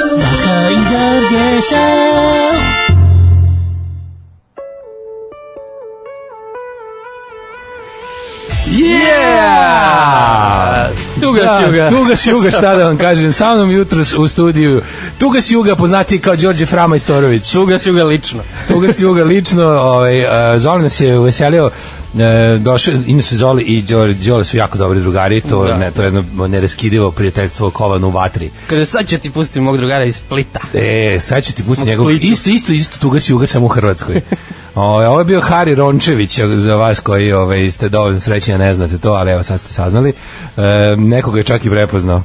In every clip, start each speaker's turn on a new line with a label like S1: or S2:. S1: Daška i Đorđe show.
S2: Yeah!
S3: Tuga
S2: Da,
S3: Sjuga.
S2: Tuga Sjuga, šta da vam kažem. Sa mnom jutros u studiju. Tuga Sjuga, poznati kao Đorđe Frama Istorović.
S3: Tuga Sjuga lično.
S2: Tuga Sjuga lično, ovaj, e, Zoli nas je uveselio e, došao, inače Zoli i Đorđe Đole su jako dobri drugari, to,
S3: Da.
S2: ne, to je jedno neraskidivo prijateljstvo kovano u vatri.
S3: Kaže, sad ću ti pustiti mog drugara iz Splita.
S2: E, sad ću ti pustiti
S3: U
S2: njegov...
S3: Splitu.
S2: Isto, isto, isto, tuga si uga sam u Hrvatskoj. O, ovo je bio Hari Rončević, za vas koji ove, ste dovoljno srećni, a ne znate to, ali evo sad ste saznali. E, nekoga je čak i prepoznao.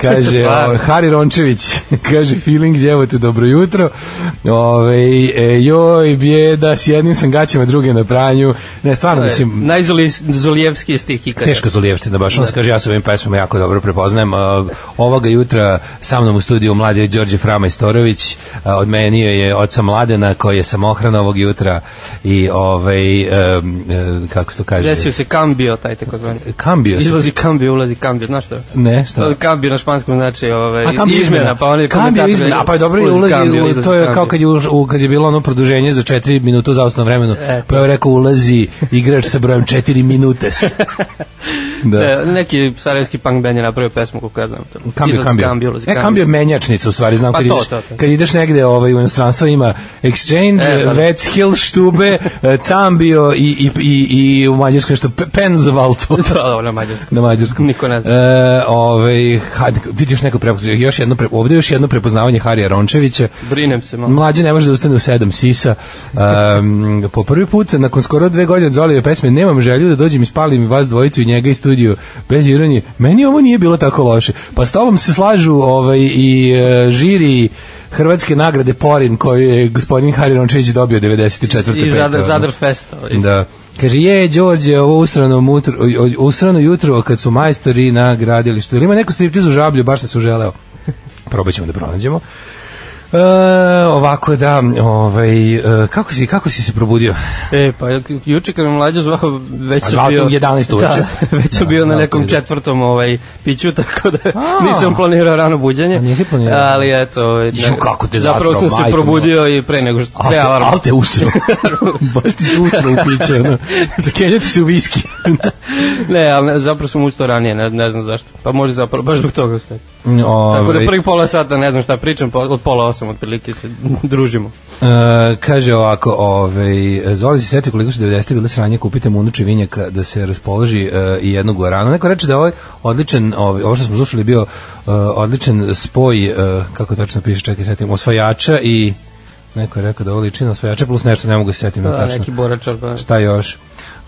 S2: Kaže,
S3: Stvarno?
S2: o, Hari Rončević, kaže, feeling, evo te, dobro jutro. Ove, e, joj, bijeda, s jednim sam gaćima, druge na pranju. Ne, stvarno, mislim,
S3: Najzolijevski stih ikada.
S2: Teška zolijevština baš. On
S3: Da.
S2: se kaže, ja se ovim pesmama jako dobro prepoznajem. A, Ovoga jutra sa mnom u studiju mladi je Đorđe Frama Istorović. A, Od meni je oca Mladena koji je samohran ovog jutra i ovaj, em, e, kako se to kaže?
S3: Desio se kambio, taj takozvani.
S2: Kambio se.
S3: Izlazi kambio, ulazi kambio, znaš što?
S2: Ne, šta?
S3: Kambio na španskom znači ovaj,
S2: Da. A kambio
S3: izmena, pa on je
S2: kambio
S3: komentator
S2: izmena,
S3: je-
S2: a pa je dobro je
S3: ulazi
S2: ulazi,
S3: kambio,
S2: u-
S3: izlazi
S2: to je kao
S3: kambio.
S2: kad je, uš- u- kad je bilo ono produženje za 4 minuta u zaostnom vremenu,
S3: E,
S2: pa je rekao ulazi igrač sa brojem 4 minute. da.
S3: E, neki sarajevski punk band je napravio pesmu, kako ja znam. to.
S2: Kambio,
S3: Izlazi
S2: kambio.
S3: kambio, ulazi
S2: e, kambio je menjačnica, u stvari, znam
S3: Pa
S2: kad,
S3: to,
S2: ideš,
S3: to, to.
S2: kad ideš negde ovaj, u inostranstvo ima Exchange,
S3: E, da, da.
S2: Wetzhill, Stube, e, Cambio i, i, i, i u Mađarskoj što Pe- Penzvalto.
S3: Da, ovo na mađarskom.
S2: Na mađarskom.
S3: Niko ne zna.
S2: E, ovaj, hajde, vidiš neko prepoznavanje, još jedno, pre, ovde je još jedno prepoznavanje Harija Rončevića.
S3: Brinem se malo.
S2: Mlađe ne može da ustane u sedam sisa. Um, po prvi put, nakon skoro dve godine od Zolijeve pesme, nemam želju da dođem i spalim i vas dvojicu i njega i studiju bez jiranje. Meni ovo nije bilo tako loše. Pa s tobom se slažu ovaj, i e, žiri Hrvatske nagrade Porin koju je gospodin Hari Rončević dobio 94.
S3: I Zadar,
S2: pete, ono.
S3: Zadar Fest. ovaj, isto.
S2: Da. Kaže, je, Đorđe, ovo usrano, mutro, usrano jutro kad su majstori na gradilištu. Ili ima neko striptiz u žablju, baš sam se uželeo. Probat ćemo da pronađemo. E, ovako da, ovaj, e, kako, si, kako si se probudio?
S3: E, pa ju- juče kad me mlađa zvao, već
S2: A
S3: sam
S2: zvao te
S3: bio...
S2: u 11 uveče.
S3: Da, već sam
S2: Da,
S3: bio
S2: znao
S3: na
S2: te,
S3: nekom
S2: da.
S3: četvrtom ovaj, piću, tako da
S2: A.
S3: nisam planirao rano buđenje.
S2: A nisi planirao?
S3: Ali eto, ovaj,
S2: Ju, kako te
S3: zapravo
S2: zasrao,
S3: sam se
S2: majko da?
S3: probudio i pre nego što...
S2: Al te,
S3: Pre alarma.
S2: al te usro. baš ti se usro u piće. Ono. Skenja ti se u viski.
S3: Ne, ali ne, zapravo sam ustao ranije, ne, ne znam zašto. Pa može zapravo, baš zbog toga ustao. Tako da
S2: Ovaj,
S3: prvi pola sata ne znam šta pričam, pa od pola osam otprilike se družimo.
S2: E, kaže ovako, ovaj, Zoli se seti koliko su 90. bile sranje, kupite munuče vinjaka da se raspoloži e, i jednog guarana. Neko reče da je ovaj odličan, ovaj, ovo što smo slušali je bio e, odličan spoj, e, kako tačno piše, čekaj, setim, osvajača i neko je rekao da ovo liči na osvajača plus nešto, ne mogu se setim.
S3: Da,
S2: tačno
S3: neki boračar, pa
S2: šta još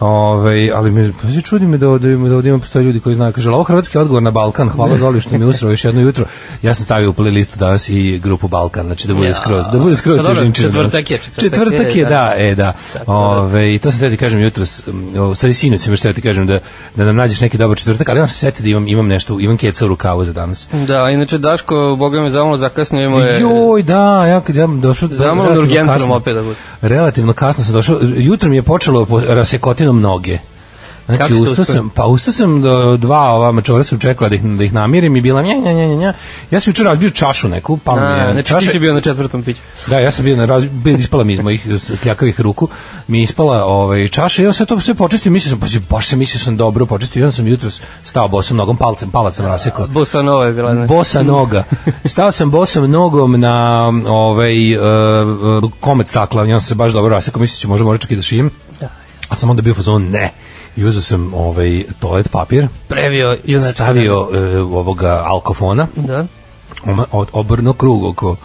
S2: Ove, ali me pa se čudi me da da da ovde ima postoje ljudi koji znaju kaže "Al, ovo hrvatski odgovor na Balkan hvala Zoli što mi je usrao još jedno jutro ja sam stavio u playlistu danas i grupu Balkan znači da bude
S3: Ja.
S2: skroz da bude skroz
S3: Pa dobro,
S2: težinčina danas.
S3: četvrtak je, četvrtak
S2: četvrtak
S3: je,
S2: je da e da
S3: Tako da.
S2: Ove, i to sam teo ti kažem jutros m, o, u stvari sinoć sam još teo ti kažem da da nam nađeš neki dobar četvrtak ali ja sam se setio da imam imam nešto imam keca u rukavu za danas
S3: Da, inače Daško, boga me zamalo, zakasnio imao je...
S2: Joj, da, ja kad ja došao
S3: Zamalo
S2: relativno
S3: urgentno
S2: kasno.
S3: opet da bude.
S2: Relativno kasno sam došao. Jutro mi je počelo po rasekotinom noge. Znači,
S3: Kako ste
S2: ustao
S3: uspeli?
S2: sam, pa ustao sam do dva ova mačora su čekala da ih, da ih namirim i bila nja, nja, nja, nja, nja. Ja sam juče razbio čašu neku, pa mi
S3: A,
S2: je...
S3: znači ti
S2: čaša-
S3: si bio na četvrtom piću.
S2: Da, ja sam bio na raz, bio ispala mi iz mojih s- kljakavih ruku, mi je ispala ovaj čaša i ja sve to sve počistio, mislio sam, pa si- baš sam mislio sam dobro počistio, i onda sam jutros stao bosom nogom palcem, palac sam rasekao.
S3: Bossa Nova je bila, znači.
S2: Bosa noga. Stao sam bosom nogom na ovaj e, e, komad stakla, i on se baš dobro rasekao, mislim ću možda možda čak i da šijem. A sam onda bio u fazonu ne. I uzeo sam ovaj toalet papir,
S3: Previo i znači.
S2: stavio e, ovoga alkofona,
S3: Da.
S2: oma- od- obrnuo krug oko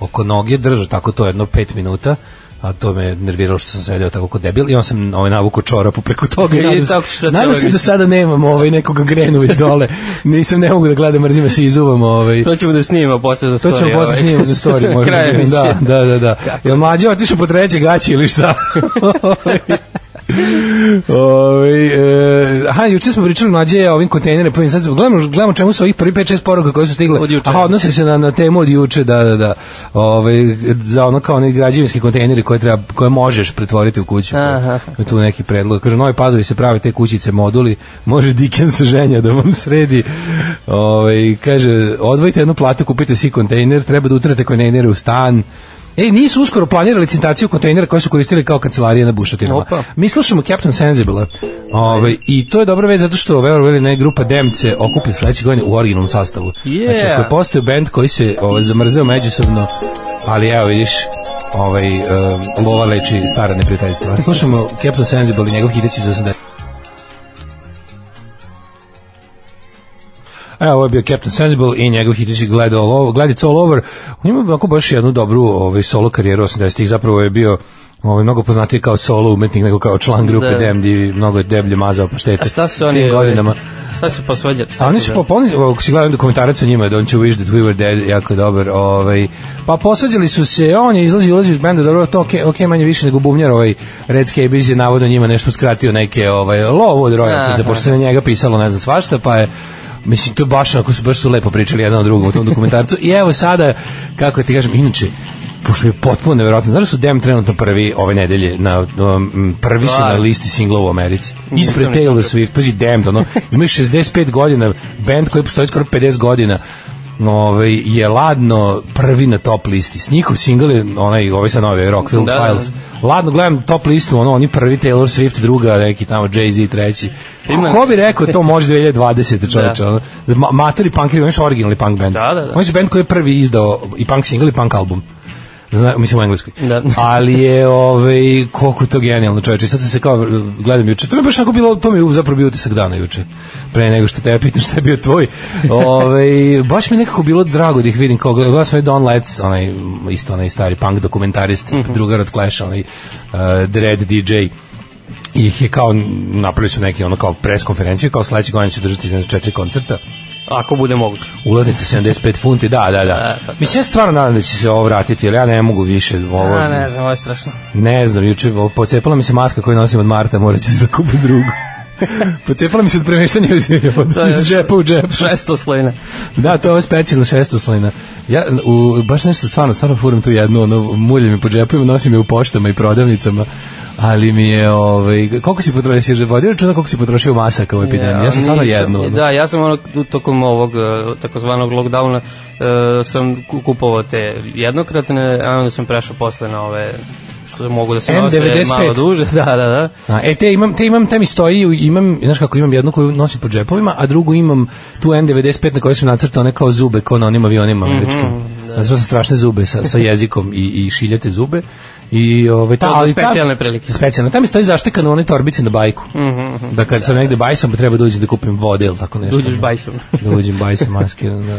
S2: oko noge, držao tako to jedno 5 minuta a to me nerviralo što sam sedeo tako kod debil i on sam ovaj navuku čorapu preko toga
S3: I
S2: nadam se-
S3: tako ću sad
S2: nadam
S3: celo
S2: se da
S3: više.
S2: sada nemam ovaj nekog grenu već dole nisam ne mogu da gledam mrzim da se izuvam ovaj
S3: To ćemo da snimimo posle za
S2: To
S3: story.
S2: ćemo posle snimati za story. možda
S3: Kraj
S2: da vidimo.
S3: emisije.
S2: Da, da, da. da. Jel mlađe otišao po treće gaći ili šta? Ove, e, aha, juče smo pričali mlađe o ovim kontejnerima, pa sad gledamo, gledamo čemu su ovih prvi 5-6 poruka koje su stigle.
S3: Od juče.
S2: Aha, odnosi se na, na temu od juče, da, da, da. Ove, za ono kao one građevinske kontejnere koje, treba, koje možeš pretvoriti u kuću.
S3: Aha.
S2: Ima tu neki predlog. Kaže, novi pazovi se prave te kućice moduli, može Dickens ženja da vam sredi. Ove, kaže, odvojite jednu platu, kupite si kontejner, treba da utrate kontejnere u stan. E, nisu uskoro planirali licitaciju kontejnera koje su koristili kao kancelarije na bušotinama.
S3: Opa.
S2: Mi slušamo Captain Sensible Ove, i to je dobra vez zato što verovali ili ne grupa Demce okuplja sledeće godine u originalnom sastavu.
S3: Yeah.
S2: Znači, ako je postao band koji se ove, zamrzeo međusobno, ali evo vidiš, ovaj, um, lova leči stara neprijateljstva. Slušamo Captain Sensible i njegov hideći za 80. Evo, E, ovo je bio Captain Sensible i njegov hitići Glad All Over. Glad It's All Over. On ima onako baš jednu dobru ovaj, solo karijeru 80-ih. Zapravo je bio ovaj, mnogo poznatiji kao solo umetnik nego kao član grupe
S3: Da.
S2: da. DMD. Mnogo je deblje mazao po štete.
S3: A šta su oni...
S2: Tim godinama.
S3: ovaj, Šta su posvađali?
S2: A oni
S3: da.
S2: su popolni, ovog si gledam dokumentarac o njima, Don't you wish that we were dead, jako je dobar. Ovaj, pa posvađali su se, on je izlazi, ulazi iz benda, dobro, to okej, okay, manje više nego bubnjar, ovaj Red Scabies je navodno njima nešto skratio neke, ovaj, lovo od roja,
S3: Aha.
S2: za pošto se na njega pisalo, ne znam, svašta, pa je Mislim, to je baš onako su baš su lepo pričali jedan o drugom u tom dokumentarcu. I evo sada, kako ti kažem, inače, pošto je potpuno nevjerojatno, znaš da su Dem trenutno prvi ove nedelje, na, um, prvi su na
S3: Stvarno.
S2: listi singla u Americi.
S3: Nisam
S2: Ispred
S3: ni
S2: Taylor Swift, pazi Damned, ono, imaju 65 godina, band koji postoji skoro 50 godina, ovaj, je ladno prvi na top listi. S njihov single je onaj, ovaj sa novi, Rockville
S3: Da,
S2: da,
S3: da.
S2: Files. Ladno gledam top listu, ono, oni prvi Taylor Swift, druga, neki tamo Jay-Z, treći.
S3: Ima-
S2: Ko bi rekao, to može 2020. čoveče,
S3: Da.
S2: ono. da. ma- Matori punk, oni su originalni punk band.
S3: Da, da, da.
S2: Oni su band koji je prvi izdao i punk single i punk album. Zna, mislim u engleskoj.
S3: Da.
S2: Ali je ovaj koliko je to genijalno čoveče. I Sad sam se kao gledam juče. To mi je baš onako bilo to mi je zapravo bio utisak dana juče. Pre nego što te pitam šta je bio tvoj. Ovaj baš mi je nekako bilo drago da ih vidim kao gled- gledam sam i Don Letts, onaj m, isto onaj stari punk dokumentarist,
S3: Mhm.
S2: drugar od Clash, onaj uh, Dread DJ I ih je kao napravili su neki ono kao pres konferenciju kao sledeće godine će držati ne znam, četiri koncerta
S3: da- Ako bude moguće.
S2: ulaznice 75 funti, da, da, da. Mislim, ja se stvarno nadam da će se ovo vratiti, jer ja ne mogu više ovo...
S3: A, Da, ne znam, ovo je strašno.
S2: Ne znam, juče ovo, pocepala mi se maska koju nosim od Marta, morat ću se kupiti drugu. pocepala mi se od premeštanja iz, od,
S3: To je-
S2: iz džepa u džep.
S3: Šesto slojne.
S2: Da, to je ovo specijalna šestoslojna. Ja u, baš nešto stvarno, stvarno furam tu jednu, ono, mulje mi po džepovima, nosim je u poštama i prodavnicama, ali mi je, ovaj, koliko si potrošio, si vodio računa koliko si potrošio masaka u epidemiji? Ja, sam stvarno
S3: nisam.
S2: jednu. ono.
S3: Da, ja sam ono, u- tokom ovog e, takozvanog lockdowna e, sam ku- kupovao te jednokratne, a onda sam prešao posle na ove što mogu da se nose
S2: N95.
S3: malo duže. Da, da, da.
S2: A, e, te imam, te imam, te mi stoji, u- imam, znaš kako, imam jednu koju nosim po džepovima, a drugu imam tu N95 na kojoj su nacrtane kao zube, kao na onim avionima američkim. Mm -hmm, da. Znači, strašne zube sa, sa jezikom i, i šiljate zube. I, ovaj, ta,
S3: To za
S2: ali ta-
S3: specijalne prilike.
S2: Specijalno. Tam mi stoji zaštekano one torbice na bajku. Mm -hmm, da kad sam negde bajsom, pa treba da uđem da kupim vode ili tako nešto.
S3: Uđeš bajsom.
S2: Da uđem bajsom maskiran. Da.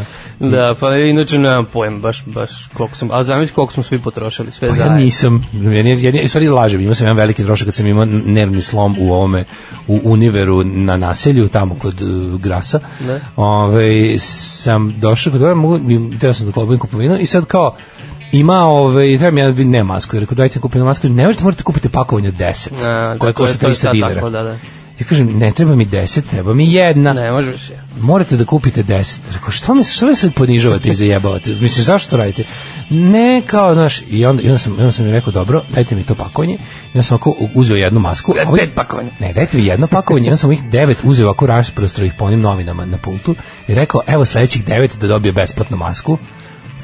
S3: Da, pa inače nemam pojem, baš, baš koliko sam, ali zamisli koliko smo svi potrošili, sve
S2: Pa ja
S3: zajedno.
S2: nisam, ja, nis, ja, nis- u stvari lažem, imao sam jedan veliki trošak kad sam imao nervni slom u ovome, u univeru na naselju, tamo kod uh, Grasa.
S3: Ne.
S2: Ove, sam došao kod toga, mogu, teo sam da klopim kupovinu i sad kao, ima ove, treba mi ja da ne masku, jer rekao dajte mi kupim masku, ne možete, morate kupiti pakovanje od 10,
S3: A,
S2: koje
S3: Da, tako je,
S2: košta
S3: to je
S2: 300
S3: sad
S2: dinara.
S3: Tako, da, da.
S2: Ja kažem, ne treba mi 10, treba mi jedna
S3: Ne, može više.
S2: morate da kupite 10. Rekao, što me, što me sad ponižavate i zajebavate? Mislim, zašto to radite? Ne, kao, znaš, i onda, i onda, sam, i onda sam mi rekao, dobro, dajte mi to pakovanje. I onda sam ako uzeo jednu masku. a ovaj-
S3: pet pakovanja.
S2: Ne, dajte mi jedno pakovanje. I onda sam ih devet uzeo ovako rasprostro ih po onim novinama na pultu i rekao, evo sledećih devet da dobije besplatnu masku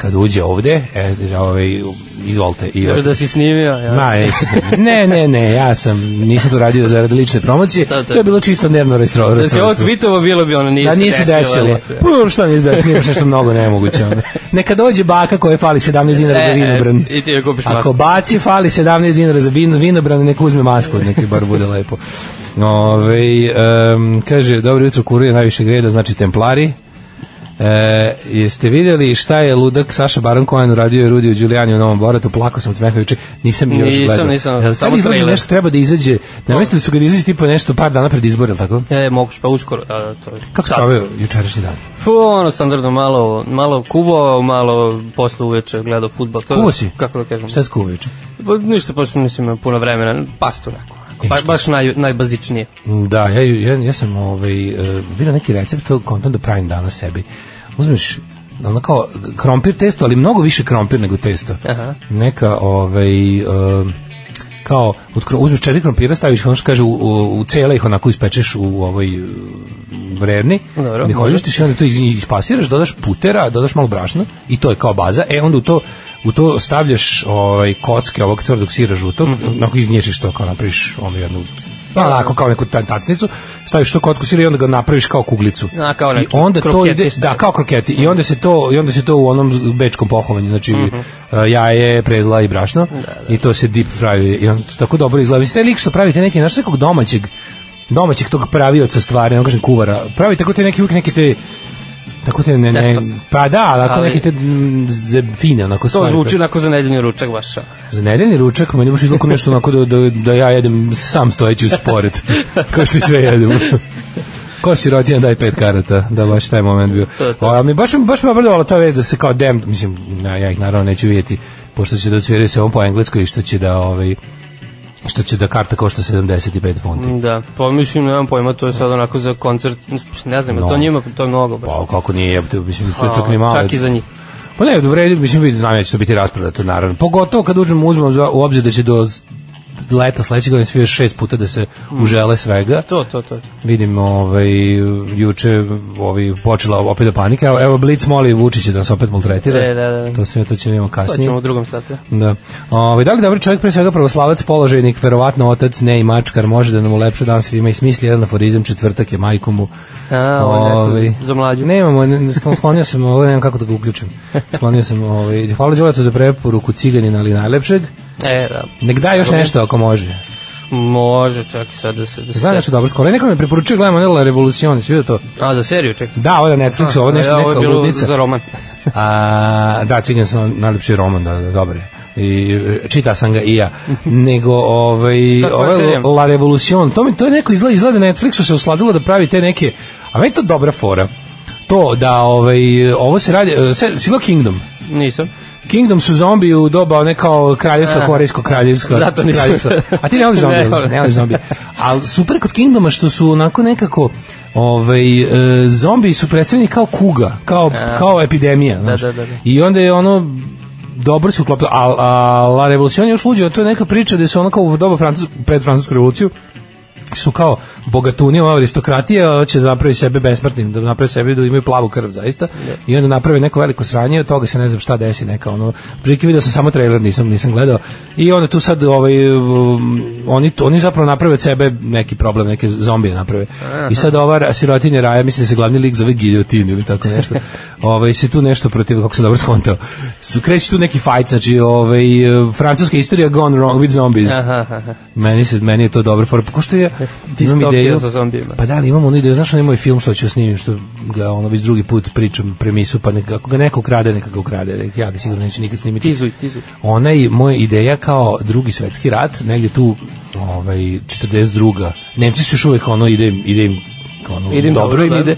S2: kad uđe ovde, e, ovaj, izvolite. I,
S3: Još da si snimio, ja.
S2: Ma, nisam. ne, ne, ne, ja sam, nisam to radio zaradi lične promocije,
S3: Da, da.
S2: to je bilo čisto nervno restro.
S3: Da se ovo tweetovo bilo bi ono, nije
S2: Da
S3: se
S2: nije se desilo.
S3: eto.
S2: Pa šta nije se desilo, imaš nešto mnogo nemoguće. Onda. Neka dođe baka koja fali 17 dinara za
S3: E,
S2: vinobran.
S3: e, i ti joj kupiš
S2: Ako
S3: masku.
S2: baci fali 17 dinara za vino, vinobran, neka uzme masku od neke, bar bude lepo. Ove, um, kaže, dobro jutro, kuruje najviše greda, znači templari. E, jeste vidjeli šta je ludak Saša Baron Cohen uradio i Rudi u Giuliani u Novom Boratu, plako sam od smeha juče, nisam još
S3: Nisam,
S2: gledao.
S3: nisam,
S2: Jel
S3: samo
S2: tad izlazi
S3: trailer.
S2: Nešto treba da izađe, namestili su ga da izađe tipa nešto par dana pred izbor, jel tako?
S3: E, moguće, pa uskoro, da, da, to je.
S2: Kako se
S3: Sad.
S2: pavio jučerašnji dan?
S3: Fu, ono, standardno, malo, malo kuvao, malo posle uveče gledao futbal. To, je-
S2: Kuvao si?
S3: Kako da kažem?
S2: Šta je skuva juče?
S3: Pa, ništa, pa što nisam imao puno vremena, pastu neko.
S2: E,
S3: Pa, baš naj, najbazičnije.
S2: Da, ja, ja, ja sam ovaj, uh, vidio neki recept, to kontam da pravim danas sebi. Uzmeš ono kao krompir testo, ali mnogo više krompir nego testo.
S3: Aha.
S2: Neka, ovaj, um, kao, od, kro- uzmeš četiri krompira, staviš ono što kaže u, u, u cele ih onako ispečeš u ovoj uh, vrerni,
S3: Dobro,
S2: ne hođeš ti onda to iz, ispasiraš, dodaš putera, dodaš malo brašna i to je kao baza, e onda u to u to stavljaš ovaj kocke ovog tvrdog sira žutog, mm -hmm. onako iznječiš to kao napraviš onu jednu Pa, onako kao neku ta- tacnicu, staviš to kocku sira i onda ga napraviš kao kuglicu.
S3: A, kao
S2: I
S3: neki
S2: onda to
S3: kroketi
S2: ide,
S3: šta
S2: da,
S3: je?
S2: kao kroketi. I onda se to i onda se to u onom z- bečkom pohovanju, znači mm
S3: Mhm.
S2: -hmm. jaje, prezla i brašno. Da, da. I to se deep fry i on to tako dobro izgleda. Vi ste lik što pravite neki naš nekog domaćeg domaćeg tog pravioca stvari, ne kažem kuvara. Pravi tako te neki uvijek neke te tako te ne, ne
S3: Testast.
S2: pa da, ali ako
S3: Ali-
S2: neke te mm, z- fine onako
S3: To
S2: stvari.
S3: zvuči onako za nedeljni ručak baš. a.
S2: Za nedeljni ručak meni baš izlako nešto onako da, da, da ja jedem sam stojeći uz sporet. Kao što i sve jedem. Ko si rođen, daj pet karata. Da, baš taj moment bio.
S3: To, to.
S2: O, ali mi baš, baš me obrdovala ta vez da se kao dem, mislim, ja, ja ih naravno neću vidjeti, pošto će da cvire se on po engleskoj i što će da, ovaj, što će da karta košta 75 funti.
S3: Da, pa mislim, nemam pojma, to je sad onako za koncert, ne znam, no.
S2: No.
S3: to njima, to je mnogo. baš.
S2: Pa kako nije, jebote, mislim, što je čak
S3: A,
S2: ni malo.
S3: Čak i za njih.
S2: Pa ne, u redu, mislim, vidi, znam ja će to biti rasprodato, naravno. Pogotovo kad uđemo, uzmemo za, u obzir da će do s- leta sledećeg godine svi još šest puta da se užele svega.
S3: To, to, to.
S2: Vidim, ovaj, juče ovi, počela opet da panika. Evo, evo Blitz moli Vučića da se opet maltretira.
S3: E, da, da, da.
S2: To sve to ćemo imamo
S3: To
S2: kasnije.
S3: ćemo u drugom satu.
S2: Da. Ove, da li dobro čovjek pre svega pravoslavac, položajnik, verovatno otac, ne i mačkar, može da nam ulepša dan svima i smisli jedan aforizam, četvrtak je majkomu.
S3: A, ovo je neko za mlađu.
S2: Nemamo, ne, ne, sklonio sam, ovo nemam kako da ga uključim. Sklonio sam, ovaj, hvala Đoletu za preporuku Ciganina, ali najlepšeg.
S3: E, da.
S2: Nek da još nešto ako može.
S3: Može čak i sad da se... Da se
S2: Znam nešto dobro, skoro neko mi preporučio, gledamo Nela Revolucion, si vidio to?
S3: A, za seriju, čekaj.
S2: Da, ovo je na Netflixu, ovo je nešto
S3: E, ovo je
S2: neka
S3: bilo
S2: ludnica.
S3: za roman.
S2: A, da, Cigan sam najljepši roman, da, da, dobro je. I e, čita sam ga i ja. Nego, ovaj,
S3: Sad koja
S2: ovaj
S3: serija?
S2: La Revolucion, to mi to je neko izgleda, izgleda Netflixu se usladilo da pravi te neke, a meni je to dobra fora. To da, ovaj, ovo se radi, e, se, Silo Kingdom.
S3: Nisam.
S2: Kingdom su zombi u doba one kao kraljevstva, korejsko kraljevsko.
S3: Zato nisam.
S2: kraljevstvo. A ti ne voliš zombi,
S3: Ne
S2: ne,
S3: volim.
S2: ne voliš zombi. Ali super kod Kingdoma što su onako nekako ovaj, e, zombi su predstavljeni kao kuga, kao, kao epidemija. znaš.
S3: da, da, da.
S2: I onda je ono dobro se uklopilo, a, a La Revolucion je još luđe, to je neka priča gde su ono kao u doba Francus, pred Francusku revoluciju su kao bogatuni, ova aristokratija, hoće da napravi sebe besmrtnim, da napravi sebe da imaju plavu krv zaista. I onda naprave neko veliko sranje, od toga se ne znam šta desi, neka ono, prilike video sam samo trailer, nisam nisam gledao. I onda tu sad ovaj um, oni oni zapravo naprave od sebe neki problem, neke zombije naprave. I sad ova sirotinja Raja, mislim da se glavni lik zove Giljotin ili tako nešto. ovaj se tu nešto protiv kako se dobro skontao. Su kreće tu neki fight, znači ovaj francuska istorija gone wrong with zombies.
S3: Aha, aha.
S2: Meni, se, meni je to dobro fora. Pa ko što ja imam
S3: Distopija
S2: ideju...
S3: sa zombijima.
S2: Pa da, ali imam onu ideju, znaš onaj moj film što ću snimim, što ga ono već drugi put pričam premisu, pa nek, ako ga neko ukrade, neka ga ukrade. Ja ga sigurno neću nikad snimiti
S3: Tizuj, tizuj.
S2: ona je moja ideja kao drugi svetski rat, negde tu ovaj 42. Nemci su još uvek ono ide im- ide im kao ono,
S3: Ide im
S2: dobro,
S3: dobro,
S2: im
S3: da.
S2: ide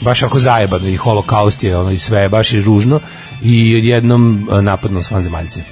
S2: baš ako zajebano i holokaust je ono i sve baš je ružno i odjednom eh, napadnu svanzemaljci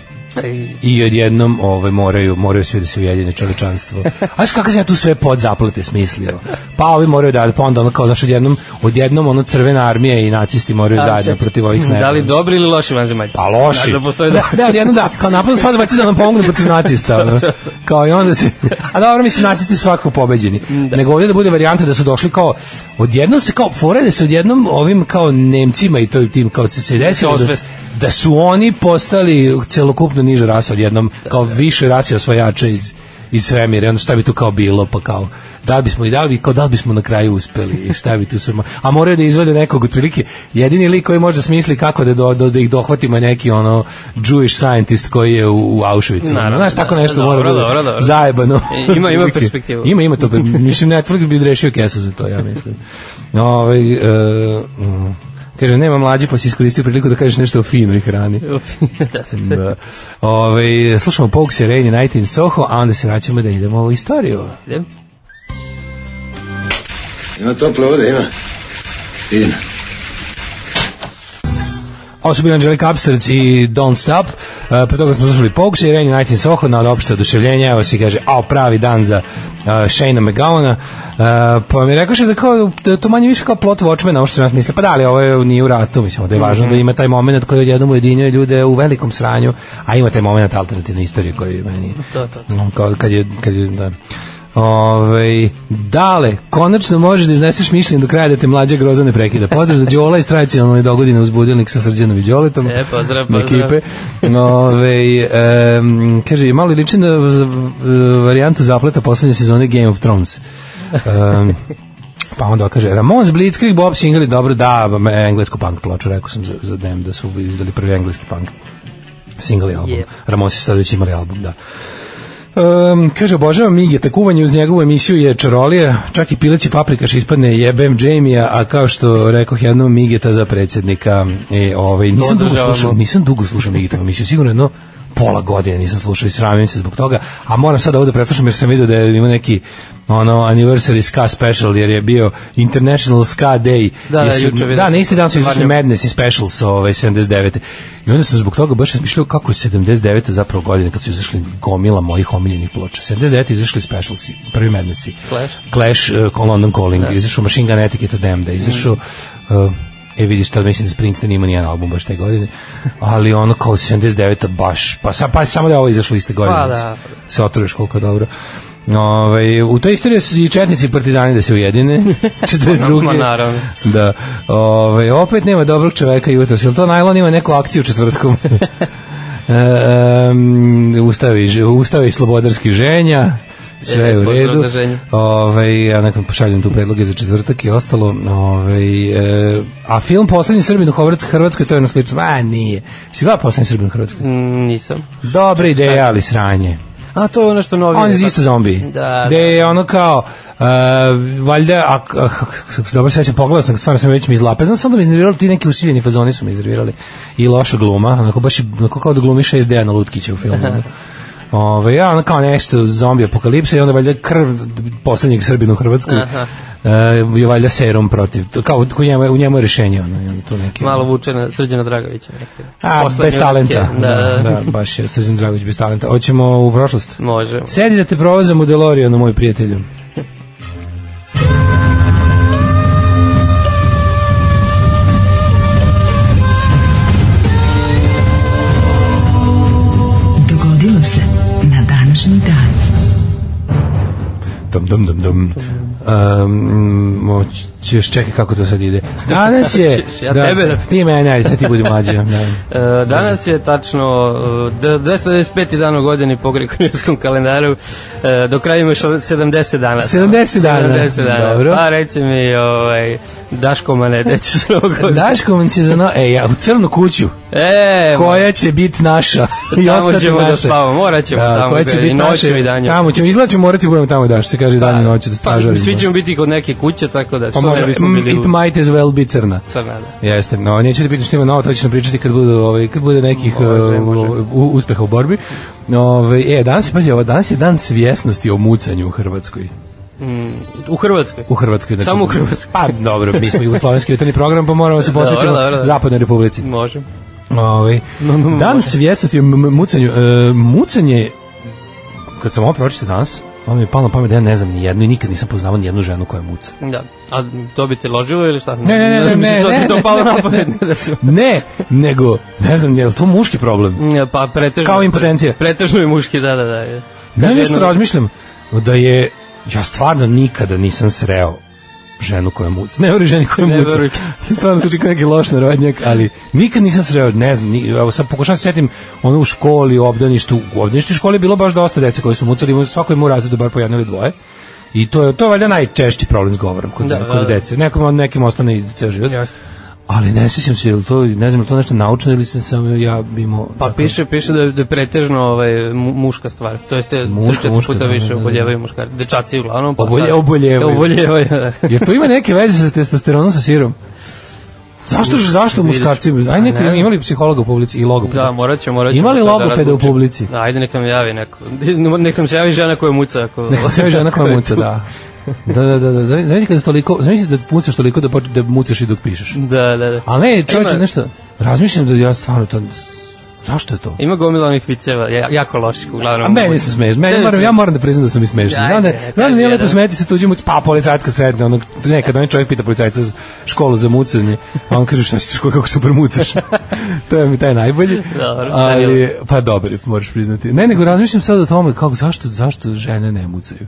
S3: Ej,
S2: i odjednom ovaj moraju moraju svi da se ujedine čovečanstvo. A znaš kako sam ja tu sve pod zaplate smislio. Pa ovi moraju da pa onda ono kao znaš odjednom odjednom ono crvena armija i nacisti moraju zajedno protiv ovih snajpera.
S3: Da li dobri ili loši vanzemaljci?
S2: Pa loši.
S3: Znaš da postoje
S2: da,
S3: da.
S2: da, jedno da, kao napadno sva zbaci da nam pomognu protiv nacista. Ono. Kao i onda se... A dobro, mislim, nacisti su svakako pobeđeni. Da. Nego ovdje da bude varijanta da su došli kao... Odjednom se kao... Fore da se odjednom ovim kao Nemcima i toj tim kao se desilo da,
S3: osvesti.
S2: da su oni postali celokupno niža rasa odjednom, kao više rasi osvajača iz iz svemira, i onda šta bi tu kao bilo, pa kao, da li bismo i da li, bi- kao da li bismo na kraju uspeli, i šta bi tu sve, mo- a moraju da izvede nekog otprilike, jedini lik koji može da smisli kako da, do, do, da ih dohvatimo je neki ono Jewish scientist koji je u, u Auschwitzu,
S3: Naravno,
S2: znaš, tako
S3: da,
S2: nešto
S3: dobro,
S2: mora da
S3: dobro, dobro.
S2: zajebano.
S3: E, ima- ima
S2: Otprilike.
S3: perspektivu.
S2: Ima, ima to, pa, mislim, Netflix bi rešio kesu za to, ja mislim. Ove, e, mm, kaže, nema mlađe, pa si iskoristio priliku da kažeš nešto o finoj hrani. da. Ove, slušamo Pogues i Rainy Night in Soho, a onda se vraćamo da idemo u istoriju.
S3: Idem.
S4: Ima tople vode, ima. Idem.
S2: Osobno Angelica Upstarts i Don't Stop. Uh, pre toga smo slušali Pogues i Rainy Night in Soho na opšte oduševljenje. Evo se kaže, a pravi dan za uh, Shane McGowana. Uh, pa mi rekaše da kao da je to manje više kao plot watchmen, ovo što sam ja mislio. Pa da, ali ovo je, nije u rastu, mislim, da je
S3: Mhm.
S2: važno mm -hmm. da ima taj moment koji odjednom ujedinjuje ljude u velikom sranju, a ima taj moment alternativne istorije koji je meni...
S3: To, to, to.
S2: No, Kao, kad je, kad je, da. Ove, dale, konačno možeš da izneseš mišljenje do kraja da te mlađa groza ne prekida. Pozdrav za Đola iz tradicionalne dogodine uz budilnik sa Srđanom i Đoletom.
S3: E, pozdrav,
S2: Na
S3: pozdrav.
S2: Ekipe. Ove, em, kaže, malo je liči na v- v- varijantu zapleta poslednje sezone Game of Thrones. Um, pa onda kaže, Ramones, Blitzkrieg, Bob Singley, dobro, da, englesko punk ploču, rekao sam za, za dem da su izdali prvi engleski punk single album.
S3: Je.
S2: Yeah. Ramonsi su tada već imali album, da. Um, kaže, obožavam Migeta, kuvanje uz njegovu emisiju je čarolija, čak i pileći paprikaš ispadne jebem Jamie-a, a kao što rekoh jednom Migeta za predsednika, e, ovaj, nisam dugo
S3: Podržavamo.
S2: slušao, nisam dugo slušao Migetovu emisiju, sigurno jedno pola godine nisam slušao i sramim se zbog toga, a moram sad ovo da preslušam jer sam vidio da je ima neki ono anniversary ska special jer je bio International Ska Day
S3: Da, da,
S2: Jer su-
S3: juče vidio
S2: da,
S3: sam.
S2: na isti dan su izašli
S3: Varnjak.
S2: Madness i Specials ovaj, 79. I onda sam zbog toga baš razmišljao kako je 79. zapravo godina kad su izašli gomila mojih omiljenih ploča. 79. izašli Specialsi, prvi Madnessi.
S3: Clash.
S2: Clash, uh, Con London Calling, da. izašao Machine Gun Etiquette od Damned, izašao... Uh, E vidiš, tad mislim da Springsteen ima nijedan album baš te godine, ali ono kao 79. baš, pa, sa, pa samo da je ovo izašlo iste godine.
S3: Pa da.
S2: Se otruješ koliko je dobro. Ove, u toj istoriji su i četnici i partizani da se ujedine. 42.
S3: Ma, naravno.
S2: Da. Ove, opet nema dobrog čoveka jutros. Jel to najlon ima neku akciju četvrtkom? e, um, ustavi, ž- ustavi slobodarski ženja. Sve
S3: E,
S2: je u
S3: pozdrav
S2: redu.
S3: za ženju.
S2: Ove, ja nakon pošaljem tu predloge za četvrtak i ostalo. Ove, e, a film Poslednji Srbin u Hrvatskoj, Hrvatskoj to je na slično. A, nije. Si gledao Poslednji Srbin u Hrvatskoj?
S3: Mm, Nisam.
S2: Dobra ideja, ali sranje.
S3: A to je ono što novi...
S2: Pa On je isto zombi.
S3: Da,
S2: Gde je ono kao, uh, valjda, a, a, kako se dobro sećam, pogledao sam, stvarno sam već mi izlape. Znam sam da mi iznervirali ti neki usiljeni fazoni su mi iznervirali. I loša gluma, onako baš, je- onako kao da glumi 6 Dejana Lutkića u filmu. ono. Ove, ja, ono kao nešto zombi apokalipsa i onda valjda krv poslednjeg Srbina u Hrvatskoj.
S3: Aha.
S2: Uh, je valjda serum protiv. To Kao, u njemu, je- u njemu je rešenje. Ono, i onda tu neki,
S3: Malo vuče na Srđana Dragovića. neke
S2: A, bez
S3: poslednje
S2: talenta.
S3: ruke. Da, da, da.
S2: da, baš je Srđan Dragović bez talenta. Hoćemo u prošlost.
S3: Može.
S2: Sedi da te provozam u DeLoreanu, moj prijatelju.
S4: Dogodilo se na današnji dan.
S2: Dum, dum, dum, dum. Um, moć, ćeš čekaj kako to sad ide. Danas je...
S3: Ćeš, ja tebe da-
S2: Ti mene, ajde, sad ti budi mlađa. Da.
S3: E, danas je tačno e, d- 295. dan u godini po gregorijanskom kalendaru. E, do kraja ima šel- 70 dana.
S2: 70 dana.
S3: 70 dana.
S2: Dobro.
S3: Pa reci mi, ovaj, Daško Mane, gde ćeš rogo?
S2: Daškovan će za no... E, ja, u crnu kuću,
S3: E,
S2: koja će biti naša. Da. I
S3: tamo
S2: ostati
S3: ćemo da
S2: naša.
S3: spavamo, morat ćemo
S2: Da,
S3: tamo.
S2: koja će
S3: gde-
S2: biti
S3: I noćem
S2: naša.
S3: i danjem.
S2: Tamo ćemo, izgleda ćemo morati da budemo tamo, Daš, se kaže dan i noć da
S3: Pa,
S2: stražarimo.
S3: svi ćemo biti kod neke kuće, tako da
S2: Pa
S3: što ne
S2: može,
S3: bismo
S2: mm,
S3: bili
S2: it
S3: u
S2: might as well be crna.
S3: Crna, da.
S2: Jeste, no neće da pitam što ima novo, to ćemo pričati kad bude, ovaj, kad bude nekih
S3: Može,
S2: uh,
S3: može.
S2: u- uspeha u borbi. Ove, e, danas, je, pazi, ovo, danas je dan svjesnosti o mucanju u Hrvatskoj.
S3: U Hrvatskoj.
S2: U Hrvatskoj. Znači,
S3: Samo u Hrvatskoj.
S2: Pa dobro, mi smo jugoslovenski jutarnji program, pa moramo se
S3: Dobro,
S2: posvetiti
S3: dobro, da.
S2: Zapadnoj Republici.
S3: Može.
S2: Ove, dan svjesnosti o m- m- mucanju. E, mucanje, kad sam ovo pročito danas, ono mi je palo na pamet da ja ne znam ni jednu i nikad nisam poznavao ni jednu ženu koja muca.
S3: Da. A to bi te ložilo ili šta?
S2: Ne, ne, ne, ne, ne,
S3: to ti
S2: ne,
S3: to
S2: ne,
S3: palo
S2: ne,
S3: na pamet. da se-
S2: Ne, nego, ne znam, je li to muški problem?
S3: Ne, Pa pretežno.
S2: Kao impotencija.
S3: Pretežno je muški, da, da, da. je.
S2: Ne,
S3: Jedno-
S2: nešto razmišljam da je, ja stvarno nikada nisam sreo ženu koja muca. Ne veruj ženi koja
S3: Ne
S2: muca.
S3: veruj.
S2: Se stvarno zvuči kao neki loš narodnjak, ali nikad nisam sreo, ne znam, ni, evo sad pokušavam se setim ono u školi, u obdaništu, u obdaništu i školi je bilo baš dosta dece koji su mucali, ima svako ima u razredu bar po jedno ili dvoje. I to je to je valjda najčešći problem s govorom kod,
S3: Da,
S2: da,
S3: da,
S2: kod
S3: da.
S2: dece. Nekom nekim ostane i ceo život.
S3: Jeste.
S2: Ali ne sećam se, je li to, ne znam, je li to nešto naučno ili sam samo ja imao...
S3: Pa
S2: tako-
S3: piše, piše da je, da je pretežno ovaj, mu- muška stvar. To jeste,
S2: Muška,
S3: muška,
S2: muška,
S3: muška, puta
S2: da,
S3: više
S2: da, da.
S3: oboljevaju muškari. Dečaci uglavnom. Pa
S2: Obolje-
S3: sad-
S2: oboljevaju.
S3: Oboljevaju, da.
S2: Jer to ima neke veze sa testosteronom sa sirom. Zašto zašto
S3: vidiš.
S2: muškarci? Aj neko
S3: ne.
S2: imali psihologa u publici i logopeda.
S3: Da, morat ćemo, morat ćemo.
S2: Ima li
S3: to da
S2: logopeda u
S3: razvučemo.
S2: publici?
S3: Da, ajde nek nam javi neko. Nek nam se javi žena koja muca. Ako...
S2: Neka se javi žena koja muca, da. Da, da, da, da. Znači kada toliko, znači da pucaš toliko da počneš da mucaš i dok pišeš.
S3: Da, da, da.
S2: Ali ne, čovječe,
S3: Ima-
S2: nešto, razmišljam da ja stvarno to, zašto je to?
S3: Ima gomila onih viceva, ja- jako loših uglavnom. Da.
S2: A meni se smeš, meni moram, ja moram da priznam da su mi smešni.
S3: Ajde,
S2: Znam da,
S3: kaži
S2: znam da nije lepo
S3: jedan.
S2: smeti se tuđim uc, pa policajac kad sretne, onog, nekad onaj čovjek pita policajca za školu za mucanje, a on kaže šta si škola, kako super mucaš. to je mi taj najbolji.
S3: Dobro,
S2: ali, pa dobar, je, moraš priznati. Ne, nego razmišljam sad o tome, kako, zašto, zašto žene ne mucaju?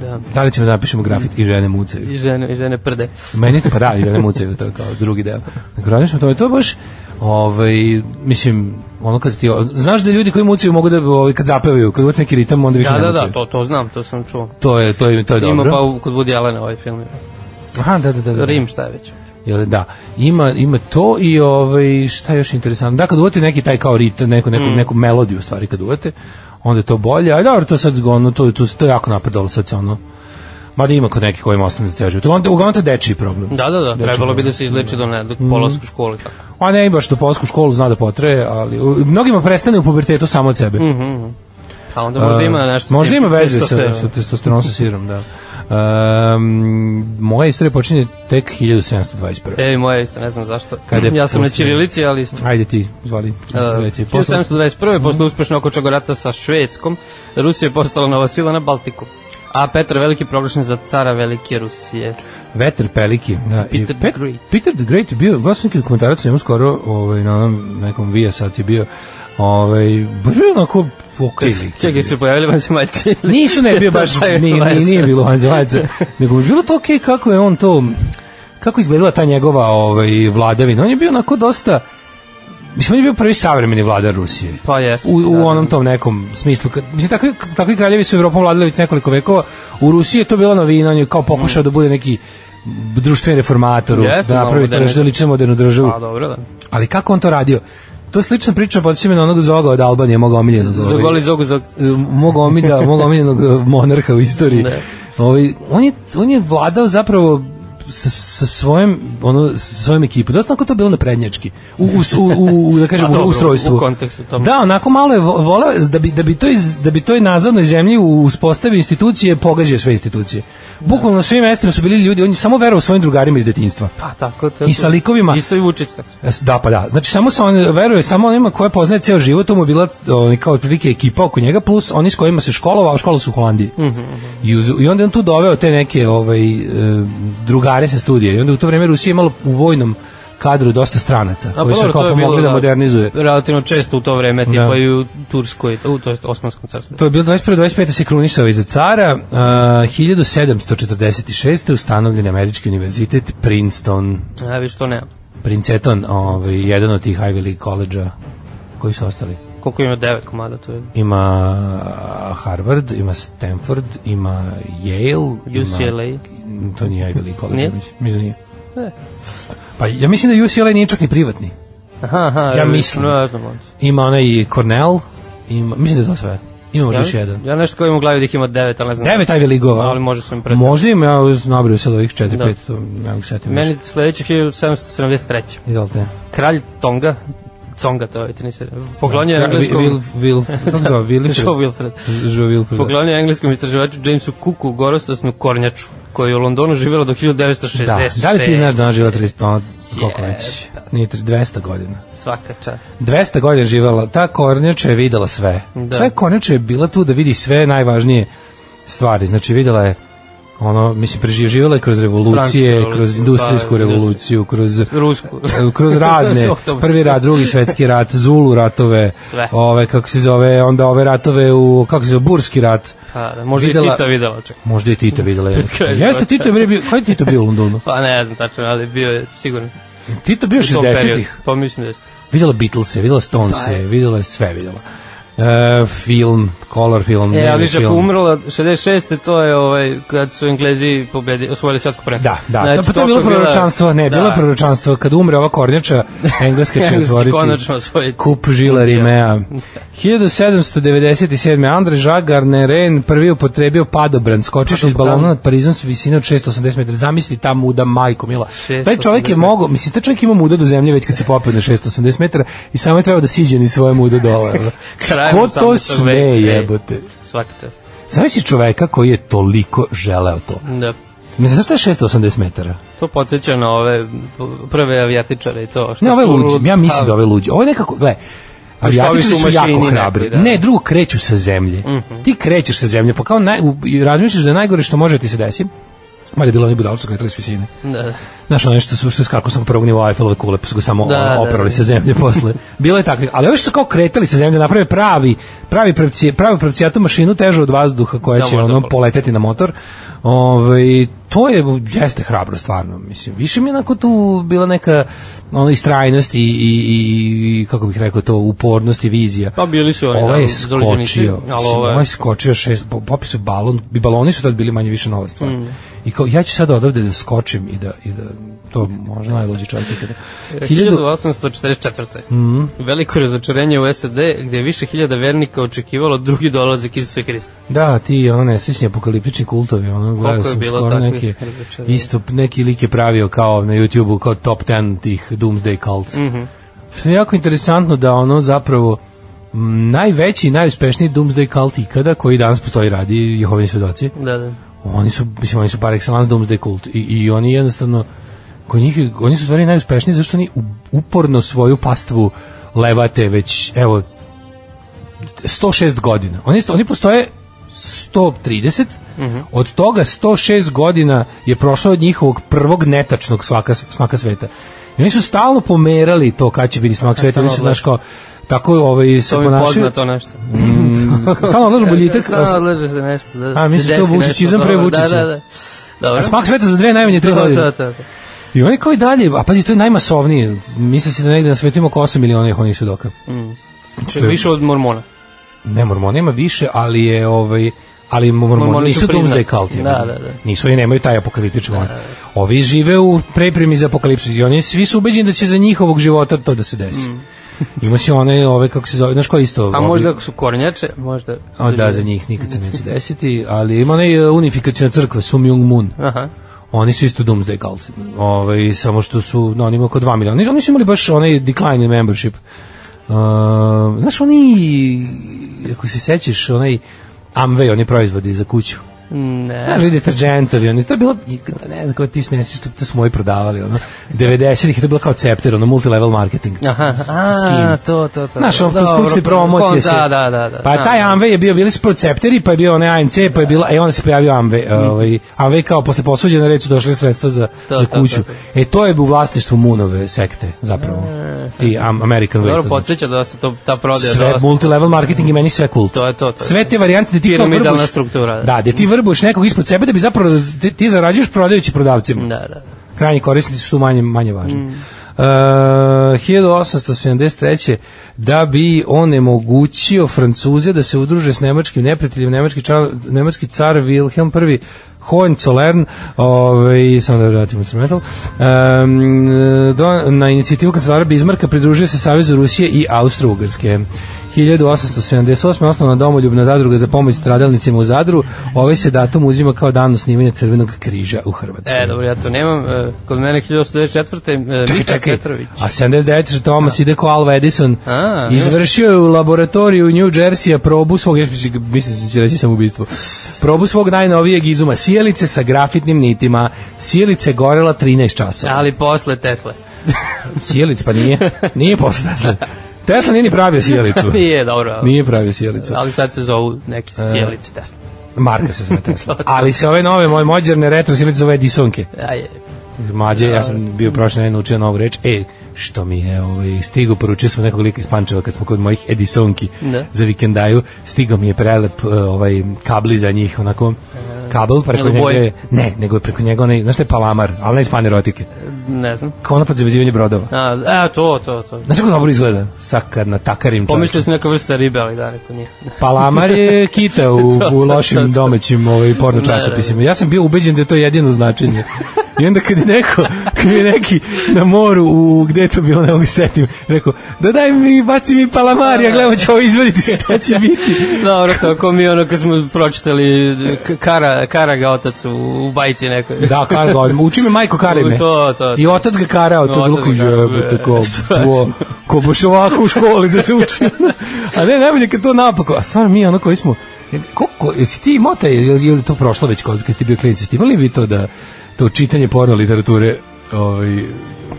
S3: Da.
S2: Da li ćemo da napišemo grafit i žene mucaju?
S3: I žene, i žene prde.
S2: Meni je to pa da, i da ne mucaju, to je kao drugi deo. Dakle, radiš to, je to baš, ovaj, mislim, ono kad ti, znaš da ljudi koji mucaju mogu da, ovaj, kad zapevaju, kad uvijek neki ritam, onda više
S3: Da,
S2: ne
S3: da,
S2: mucaju.
S3: da, to, to znam, to sam čuo.
S2: To je, to je, to je dobro.
S3: Ima pa u, kod Woody Allena ovaj film.
S2: Aha, da, da, da. da.
S3: Rim šta je već.
S2: Jel, da. Ima, ima to i ovaj, šta je još interesantno. Da, kad uvate neki taj kao ritam, neku, neku, neku melodiju u stvari kad uvate, onda je to bolje. A dobro, to sad, ono, to, to, to je jako napredalo sad se ono, Mada ima kod nekih kojima ostane za ceo život. Uglavnom, uglavnom to je dečiji problem.
S3: Da, da, da, trebalo bi da se izleči do ne, do polasku škole. Tako.
S2: A ne, baš do polsku školu zna da potraje, ali u, mnogima prestane u pubertetu samo od sebe. Pa,
S3: Mhm, mhm. A onda možda ima nešto...
S2: Možda da ima veze sa,
S3: testosteron.
S2: sa testosteronom sa sirom, da. Um, moja istorija počinje tek 1721.
S3: E, moja isto, ne znam zašto.
S2: Kad je
S3: ja sam na
S2: pustinja?
S3: Čirilici, ali isto.
S2: Ajde ti, zvali. Uh, reći,
S3: Uh, 1721. posle uspešnog okočog rata sa Švedskom, Rusija je postala nova sila na Baltiku. A Petar Veliki je proglašen za cara Velike Rusije.
S2: Veter Peliki. Da,
S3: Peter the
S2: Pet-
S3: Great.
S2: Peter the Great je bio, gledam sam neki dokumentarac, njemu skoro ovaj, na onom nekom vija sat je bio, ovaj, baš bio onako okej. lik je
S3: Čekaj,
S2: bio.
S3: su pojavili vanzemaljci.
S2: Nisu ne bio
S3: To
S2: baš,
S3: taj
S2: ni, ni,
S3: vanzemaljci.
S2: nije bilo vanzemaljca, nego bi bilo to okej kako je on to, kako je izgledala ta njegova ovaj, vladavina. On je bio onako dosta, mislim, on je bio prvi savremeni vladar Rusije.
S3: Pa jeste.
S2: U,
S3: da,
S2: u onom tom nekom smislu. Kad, mislim, takvi, takvi kraljevi su Evropom vladali već nekoliko vekova. U Rusiji je to bila novina, on je kao pokušao da bude neki društveni reformator,
S3: Mm. Jeste,
S2: da
S3: malo
S2: napravi to
S3: moderni-
S2: nešto da liči na modernu državu.
S3: Pa dobro, da.
S2: Ali kako on to radio? To je slična priča, podsjeća me na onog Zoga od Albanije, mog omiljenog.
S3: Za
S2: ovaj,
S3: goli zogu za...
S2: mog omida, mog omiljenog eh, monarha u istoriji.
S3: Ne.
S2: Ovaj on je on je vladao zapravo sa, sa svojim ono sa svojim ekipom. Dosta onako to bilo na prednjački. U u s- u, u, u da kažem
S3: A dobro,
S2: u ustrojstvu.
S3: u kontekstu tom.
S2: Da, onako malo je vo- voleo da bi da bi to iz, da bi to i nazadnoj zemlji uspostavi institucije, pogađao sve institucije. Bukvalno na svim mestima su bili ljudi, on je samo verovao svojim drugarima iz detinjstva.
S3: Pa tako, tako.
S2: I sa likovima-
S3: Isto i Vučić, tako.
S2: Da, pa da. Znači, samo se on veruje, samo onima koje poznaje ceo život, to mu je bila on, kao otprilike ekipa oko njega, plus oni s kojima se školovao, a škola su u Holandiji.
S3: Mhm,
S2: Mm -hmm. I, uz, I onda je on tu doveo te neke ovaj, e, drugare sa studija. I onda u to vreme Rusija je imala u vojnom kadru dosta stranaca,
S3: A,
S2: koji
S3: Pa dobro,
S2: su
S3: to
S2: kao
S3: je bilo,
S2: pomogli da modernizuje. Da.
S3: Relativno često u to vreme, tipa i u Turskoj, u to je Osmanskom carstvu.
S2: To je bilo 21. 25. se krunisao iza cara. Uh, 1746. ustanovljen je američki univerzitet Princeton.
S3: Ja viš to nemam.
S2: Princeton, ovaj, jedan od tih Ivy League koleđa koji su ostali.
S3: Koliko ima devet komada, to je
S2: ima uh, Harvard, ima Stanford, ima Yale,
S3: UCLA.
S2: Ima, to nije Ivy League college, ja
S3: Nije? E.
S2: mislim, mislim da nije. Pa ja mislim da UCLA nije čak ni privatni.
S3: Aha, aha.
S2: Ja mislim.
S3: No, ja znam, onda.
S2: Ima onaj Cornell, ima, mislim da je to sve. Ima možda još jedan.
S3: Ja nešto kao imam u glavi da ih ima devet, ali ne znam.
S2: Devet Ivy League-ova.
S3: Ali možda sam im pretio.
S2: Možda ima, ja nabrio sad ovih 4-5,
S3: Da.
S2: da. to ne mogu setim. Meni...
S3: Meni sledeće 1773.
S2: Izvolite.
S3: Kralj Tonga, Conga to je tenisir, poklonio je
S2: Kra-
S3: engleskom... Da.
S2: Wil, Wil, kako se zove, Wilfred? Da.
S3: Joe Wilfred.
S2: Joe Wilfred.
S3: Poklonio je engleskom istraživaču Jamesu Cooku gorostasnu kornjaču, koja je u Londonu živjela do 1966.
S2: Da, da li ti znaš da ona živa 300, ono, koliko
S3: Jebe.
S2: već? Nije tri- 200 godina.
S3: Svaka čast.
S2: 200 godina živala, ta kornjača je videla sve.
S3: Da.
S2: Da. Ta kornjača je bila tu da vidi sve najvažnije stvari. Znači videla je ono, mislim, preživjela je kroz
S3: Francusku
S2: revolucije,
S3: revoluciju,
S2: kroz industrijsku
S3: da,
S2: revoluciju, kroz
S3: Rusku.
S2: kroz razne,
S3: Oktobarsku.
S2: prvi rat, drugi svetski rat, Zulu ratove,
S3: Sve.
S2: ove, kako se zove, onda ove ratove u, kako se zove, Burski rat.
S3: Pa, da, možda i
S2: Videla-
S3: Tita videla, čak.
S2: Možda je Tito videla. jel?
S3: kraj
S2: Jeste
S3: života.
S2: Tito, je bio, kada je Tito bio u Londonu?
S3: Pa ne znam tačno, ali bio je sigurno.
S2: Tito bio
S3: u tom periodu.
S2: 60-ih.
S3: Pa mislim da jeste.
S2: Videla Beatlese, videla Stonese, videla je sve videla. E, film, color film,
S3: E,
S2: dnevni
S3: ali Žak
S2: film.
S3: umrla 66. to je ovaj, kad su Englezi pobedi, osvojili svetsko prvenstvo.
S2: Da, da, znači, pa to je bilo
S3: toliko
S2: proročanstvo, ne,
S3: da.
S2: bilo je proročanstvo, kad umre ova kornjača, Engleska će
S3: Engleska će
S2: otvoriti
S3: Znači, konačno osvojiti.
S2: kup žila Rimea. 1797. Andre Žagar Neren prvi upotrebio padobran, skočiš iz balona nad Parizom s visine od 680 metara. Zamisli ta muda, majko mila.
S3: 680
S2: Taj čovjek je mogao, mislim, taj čovjek ima muda do zemlje već kad se popio na 680 metara i samo je trebao da siđe ni svoje muda dole. jel?
S3: Krajem
S2: Ko to
S3: 18.
S2: sme
S3: veka, ej.
S2: jebote?
S3: Svaka čast.
S2: Zamisli čoveka koji je toliko želeo to.
S3: Da.
S2: Mislim, zašto je 680 metara?
S3: To podsjeća na ove prve avijatičare i to. Što
S2: Ne, ove
S3: su
S2: luđe, ja mislim
S3: lud-
S2: da ove luđe. Ovo je nekako, gle,
S3: ovi
S2: avijatičari
S3: su
S2: su
S3: u
S2: jako
S3: mašini
S2: hrabri.
S3: neki, da. Mhm.
S2: Ne, drugo, kreću sa zemlje. Ti krećeš sa zemlje, pa kao naj, u- i razmišljaš da je najgore što može ti se desi, mada je bilo oni budalci su kretali s visine.
S3: Da.
S2: Znaš, ono što su, što skakao sam prvog nivoa Eiffelove kule, pa su ga samo
S3: Da,
S2: da,
S3: da,
S2: operali
S3: da.
S2: sa zemlje posle. Bilo je takvih. Ali ovi što su kao kretali sa zemlje, da naprave pravi, pravi pravci, pravi pravcijatu mašinu težu od vazduha koja
S3: Da,
S2: će
S3: možda
S2: ono
S3: pol-
S2: poleteti na motor. Ove, to je, jeste hrabro stvarno. Mislim, više mi je onako tu bila neka ono, istrajnost i, i, i, i, kako bih rekao to, upornost i vizija.
S3: Pa bili su oni,
S2: Ovaj
S3: da,
S2: je
S3: zaluđenici,
S2: skočio,
S3: ali
S2: mislim,
S3: ovo je-
S2: ovaj je skočio šest, bo- popi su balon, i baloni su tad bili manje više nova stvar.
S3: Mm.
S2: I kao, ja ću sad odavde da skočim i da, i da to možda najluđi čovjek ikada.
S3: E,
S2: Hiljadu,
S3: 1844.
S2: Mhm.
S3: Mhm. Veliko razočarenje u SAD, gde je više hiljada vernika očekivalo drugi dolazak Isusa Hrista.
S2: da, ti ono nesvisni apokaliptični kultovi, ono, gledao
S3: je
S2: sam
S3: bilo
S2: skoro
S3: takvih
S2: neki,
S3: razočaranja?
S2: isto neki lik je pravio kao na YouTube-u, kao top 10 tih doomsday cults. Mm
S3: Mhm.
S2: Što je jako interesantno da ono zapravo m, najveći i najuspešniji doomsday cult ikada koji danas postoji radi Jehovini svedoci
S3: Da, da.
S2: oni su mislim oni su par excellence doomsday cult i, i oni jednostavno kod njih je- oni su u stvari najuspešniji zato što oni u- uporno svoju pastvu levate već evo 106 godina. Oni oni postoje 130
S3: Mhm.
S2: Od toga 106 godina je prošlo od njihovog prvog netačnog svaka, smaka sveta. I oni su stalno pomerali to kad će biti smak sveta. Oni su,
S3: E, stalno
S2: znaš, kao, tako ovaj, se
S3: To mi je
S2: ponašaju.
S3: poznato nešto.
S2: Mm, stalno odlažu boljitak.
S3: Stano odlaže se nešto. Da,
S2: A, misliš
S3: se
S2: to
S3: desi
S2: Vučićizam
S3: nešto,
S2: pre
S3: dobro,
S2: Vučića?
S3: Da, da, da. Dobro.
S2: A smak sveta za dve najmanje tri
S3: To,
S2: godine.
S3: to, to, to.
S2: I oni kao i dalje, a pazi, to je najmasovnije. Misli se da negde na svetu ima oko 8 miliona Jehovnih svedoka.
S3: Čak Mm. više od Mormona.
S2: Ne, mormona ima više, ali je ovaj ali mormoni,
S3: Mormoni su
S2: nisu doomsday
S3: priznati.
S2: cult. je.
S3: Da, da, da.
S2: Nisu i nemaju taj apokaliptički da, Ovi žive u prepremi za apokalipsu i oni svi su ubeđeni da će za njihovog života to da se desi. Ima se one, ove, kako se zove, znaš koji isto?
S3: Mm. A
S2: oblik-
S3: možda ako su kornjače, možda...
S2: O, da, za njih nikad se neće desiti, ali ima onaj e, unifikacijna crkva, Sum Jung Moon.
S3: Aha.
S2: Oni su isto Doomsday Cult. Ovaj samo što su, no, oni imaju oko 2 miliona. Oni su imali baš onaj decline in membership. Uh, znaš, oni, ako se sećaš, onaj Amway, oni proizvodi za kuću.
S3: Ne.
S2: Znaš, vidi deterđentovi, oni, to je bilo, ne znam kako ti snesiš, to, to smo i prodavali, ono, 90-ih, je to je bilo kao cepter, ono, multilevel marketing.
S3: Aha, a,
S2: Skin.
S3: to, to, to.
S2: Znaš, on kroz
S3: Pa Dobro,
S2: kućne promocije se...
S3: Da, da, da. da.
S2: Pa
S3: Da.
S2: taj Amway je bio, bili su procepteri, pa je bio onaj AMC, pa je bila, e onda se pojavio Amway. Ovaj, Amway kao posle posuđena reč su došli sredstva za,
S3: Mm. To,
S2: za
S3: to,
S2: kuću.
S3: to, to.
S2: E to je u vlasništvu Munove sekte, zapravo. Ti Am- American Way.
S3: Dobro,
S2: to znači.
S3: podsjeća da se to, ta prodaja...
S2: Sve,
S3: dosta.
S2: multilevel marketing i meni sve kult.
S3: To je to, to je
S2: Sve te varijante da ti kao
S3: Piramidalna
S2: vrbuš.
S3: struktura, da.
S2: Da, da ti vrbuš nekog ispod sebe da bi zapravo, ti, ti zarađuješ prodajući prodavcima
S3: Da, da, da.
S2: krajnji korisnici su tu manje, manje važni. Uh, 1873. da bi onemogućio Francuze da se udruže s nemačkim neprijateljem, nemački, čar, nemački car Wilhelm I Hohenzollern, ovaj, samo da vratim instrumental, um, do, na inicijativu kancelara Bismarka pridružio se Savezu Rusije i Austro-Ugrske. 1878. osnovna domoljubna zadruga za pomoć stradalnicima u Zadru, ovaj se datum uzima kao dan osnivanja Crvenog križa u Hrvatskoj.
S3: E, dobro, ja to nemam. e, Kod mene 1994. e, Mika Petrović.
S2: A 79. što Thomas ide ko Alva Edison.
S3: A,
S2: izvršio je u laboratoriju u New Jersey probu svog, ja mislim mislim da će reći sam ubistvo, probu svog najnovijeg izuma, sjelice sa grafitnim nitima. Sjelice gorela 13 časova.
S3: Da, Ali posle Tesla.
S2: Sjelic pa nije, nije posle Tesla. Tesla nije ni pravio sjelicu.
S3: Nije, dobro. ali-
S2: Nije E. pravio sjelicu.
S3: Ali sad se zovu neke cijelice Tesla.
S2: Marka se zove Tesla. Ali se ove nove, moje mođerne retro sjelice zove Edisonke.
S3: Ajde.
S2: Mlađe, ja sam bio prošle nedelje naučio novu reč. E, što mi je ovaj, stigo, poručio sam nekog lika iz Pančeva kad smo kod mojih Edisonki
S3: Da.
S2: za vikendaju. Stigo mi je prelep eh, ovaj, kabli za njih, onako kabel preko
S3: Jel u
S2: njega
S3: boji?
S2: je, ne, nego je preko njega onaj, znaš šta je palamar, ali ne iz panerotike,
S3: Ne znam.
S2: kao ono pod zavezivanje brodova.
S3: A, a, to, to, to.
S2: Znaš kako dobro izgleda? Sakar na takarim
S3: Pomislio
S2: čovječom.
S3: sam neka vrsta ribe, ali da, neko nije.
S2: Palamar je kita u,
S3: To, to,
S2: u
S3: to,
S2: lošim
S3: to.
S2: domaćim ovaj, porno
S3: Da, da, da.
S2: časopisima. Ja sam bio ubeđen da je to jedino značenje. I onda kad je neko, kad je neki na moru, u, gde je to bilo, ne mogu se setim, rekao, da daj mi, baci mi palamar, ja gledam ću ovo izvediti šta će biti.
S3: Dobro, to ko mi ono kad smo pročitali k- Kara, Kara ga otac u, u bajci nekoj.
S2: Da, Kargo, uči me majko Karime.
S3: To, to, to.
S2: I otac ga karao, to je bilo
S3: Otac
S2: ko
S3: ga karao, e,
S2: jebote, ko,
S3: strašno.
S2: ko, ko baš ovako u školi da se uči. A ne, najbolje kad to napako, a stvarno mi ono koji smo, Koliko, jesi ti imao taj, je li je li to prošlo već kod, kad ste bio klinici, ste imali vi to da, to čitanje porno literature, ovaj,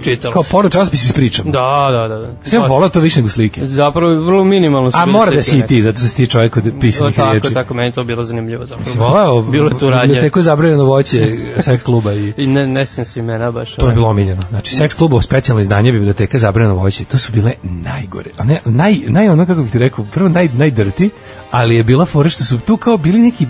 S3: Čitalo.
S2: kao porno časopis s pričama?
S3: Da, da, da. da.
S2: Sve volao to više nego slike.
S3: Zapravo vrlo minimalno su
S2: A
S3: bile
S2: mora da
S3: slike
S2: si i
S3: neke.
S2: ti, zato što si ti čovjek od
S3: O,
S2: pisanih
S3: Tako,
S2: riječi.
S3: tako, meni je to bilo zanimljivo
S2: Si
S3: zapravo.
S2: volao?
S3: Bilo je tu radnje.
S2: Biblioteko zabranjeno voće, seks kluba i...
S3: I ne, ne sjećam se imena baš.
S2: To je bilo omiljeno. Znači, seks klubov, specijalno izdanje, biblioteka, zabranjeno voće, to su bile najgore. A ne, naj, naj ono, kako bih ti rekao, prvo naj, najdrti, ali je bila fora što su tu kao bili neki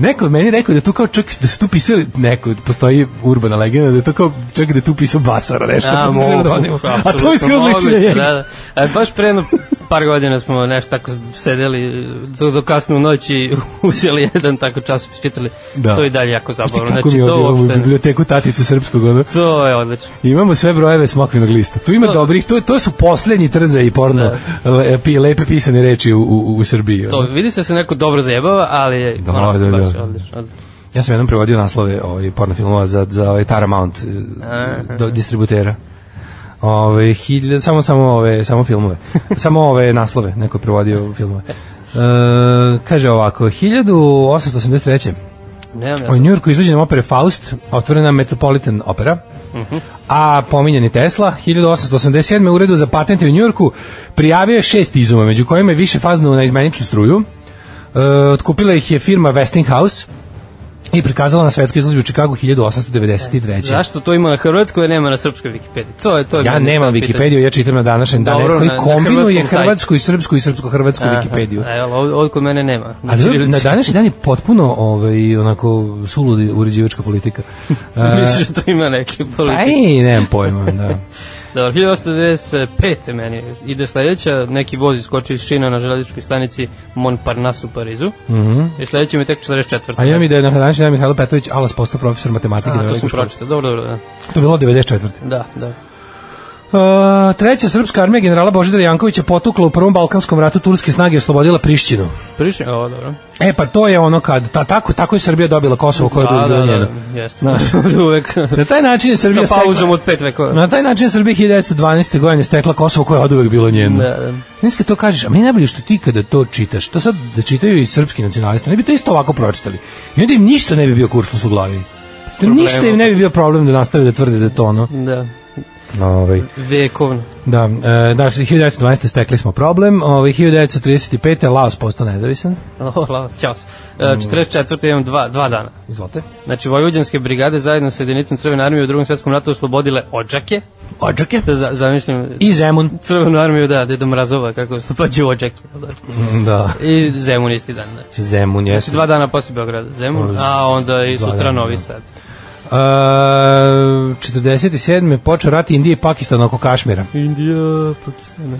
S2: Neko je meni rekao da tu kao čak da su tu pisali neko, postoji urbana legenda da je to kao čak da je tu pisao Basara nešto.
S3: Da,
S2: pod pseudonimom.
S3: mogu,
S2: a to je skroz
S3: apsolutno,
S2: ličenje
S3: moguće,
S2: njega.
S3: Da, da. A baš pre jedno par godina smo nešto tako sedeli do, do kasne u noći uzeli jedan tako časopis čitali.
S2: Da.
S3: To je i dalje jako
S2: Znaš ti
S3: zabavno.
S2: kako mi
S3: Znači
S2: je
S3: to
S2: ovdje ovu
S3: uopšte ne-
S2: biblioteku tatice srpskog, ono,
S3: To je odlično.
S2: Imamo sve brojeve smokvinog lista. Tu ima
S3: To-
S2: dobrih, to, to su poslednji trze i porno le, pi- lepe pisane reči u, u, u Srbiji.
S3: Da. To
S2: ono.
S3: vidi se da se neko dobro zajebava, ali je
S2: Da,
S3: onako
S2: da, da.
S3: baš odlično. odlično.
S2: Ja sam jednom prevodio naslove ovaj, porno filmova za, za ovaj Taramount eh, do, distributera. Ove, hiljad, samo, samo, ove, samo filmove. samo ove naslove, neko je prevodio filmove. E, kaže ovako, 1883.
S3: Nemam ja
S2: Ovaj U
S3: to.
S2: Njurku izvođena opere Faust, otvorena Metropolitan opera,
S3: Mhm.
S2: a pominjeni Tesla, 1887. u redu za patente u Njurku, prijavio je šest izuma, među kojima je više faznu na izmeničnu struju. E, otkupila ih je firma Westinghouse i prikazala na svetskoj izložbi u Čikagu 1893.
S3: Zašto to ima na hrvatskoj, a nema na srpskoj Wikipediji? To je to. je
S2: Ja
S3: meni
S2: nemam
S3: sad pitanje.
S2: Wikipediju, ja čitam na današnjem danu.
S3: Dobro,
S2: koji
S3: na- na
S2: kombinuje
S3: hrvatskom
S2: hrvatsku i srpsku i srpsko-hrvatsku
S3: Aha,
S2: Wikipediju.
S3: a Evo, ovdje ovdje kod mene nema.
S2: A
S3: Znači,
S2: dobro, na današnji dan je potpuno ovaj, onako suludi uređivačka politika. E,
S3: Misliš da to ima neke politike?
S2: Pa i nemam pojma, da.
S3: Dobro, 1895. meni ide sledeća, neki voz iskoči iz šina na železničkoj stanici Montparnasse u Parizu. Mm -hmm. I sledeći mi je tek 44.
S2: Mhm. A ja da mi da je na današnji dan Mihajlo Petrović Alas postao profesor matematike. na
S3: A, to
S2: velikoj
S3: sam
S2: školi.
S3: pročitao, dobro, dobro, da.
S2: To je bilo 94.
S3: Da, da.
S2: Uh, treća srpska armija generala Božidara Jankovića potukla u Prvom Balkanskom ratu turske snage i oslobodila Prištinu.
S3: Prišli, o, dobro.
S2: E pa to je ono kad, ta, tako, tako je Srbija dobila Kosovo koje Pa je bilo
S3: da, da,
S2: njeno.
S3: da, jeste.
S2: Da.
S3: Uvek
S2: Na taj način je Srbija
S3: sa pauzom od pet vekova.
S2: Na taj način je Srbija 1912. godine stekla Kosovo koje je od uvek bilo njeno.
S3: Da, da.
S2: Znaš kad to kažeš, a meni je najbolje što ti kada to čitaš, to sad da čitaju i srpski nacionalisti, ne bi to isto ovako pročitali. I onda im ništa ne bi bio kuršlus u glavi. Da
S3: problemom.
S2: ništa im ne bi bio problem da nastave da tvrde da je to ono.
S3: Da,
S2: Ovaj.
S3: vekovno.
S2: Da, e, da, 1912. stekli smo problem, ovaj, 1935. Laos postao nezavisan.
S3: O, la, čao. se. E,
S2: Mm.
S3: 44. imam dva, dva dana.
S2: Izvolite.
S3: Znači, vojvođanske brigade zajedno sa jedinicom Crvene armije u drugom svjetskom ratu oslobodile Odžake.
S2: Odžake.
S3: Da, za, zamišljam,
S2: I Zemun.
S3: Crvenu armiju, da, Deda Mrazova, kako je stupađe u Odžake. Da.
S2: Da.
S3: I Zemun isti dan, znači.
S2: Zemun,
S3: Znači,
S2: jeste.
S3: dva dana posle Beograda, Zemun, a onda i sutra Novi Sad.
S2: E, 47. je počeo rat Indije i Pakistana oko Kašmira.
S3: Indija, Pakistana.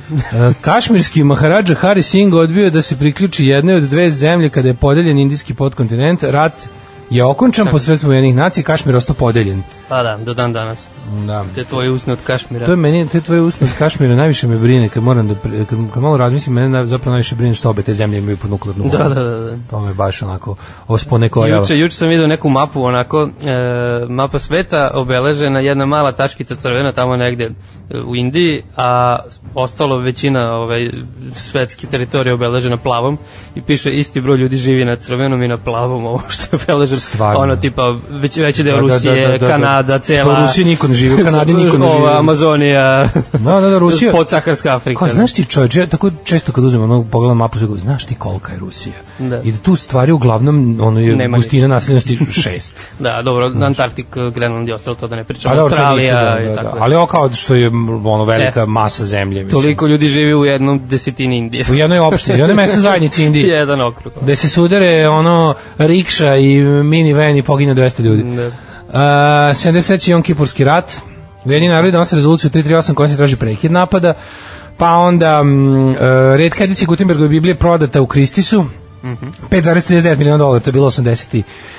S2: E, Kašmirski Maharadža Hari Singh odbio je da se priključi jednoj od dve zemlje kada je podeljen indijski potkontinent. Rat je okončan po sredstvima jednih nacija, Kašmir ostao podeljen.
S3: Pa da, do dan danas.
S2: Da.
S3: Te tvoje usne od Kašmira.
S2: To je meni, te tvoje usne od Kašmira najviše me brine, kad moram da, pri- kad, kad malo razmislim, mene na, zapravo najviše brine što obe te zemlje imaju pod nuklearnu
S3: Da,
S2: bombu.
S3: da, da, da.
S2: To me baš onako ospone koja.
S3: Juče, juče sam vidio neku mapu, onako, e, mapa sveta obeležena, jedna mala tačkica crvena tamo negde e, u Indiji, a ostalo većina ovaj, svetske teritorije obeležena plavom i piše isti broj ljudi živi na crvenom i na plavom, ovo što je obeleženo.
S2: Stvarno. Da,
S3: Ono tipa, već, veći deo Rusije, Kanada, cela...
S2: Pa Rusije niko ne živi, u Kanadi niko ne živi.
S3: Ova, Amazonija,
S2: Da, da, da, Rusija.
S3: podsaharska Afrika.
S2: Kao, Pa znaš ti čovječ, ja tako često kad uzmem onog pogledam mapu, tako, znaš ti kolika je Rusija?
S3: Da.
S2: I da tu stvari uglavnom ono je
S3: Nema
S2: gustina naseljenosti šest.
S3: Da, dobro, Antarktik, Grenland i ostalo, to da ne pričam,
S2: dobro, to nisu,
S3: Australija
S2: da, da,
S3: i
S2: da.
S3: tako.
S2: Ali ovo kao što je m, ono velika
S3: E.
S2: masa zemlje. Mislim.
S3: Toliko ljudi živi u jednom desetini Indije.
S2: U jednoj opštini, jedne mesne zajednice Indije.
S3: Jedan okrug.
S2: Gde se sudare ono rikša i minivan i pogine 200 ljudi.
S3: Da.
S2: Uh, 73. Jon Kipurski rat. Ujedini narodi donose rezoluciju 338 koja se traži prekid napada. Pa onda mm, uh, redka edicija Gutenbergove Biblije prodata u Kristisu.
S3: Mhm.
S2: 5,39 miliona dolara, to je bilo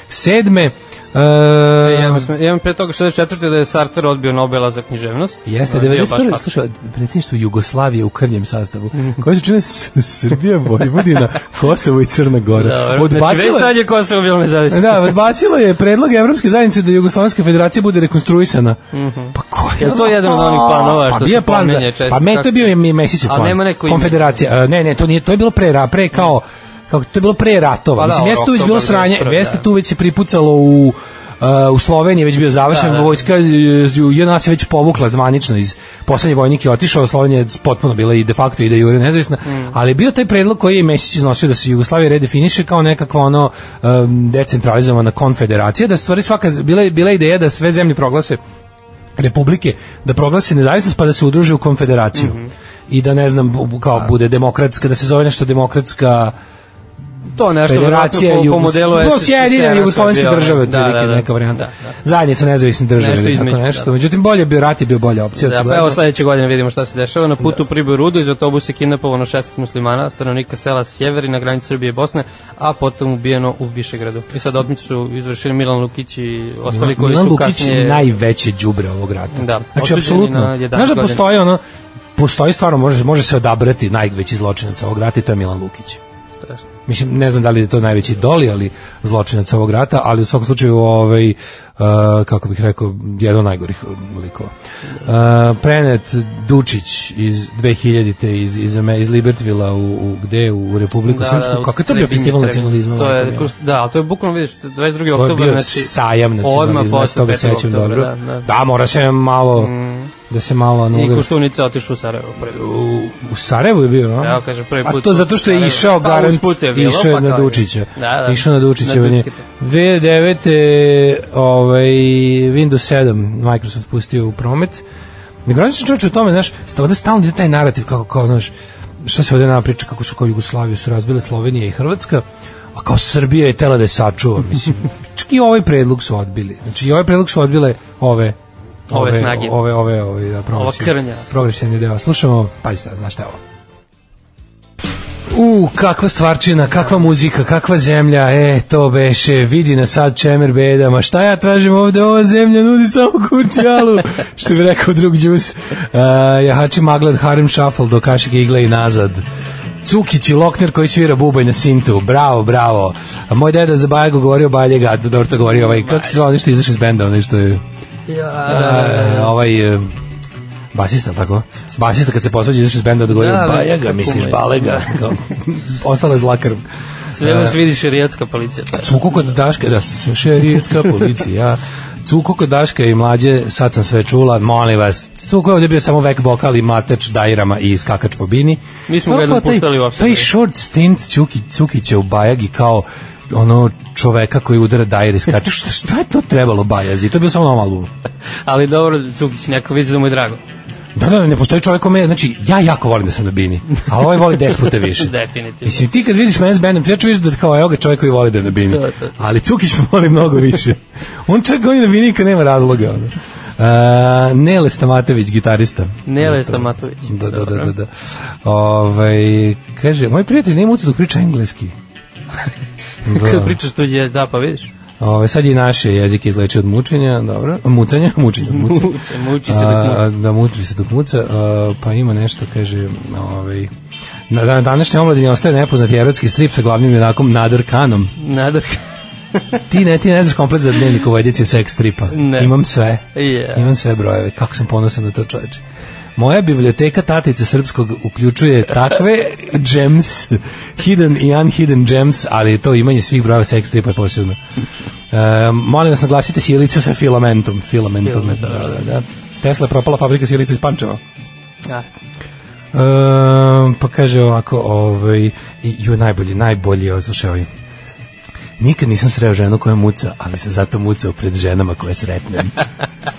S2: 87. Uh,
S3: E, ja imam- ja imam pre toga 64. da je Sartre odbio Nobela za književnost.
S2: Jeste,
S3: Ono je bio baš
S2: 91.
S3: fakt.
S2: Slušaj, predsjedništvo Jugoslavije u krnjem sastavu, koje se čine S- Srbija, Vojvodina, Kosovo i Crna Gora.
S3: Dobro, znači već
S2: Odbacila
S3: sad je Kosovo bilo nezavisno.
S2: Da, odbacilo je predlog Evropske zajednice da Jugoslovenska federacija bude rekonstruisana. Pa ko
S3: Mhm. Je li to jedan od onih planova što
S2: bio
S3: se pominje često?
S2: Pa me to je bio i Mesićev
S3: A
S2: plan.
S3: nema neko ime?
S2: Konfederacija. E, Ne, ne, to nije, to je bilo pre, ra- pre kao kako to je bilo pre ratova.
S3: Pa da,
S2: Mislim,
S3: ono,
S2: jeste tu već bilo
S3: oktobar
S2: sranje,
S3: 91.,
S2: jeste
S3: da.
S2: tu već se pripucalo u Uh, u Sloveniji je već bio završen,
S3: Da,
S2: da,
S3: da.
S2: da. vojska eh, JNA se već povukla zvanično iz poslednji vojnik je otišao, Slovenija je potpuno bila i de facto i da jure nezavisna, mm. ali je bio taj predlog koji je Mesić iznosio da se Jugoslavija redefiniše kao nekakva ono um, decentralizovana konfederacija, da stvari svaka, bila, je- bila je ideja da sve zemlje proglase republike da proglase nezavisnost pa da se udruže u konfederaciju. Mm -hmm. I da ne znam bu- kao bude demokratska, da se zove nešto demokratska
S3: To nešto
S2: federacija
S3: verovatno po, po
S2: Jugos-
S3: modelu
S2: no,
S3: SSSR-a
S2: Sjedinjene
S3: što je
S2: jugoslovenske
S3: bio,
S2: države,
S3: da, da, da,
S2: neka varijanta.
S3: da, da.
S2: Zajednica nezavisnih država,
S3: Nešto
S2: ili tako
S3: između,
S2: nešto.
S3: da.
S2: Međutim bolje bio rat je bio bolja opcija.
S3: Da, pa
S2: očigledno.
S3: evo sledeće godine vidimo šta se dešava. Na putu da. Priboj Rudu iz autobusa je kidnapovano 16 muslimana, stanovnika sela Sjeveri na granici Srbije i Bosne, a potom ubijeno u Višegradu. I sad otmicu su izvršili Milan Lukić i ostali koji
S2: Milan
S3: su
S2: Lukić
S3: kasnije...
S2: najveće đubre ovog rata.
S3: Da,
S2: Znači
S3: osuđeni na
S2: apsolutno.
S3: 11
S2: Znaš da
S3: godina.
S2: postoji ono postoji stvarno može može se odabrati najveći zločinac ovog rata i to je Milan Lukić.
S3: Strašno.
S2: mislim ne znam da li je to najveći doli ali zločinac ovog rata ali u svakom slučaju ovaj uh, kako bih rekao jedan od najgorih likova uh, prenet Dučić iz 2000-te iz iz Ame- iz Libertvila u, u gde u Republiku da, Srpsku da, kako je to bio
S3: Trebinje,
S2: festival
S3: Trebinje.
S2: nacionalizma
S3: To je, znači,
S2: majko mila?
S3: da, ali to je bukvalno, vidiš, 22.
S2: To je
S3: oktober,
S2: bio sajam nacionalizma, ja se toga
S3: 5.
S2: sećam
S3: oktobra,
S2: dobro.
S3: Da, da. Mm.
S2: da, mora se malo, da se malo
S3: I
S2: anulira.
S3: Koštunica otišao u Sarajevo prvi.
S2: U, u Sarajevu je bio, a?
S3: Evo, kaže, prvi
S2: A
S3: put
S2: to zato što je
S3: u
S2: išao
S3: Sarajevo. Pa,
S2: garant,
S3: usput je bilo,
S2: išao je
S3: pa
S2: na
S3: kao je.
S2: Dučića.
S3: Da, da.
S2: Išao na Dučića.
S3: Na
S2: on je-
S3: Dučke.
S2: 2009. Ovaj, Windows 7 Microsoft pustio u promet. Ne gledam se čovječe u tome, znaš, sta- ovde stalno ide taj narativ kako, kao, znaš, šta se ovde nama priča, kako su kao Jugoslaviju su razbile Slovenija i Hrvatska, a kao Srbija je tela da je sačuva, mislim. Čak i ovaj predlog su odbili. Znači, i ovaj predlog su odbile ove
S3: Ove snage.
S2: Ove, ove, ove, da, progresivni-
S3: krnja.
S2: Progresivni deo. Slušamo, pazite, znaš šta je ovo. U, kakva stvarčina, kakva muzika, kakva zemlja, e, to beše, vidi na sad čemer beda, ma šta ja tražim ovde, ova zemlja nudi samo kurcijalu, što bi rekao drug džus, uh, jahači maglad, harem šafal, do kašike igle i nazad. Cukić i Lokner koji svira bubanj na sintu, bravo, bravo. A moj deda za Bajagu govorio Baljega, a dobro to govorio ovaj, kako se zvao, onaj što je izašao iz benda, onaj što je...
S3: Da,
S2: E, ovaj e, basista, tako? Basista kad se posvađa izašao iz benda odgovorio,
S3: Da,
S2: da,
S3: da,
S2: bajaga,
S3: tako
S2: misliš,
S3: je."
S2: balega. Kao, Ostala zla krv.
S3: Da, Sve
S2: Da.
S3: nas vidi šerijatska policija. Pa.
S2: Cuku kod Daške, da se šerijetska policija. Cuku kod Daške i mlađe, sad sam sve čula, molim vas. Cuku je ovdje bio samo vek bokal i mateč dajrama i skakač po bini.
S3: Mi smo ga
S2: Stvarno
S3: jednom
S2: kao taj-
S3: puštali uopšte.
S2: Taj short stint Cuki, Cukića u Bajagi kao ono čoveka koji udara dajer i skače. Šta, šta je to trebalo Bajazi? To je bilo samo na ovom albumu.
S3: Ali dobro, Cukić, neko vidi da mu je drago.
S2: Da, da, ne postoji čovjek kome, znači, ja jako volim da sam na bini, ali ovaj voli 10 puta više.
S3: Definitivno.
S2: Mislim, ti kad vidiš mene s bandom, ti ja ću vidiš da kao, evo ga čovjek koji voli da je na bini.
S3: To, to, to.
S2: Ali Cukić me voli mnogo više. On čak govori na bini kad nema razloga. Ono. Uh, Nele Stamatović, gitarista.
S3: Nele Stamatović.
S2: Da, da, da, da. da. Ove, kaže, moj prijatelj nema ucu dok priča engleski. Da.
S3: Kad pričaš tuđi jezik, da, pa vidiš.
S2: Ove, sad je naše jezike izleči od mučenja, dobro, mucanja, mučenja, od mucanja.
S3: Muče, muči se dok muči.
S2: A, da muči se dok muca, a, pa ima nešto, kaže, ovaj, na, na današnje omladine ostaje nepoznati erotski strip sa glavnim junakom Nader Kanom.
S3: Nadrka.
S2: Ti ne, ti ne znaš komplet za dnevnik ovu ediciju seks stripa.
S3: Ne.
S2: Imam sve.
S3: Yeah.
S2: Imam sve brojeve. Kako sam ponosan na to čoveče. Moja biblioteka tatice srpskog uključuje takve gems, hidden i unhidden gems, ali to imanje svih brojeva seks stripa je posebno. E, molim vas naglasite sjelica sa filamentom. Filamentom,
S3: Filament,
S2: da, da, da. Tesla je propala fabrika sjelica iz Pančeva.
S3: Da.
S2: E, pa kaže ovako, ovaj, i- ju najbolji, najbolji, ovaj, slušaj ovaj. Nikad nisam sreo ženu koja muca, ali sam zato mucao pred ženama koje sretnem.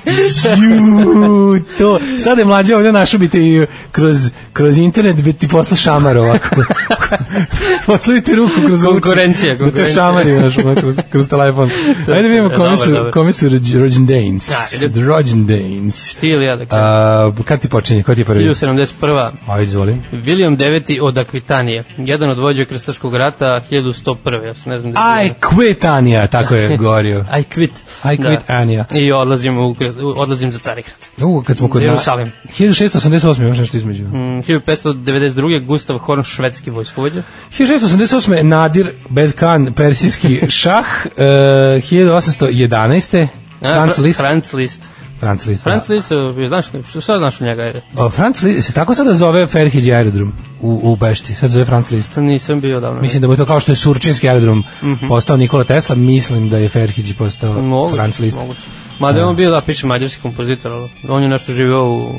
S2: Ju, to. Sad je mlađe ovde našo bi te i kroz, kroz internet bi ti poslao šamar ovako. Poslao ti ruku kroz ruku.
S3: Konkurencija,
S2: Da te
S3: konkurencija.
S2: šamari naš, kroz, kroz telefon. Ajde vidimo
S3: je
S2: kome
S3: dobro,
S2: su,
S3: dobro.
S2: kome su rođ- rođendanes.
S3: Ajde.
S2: Rođendanes.
S3: Ti ili ja da kažem.
S2: A, kad ti počinje, ko ti je prvi?
S3: 1071.
S2: Ajde, izvolim.
S3: William IX od Akvitanije, jedan od vođa krstaškog rata 1101. Ja se ne znam da je
S2: I
S3: bio.
S2: quit Anja, tako je govorio.
S3: I quit.
S2: I quit
S3: Da.
S2: Anja.
S3: I odlazim, u, odlazim za Carigrad.
S2: U, kad smo kod
S3: Jerusalim.
S2: 1688, još nešto između.
S3: Mm, 1592. Gustav Horn, švedski vojskovođa.
S2: 1688. Nadir Bezkan, persijski šah. Uh, 1811.
S3: A,
S2: Franz
S3: Fra-
S2: Liszt. Da.
S3: Franz Liszt.
S2: Franz Liszt.
S3: Franz Liszt, e, znaš, šta, šta znaš u njega? ajde?
S2: O, Franz Liszt, se tako sada zove Ferhid aerodrom u, u Bešti, sad se zove Franz Liszt.
S3: Nisam bio davno.
S2: Mislim da mu je to kao što je Surčinski aerodrom postao Nikola Tesla, mislim da je Ferhidži postao
S3: Mhm. moguće,
S2: Franz Liszt.
S3: Moguće. Mada je on bio, da, piše mađarski kompozitor, ali on je nešto živeo u...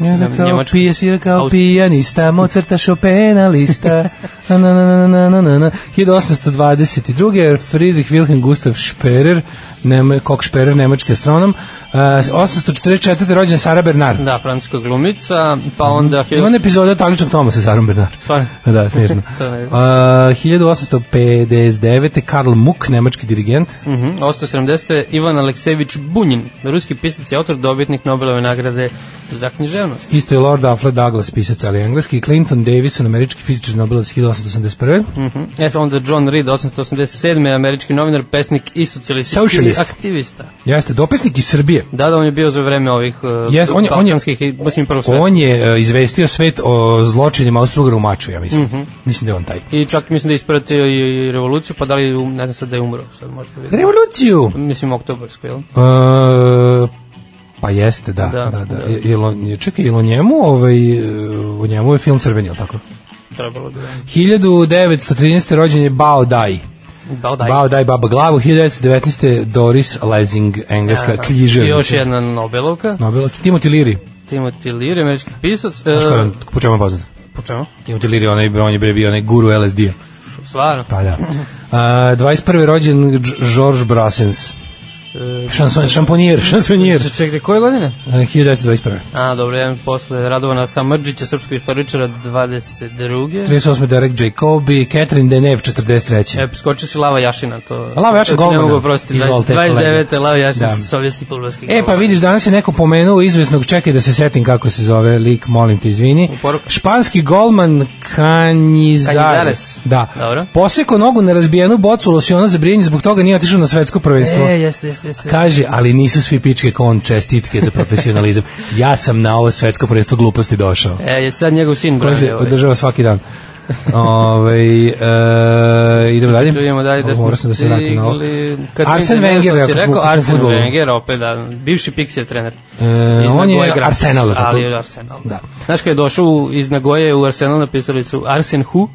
S2: Ja da
S3: Njem-
S2: kao
S3: Njemačku.
S2: pije, svira kao
S3: Aust-
S2: pijanista, Mozarta Chopina lista. Na, na, na, na, na, na, na. 1822. Friedrich Wilhelm Gustav Sperer, nema, kok Sperer, nemački astronom. Uh, 844. rođen Sara Bernard.
S3: Da, francuska glumica, pa
S2: Mhm.
S3: onda...
S2: Ima ona epizoda Taličnog Toma sa Sarom Bernard.
S3: Stvarno?
S2: Da, smiješno.
S3: To ne
S2: Uh,
S3: znam.
S2: 1859. Karl Muck, nemački dirigent.
S3: Mhm, 870. Ivan Aleksejević Bunjin, ruski pisac i autor, dobitnik Nobelove nagrade za književnost.
S2: Isto je Lord Alfred Douglas, pisac, ali engleski. Clinton Davison, američki fizičar Nobelovac 1881.
S3: Mhm. E, onda John Reed, 887. Američki novinar, pesnik i socijalistički
S2: Socialist.
S3: aktivista.
S2: Jeste, dopisnik iz Srbije.
S3: Da, da, on je bio za vreme ovih uh,
S2: Jes, on je- on je-
S3: balkanskih, i, mislim, prvo sveta.
S2: On je e, izvestio svet o zločinima Austro-Ugara u Maču, ja mislim. Mislim da je on taj.
S3: I čak mislim da je ispratio i, i revoluciju, pa da li, je um- ne znam sad da je umro, sad možete vidjeti.
S2: Revoluciju!
S3: Mislim, oktobarsku, jel?
S2: E, pa jeste, da. da,
S3: Da,
S2: da,
S3: da.
S2: Je- jel on- je- čekaj, jel o njemu, ovaj, e, o njemu je film Crveni, jel tako?
S3: Trebalo bi. da
S2: 1913. rođen je Bao Dai.
S3: Bao daj.
S2: Bao Dai Baba Glavu, 1919. Doris Lessing, engleska
S3: Aha. I
S2: književnica.
S3: da. Još jedna Nobelovka,
S2: Nobel, Timothy Leary,
S3: Timothy Leary, američki pisac. e,
S2: znaš ko je on, po čemu je poznat?
S3: po čemu?
S2: Timothy Leary, onaj, on je bre bio onaj guru LSD-a.
S3: Stvarno.
S2: Pa da. A, 21. rođen Dž- George Brassens.
S3: E,
S2: Šanson, šamponjer, šansonjer.
S3: Če- Čekajte, E, koje godine?
S2: 1921.
S3: A, dobro, jedan posle Radovana Samrđića, srpskog istoričara, 22.
S2: 38. Derek Jacobi, Catherine Deneuve, 43.
S3: E, skočio si Lava Jašina, to...
S2: Lava Jašin
S3: to ti Ne
S2: golmana.
S3: mogu prostiti,
S2: Izvolite,
S3: 29. Lava Jašina,
S2: Da.
S3: sovjetski futbolski
S2: E, pa vidiš, danas je neko pomenuo izvesnog, čekaj da se setim kako se zove lik, molim te, izvini.
S3: U poruku.
S2: Španski golman Kanjizares.
S3: Kanjizares.
S2: Da.
S3: Dobro.
S2: Poseko nogu na razbijenu bocu losiona za brijenje, zbog toga nije otišao na svetsko prvenstvo.
S3: E, jeste, jeste, jeste.
S2: Kaže, ali nisu svi pičke kon čestitke za profesionalizam. ja sam na ovo svetsko prvenstvo gluposti došao.
S3: E, je sad njegov sin
S2: Koja
S3: brani
S2: se
S3: ovaj.
S2: održava svaki dan. Ove, e, idemo dalje.
S3: Čujemo dalje da
S2: Ovo,
S3: smo
S2: moram sam da se vratim na ovo.
S3: stigli...
S2: Arsen Wenger, ako
S3: ako si
S2: smo
S3: rekao,
S2: u
S3: Arsen
S2: fudbalu.
S3: Wenger, opet da, bivši Pixie trener.
S2: E,
S3: Iz
S2: on
S3: Nagoje
S2: je
S3: Graca,
S2: Arsenal, tako?
S3: Ali je Arsenal.
S2: Da.
S3: Da. Znaš kada je došao u- iz Nagoje u Arsenal, napisali su Arsen Hu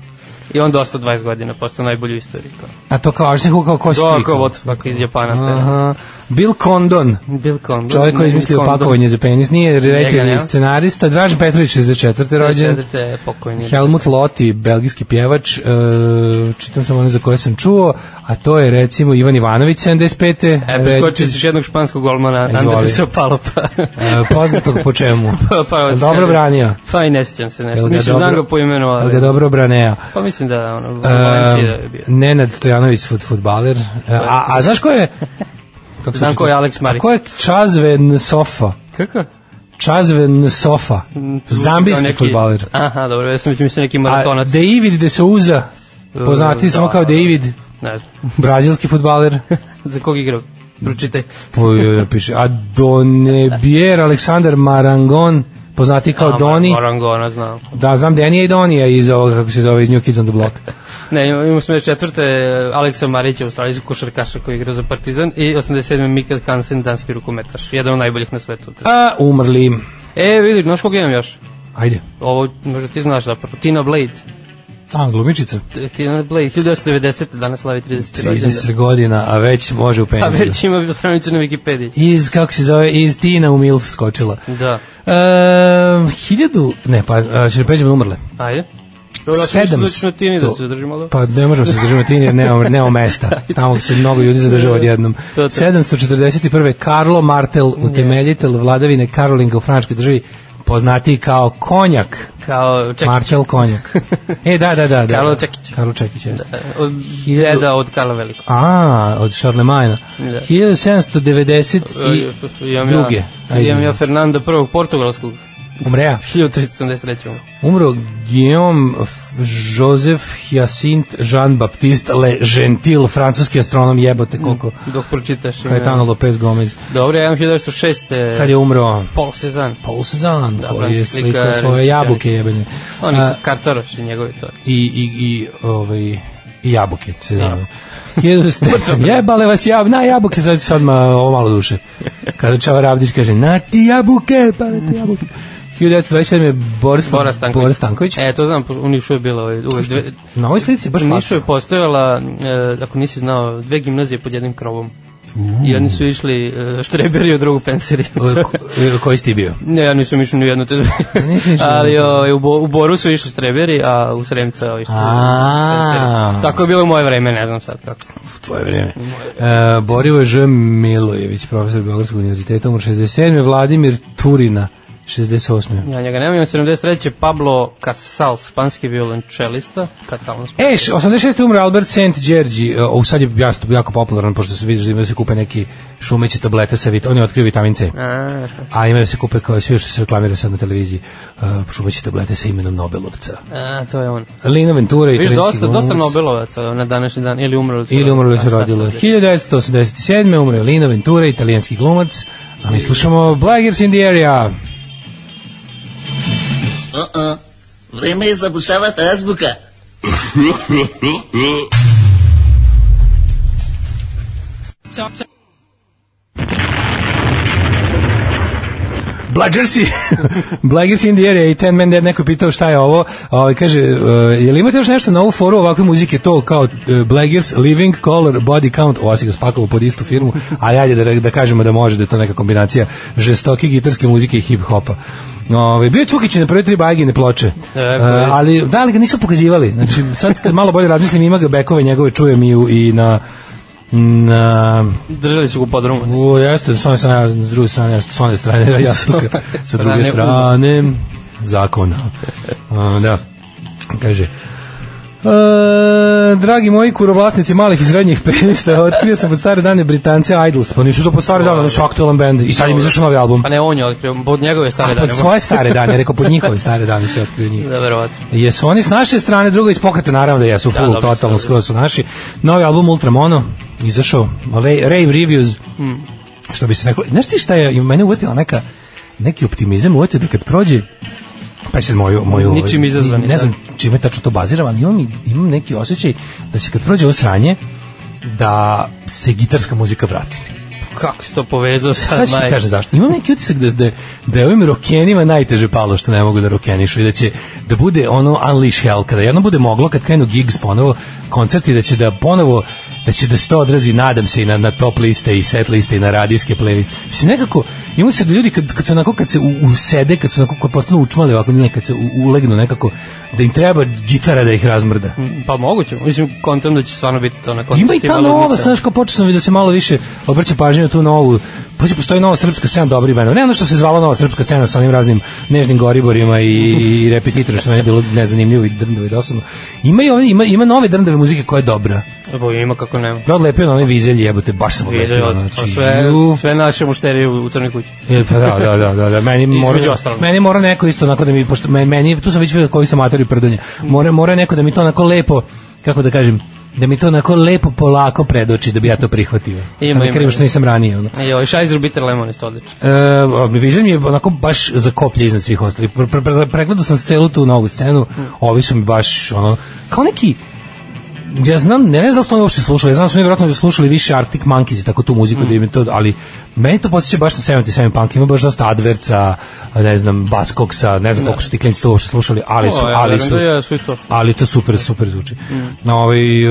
S3: i on dostao 20 godina, postao najbolji u istoriji. kao.
S2: A to kao Arsen Hu, kao ko si ti?
S3: Doko, Votfak iz Japana. trener.
S2: Aha. Bill Condon,
S3: Bill Condon.
S2: čovjek koji je izmislio pakovanje za penis, nije
S3: Njega
S2: reditelj i
S3: nema.
S2: scenarista. Draž Petrović, 64. rođen.
S3: Četvrte pokojni.
S2: Helmut Loti, belgijski pjevač, e, čitam sam one za koje sam čuo, a to je recimo Ivan Ivanović 75.
S3: E, preskočio si još jednog španskog golmana,
S2: E, Izvoli.
S3: Andersa Palopa.
S2: E, poznatog po čemu?
S3: Pa, pa,
S2: Jel
S3: hoću
S2: dobro
S3: kažem.
S2: branio.
S3: Pa i ne sjećam se
S2: Jel
S3: nešto.
S2: ga
S3: Mislim,
S2: dobro-
S3: znam ga po imenu,
S2: Jel ga
S3: ali...
S2: dobro braneo?
S3: Pa mislim da, ono,
S2: E,
S3: Valencija je bio.
S2: Nenad Stojanović, fut, futbaler. A, a znaš ko je... Kako se
S3: Znam
S2: zove?
S3: ko je Alex Marić.
S2: A ko je Čazven Sofa?
S3: Kako?
S2: Čazven Sofa. Zambijski
S3: Mm, Neki-
S2: futbaler.
S3: Aha, dobro, ja sam već mislio neki
S2: A
S3: maratonac.
S2: David de Souza, poznati
S3: E,
S2: samo
S3: da.
S2: kao David,
S3: Ne znam,
S2: brazilski futbaler.
S3: za kog igra? Pročitaj.
S2: Po, e, piše, a Donebier Aleksandar Marangon, poznati kao Doni.
S3: Orangona, znam.
S2: Da, znam Denija i Donija iz ovoga, kako se zove, iz New Kids on the Block.
S3: Ne, imamo smo još četvrte, Aleksa Marića, australijski košarkaša koji igra za Partizan i 87. Mikael Hansen, danski rukometaš, jedan od najboljih na svetu.
S2: A, umrli.
S3: E, vidi, znaš kog imam još?
S2: Ajde.
S3: Ovo, možda ti znaš zapravo, Tina Blade.
S2: A, glumičica.
S3: T- Tina Blade, 1990. danas slavi 30. rođendan.
S2: 30 godina, a već može u
S3: A
S2: penziju.
S3: već ima stranicu na Wikipediji.
S2: Iz, kako se zove, iz Tina u Milf skočila.
S3: Da,
S2: E, hiljadu, ne, pa, a, ćeš pređemo na umrle.
S3: ajde. Dobro, ja sam
S2: Sedam
S3: mislio da ću na Tini da
S2: sto-
S3: se zadržimo, ali...
S2: Pa ne možemo se zadržati Tini jer nemamo, nemamo mesta. Tamo se mnogo ljudi zadržava odjednom.
S3: To, to.
S2: 741. Karlo Martel, utemeljitelj vladavine Karolinga u Frančkoj državi, poznatiji kao konjak.
S3: Kao, čekaj,
S2: Martel konjak. E, da, da, da. da.
S3: Karlo Čekić.
S2: Karlo Čekić, Da. jeste.
S3: od deda od Karla Velikog.
S2: A, od Šarlemajna.
S3: Da.
S2: 1790 i...
S3: I, imam
S2: druge.
S3: Ja,
S2: Ajde.
S3: imam ja Fernanda prvog portugalskog,
S2: Umreja.
S3: 1373.
S2: Umro Guillaume F- Joseph Hyacinthe Jean-Baptiste Le Gentil, francuski astronom jebote koliko.
S3: Dok pročitaš. ime.
S2: Cayetano Lopez Gomez.
S3: Dobro, ja imam 1906.
S2: Kad je umro
S3: Paul Cezanne.
S2: Paul Cezanne,
S3: Da,
S2: koji je
S3: francuski
S2: slikao
S3: slikar,
S2: svoje jabuke jebene.
S3: On
S2: A,
S3: je kartaroš i njegovi to.
S2: I, i, i, ovaj, i jabuke,
S3: Da.
S2: Cezanne. Jebale vas jab, na jabuke, sad sad ma, ovo malo duše. Kada Čavaravdić kaže, na ti jabuke, pa na ti jabuke. 1927 je Boris,
S3: Bora Stanković.
S2: Boris Stanković.
S3: E, to znam, u Nišu je bilo ovaj, uvek dve...
S2: Na ovoj slici baš
S3: U Nišu
S2: fasno.
S3: je postojala, e, ako nisi znao, dve gimnazije pod jednim krovom. I oni su išli e, štreberi u drugu penseri.
S2: Koji si ti bio?
S3: Ne, ja nisam išao ni u jednu te dve.
S2: Nisi išao ni u
S3: Ali
S2: jednu.
S3: ovaj, u, Bo, u Boru su išli štreberi, a u Sremca ovi što...
S2: A,
S3: Tako je bilo u moje vreme, ne znam sad kako.
S2: tvoje vreme. E, Borivo Ž. Milojević, profesor Beogradskog univerziteta, umr 67. Vladimir Turina, 68.
S3: Ja njega nemam, imam 73. Pablo Casals, španski violončelista, katalonski.
S2: E, š- 86. umre Albert St. Đerđi, e, o, sad je jasno, jako popularan, pošto se vidiš da imaju da se kupe neki šumeće tablete sa vit, on je otkrio vitamin C,
S3: A,
S2: a imaju da se kupe kao i svi što se reklamira sad na televiziji, e, šumeće tablete sa imenom Nobelovca.
S3: a, to je on.
S2: Lina Ventura,
S3: Viš,
S2: italijanski
S3: dosta, dosta
S2: glumac.
S3: Nobelovaca na današnji dan, ili umrlo se
S2: Ili umrlo ili se
S3: A, šta
S2: rodilo.
S3: sad je?
S2: 1987. umre Lino Ventura, italijanski glumac. A mi slušamo Blaggers in the area.
S5: O-o, vreme je zabušavati azbuka.
S2: Blaggersi! Blaggers in the area i Ten Man Dead neko je pitao šta je ovo. Ovaj kaže, uh, je li imate još nešto na ovu foru ovakve muzike? To kao uh, Blaggers, Living, Color, Body Count. Ova si ga spakovo pod istu firmu, ali ajde da, re- da kažemo da može da je to neka kombinacija žestoke gitarske muzike i hip-hopa. Ove, bio je Cukić na prve tri bagine ploče,
S3: E,
S2: E,
S3: koje-
S2: ali da li ga nisu pokazivali? Znači, sad kad malo bolje razmislim, ima ga bekove njegove, čujem i, u- i na na
S3: Držali su ga pod rumu.
S2: O, jeste, s one strane, s druge strane, ja- s one strane, da, ja sam tu, sa druge
S3: Strane
S2: strane, zakona. A, da, kaže, E, dragi moji kurovlasnici malih i srednjih penista, otkrio sam pod stare dane Britance Idols, pa nisu to pod stare dane, oni su aktualan bend i sad im izašao novi album.
S3: Pa ne, on je otkrio, pod njegove stare
S2: A, pa
S3: dane.
S2: pod svoje stare dane, rekao pod njihove stare dane se otkrio njih.
S3: Da, verovatno.
S2: Jesu oni s naše strane, drugo iz pokreta, naravno da jesu, full,
S3: dobro,
S2: totalno,
S3: dobro.
S2: skoro su naši. Novi album Ultramono, izašao, Ra- Rave Reviews,
S3: Mm.
S2: što bi se reklo. Znaš ti šta je, mene uvetila neka, neki optimizam, uvetio da kad prođe, pa sad moju, moju
S3: Ničim izazvani, da.
S2: ne znam čime tačno to baziram, ali imam, i- imam neki osjećaj da će kad prođe ovo sranje, da se gitarska muzika vrati.
S3: Kako si to povezao sad,
S2: Sad ću ti
S3: majko?
S2: kažem zašto. Imam neki utisak da, da, da je ovim rokenima najteže palo što ne mogu da rokenišu i da će da bude ono unleash hell, kada jedno bude moglo, kad krenu gigs ponovo, koncerti, da će da ponovo da će da se to odrazi, nadam se, i na, na top liste i set liste i na radijske playliste. Mislim, nekako, imam se da ljudi kad, kad su onako, kad se u, usede, kad su onako, kad postanu učmali ovako, ne, kad se u, ulegnu nekako, da im treba gitara da ih razmrda.
S3: Pa moguće, mislim, kontam da će stvarno biti to na koncertima.
S2: Ima i ta nova,
S3: ludnica.
S2: znaš, kao počeo sam da se malo više obraća pažnje na tu novu, pođe postoji nova srpska scena dobri bendova. Ne ono što se zvala nova srpska scena sa onim raznim nežnim goriborima i, i repetitorima, što meni je bilo nezanimljivo i drndavo i dosadno. Ima i ovdje, ima, ima nove drndave muzike koja je dobra.
S3: Bo ima kako nema.
S2: Ja odlepio na onaj vizelj, jebote, baš sam
S3: Vize,
S2: odlepio.
S3: od,
S2: ono,
S3: od
S2: znači,
S3: pa sve,
S2: ju.
S3: sve naše mušterije u, u crnoj kući.
S2: E, pa da, da, da, da, da. Meni mora,
S3: ostalog.
S2: meni mora neko isto onako da mi, pošto me- meni, tu sam već vidio koji sam amator i prdonja, mora, mora neko da mi to onako lepo, kako da kažem, da mi to onako lepo polako predoči da bi ja to prihvatio.
S3: Ima,
S2: Sam ne
S3: ima.
S2: krivim što nisam ranije. Ono.
S3: Joj, Šajzer ovaj Bitter Lemon je odlično.
S2: E, Vision je onako baš zakoplje iznad svih ostalih. Pre, pre, pre, pregledao sam celu tu novu scenu, ovi su mi baš ono, kao neki ja znam, ne, ne znam da li su oni uopšte slušali, ja znam da su oni vjerojatno slušali više Arctic Monkeys i tako tu muziku, da im je to, ali meni to podsjeća baš na 77 Punk, ima baš dosta Adverca, ne znam, Baskoksa, ne znam koliko su ti klinci to uopšte slušali, ali su,
S3: Da. O, ja
S2: ali
S3: verujem
S2: su,
S3: da je, su i to što.
S2: ali to super, super zvuči. Na ovaj, e,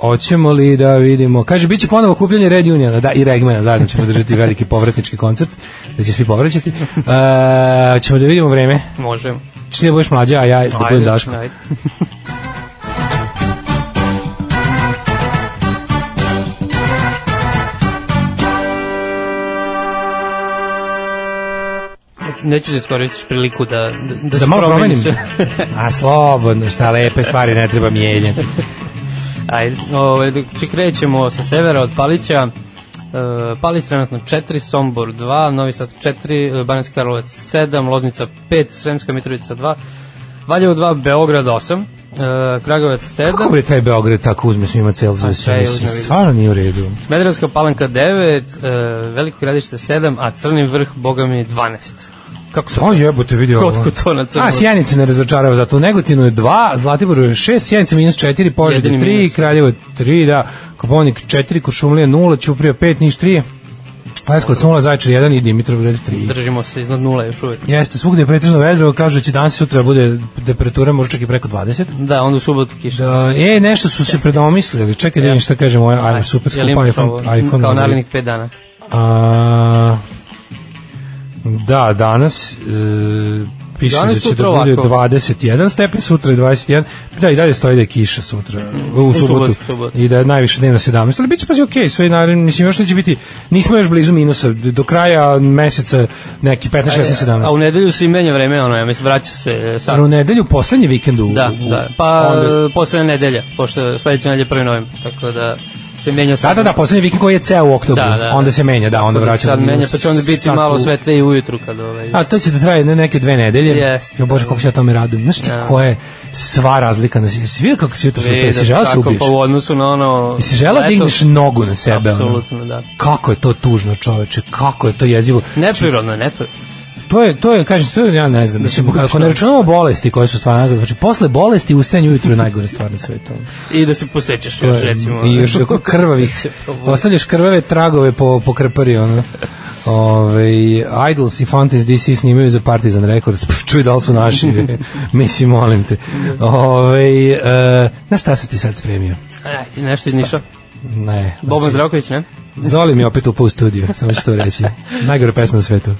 S2: hoćemo li da vidimo, kaže, bit će ponovo kupljanje Red Uniona, da, i Regmana, zajedno ćemo držati veliki povratnički koncert, da će svi povraćati. E, ćemo da vidimo vreme,
S3: Može.
S2: Čini da budeš mlađa, a ja da budem Daško.
S3: ajde. Nećeš da iskoristiš priliku da, da, da,
S2: Da
S3: se
S2: malo
S3: promeniš.
S2: promenim. A slobodno, šta lepe stvari ne treba mijenjati.
S3: Ajde, ove, dok če krećemo sa severa od Palića, e, Palić trenutno 4, Sombor 2, Novi Sad 4, e, Banatski Karlovac 7, Loznica 5, Sremska Mitrovica 2, Valjevo 2, Beograd 8, e, Kragovac 7,
S2: Kako bre taj Beograd tako uzme svima cel za sve?
S3: sve
S2: mislim,
S3: uzme, vidi.
S2: Stvarno nije u redu.
S3: Smederevska palanka 9, e, Veliko gradište 7, a Crni vrh, boga mi, 12. Kako se...
S2: To jebote vidi ovo.
S3: Kotko to na crno.
S2: A, Sjenica ne razočarava, zato u Negotinu je 2, Zlatiboru je 6, Sjenica minus 4, Požega
S3: Jedini
S2: 3,
S3: minus.
S2: Kraljevo je 3, da, Koponik 4, Kuršumlija 0, Ćuprija 5, Niš 3, Leskovac 0, Zaječar 1 i Dimitrovgrad 3.
S3: Držimo se iznad nula još uvek.
S2: Jeste, svugde je pretežno vedro, kažu da će danas i sutra bude temperatura možda čak i preko 20.
S3: Da, onda u subotu kiša.
S2: Da, e, nešto su se predomislili. Čekaj da vidim šta kaže moj aj, super skup
S3: Jel imaš
S2: iPhone.
S3: ovo?
S2: iPhone model.
S3: Kao narednih 5 dana.
S2: A, da, danas e, piše
S3: Danas,
S2: da će da
S3: sutra
S2: bude
S3: ovako.
S2: 21 stepen, sutra je 21, da i dalje stoji da je kiša sutra, u, u subotu,
S3: subotu, subotu.
S2: i da je najviše dnevno 17, ali bit će pa sve okej, sve je naravno, mislim još neće biti, nismo još blizu minusa, do kraja meseca neki 15, 16, 17.
S3: A u nedelju se i menja vreme, ono, ja mislim, vraća se e, sad.
S2: Ali u nedelju, poslednji vikend u...
S3: Da,
S2: u-
S3: da. Pa,
S2: onda-
S3: Onda... posle nedelja, pošto sledeća nedelja je prvi novembar, tako da se menja
S2: Da,
S3: sad.
S2: da, da, poslednji vikend koji je ceo u oktobru,
S3: Da, da, da.
S2: onda se menja, da, onda vraćamo.
S3: Sad menja, pa će onda biti
S2: sad
S3: malo
S2: u-
S3: svetle i ujutru kad ovaj...
S2: A to će da traje ne, neke dve nedelje.
S3: Jeste.
S2: Jo bože kako se ja tome radujem. Znaš ti
S3: Da.
S2: koja je sva razlika na svi svi kako se jutro sustaje, si
S3: da,
S2: želeo da se
S3: tako,
S2: ubiješ.
S3: Pa u odnosu na ono...
S2: I si želeo da
S3: leto-
S2: digneš nogu na sebe. Ono.
S3: Apsolutno, da.
S2: Kako je to tužno, čoveče, kako je to jezivo.
S3: Neprirodno, je, neprirodno.
S2: To je, to je, kažem, to je, ja ne znam, mislim, ako ne računamo bolesti koje su stvarno, najgore, znači, posle bolesti ustajanje ujutru je najgore stvar na svetu.
S3: I da se posečeš
S2: To
S3: još,
S2: je-
S3: recimo.
S2: Pa, I još tako krvavih,
S3: probudim.
S2: ostavljaš krvave tragove po, po krpari, ono. Ove, Idols i Fontaine's DC snimaju za Partizan Records, Pff, čuj da li su naši, mislim, molim te. Ove, e, na šta si ti sad spremio?
S3: Aj, E, ti nešto iz
S2: Znači,
S3: Niša.
S2: Ne. znači,
S3: Boban Zdravković, ne?
S2: Zoli mi je opet upao u studiju, samo ću to reći. Najgore pesma na svetu.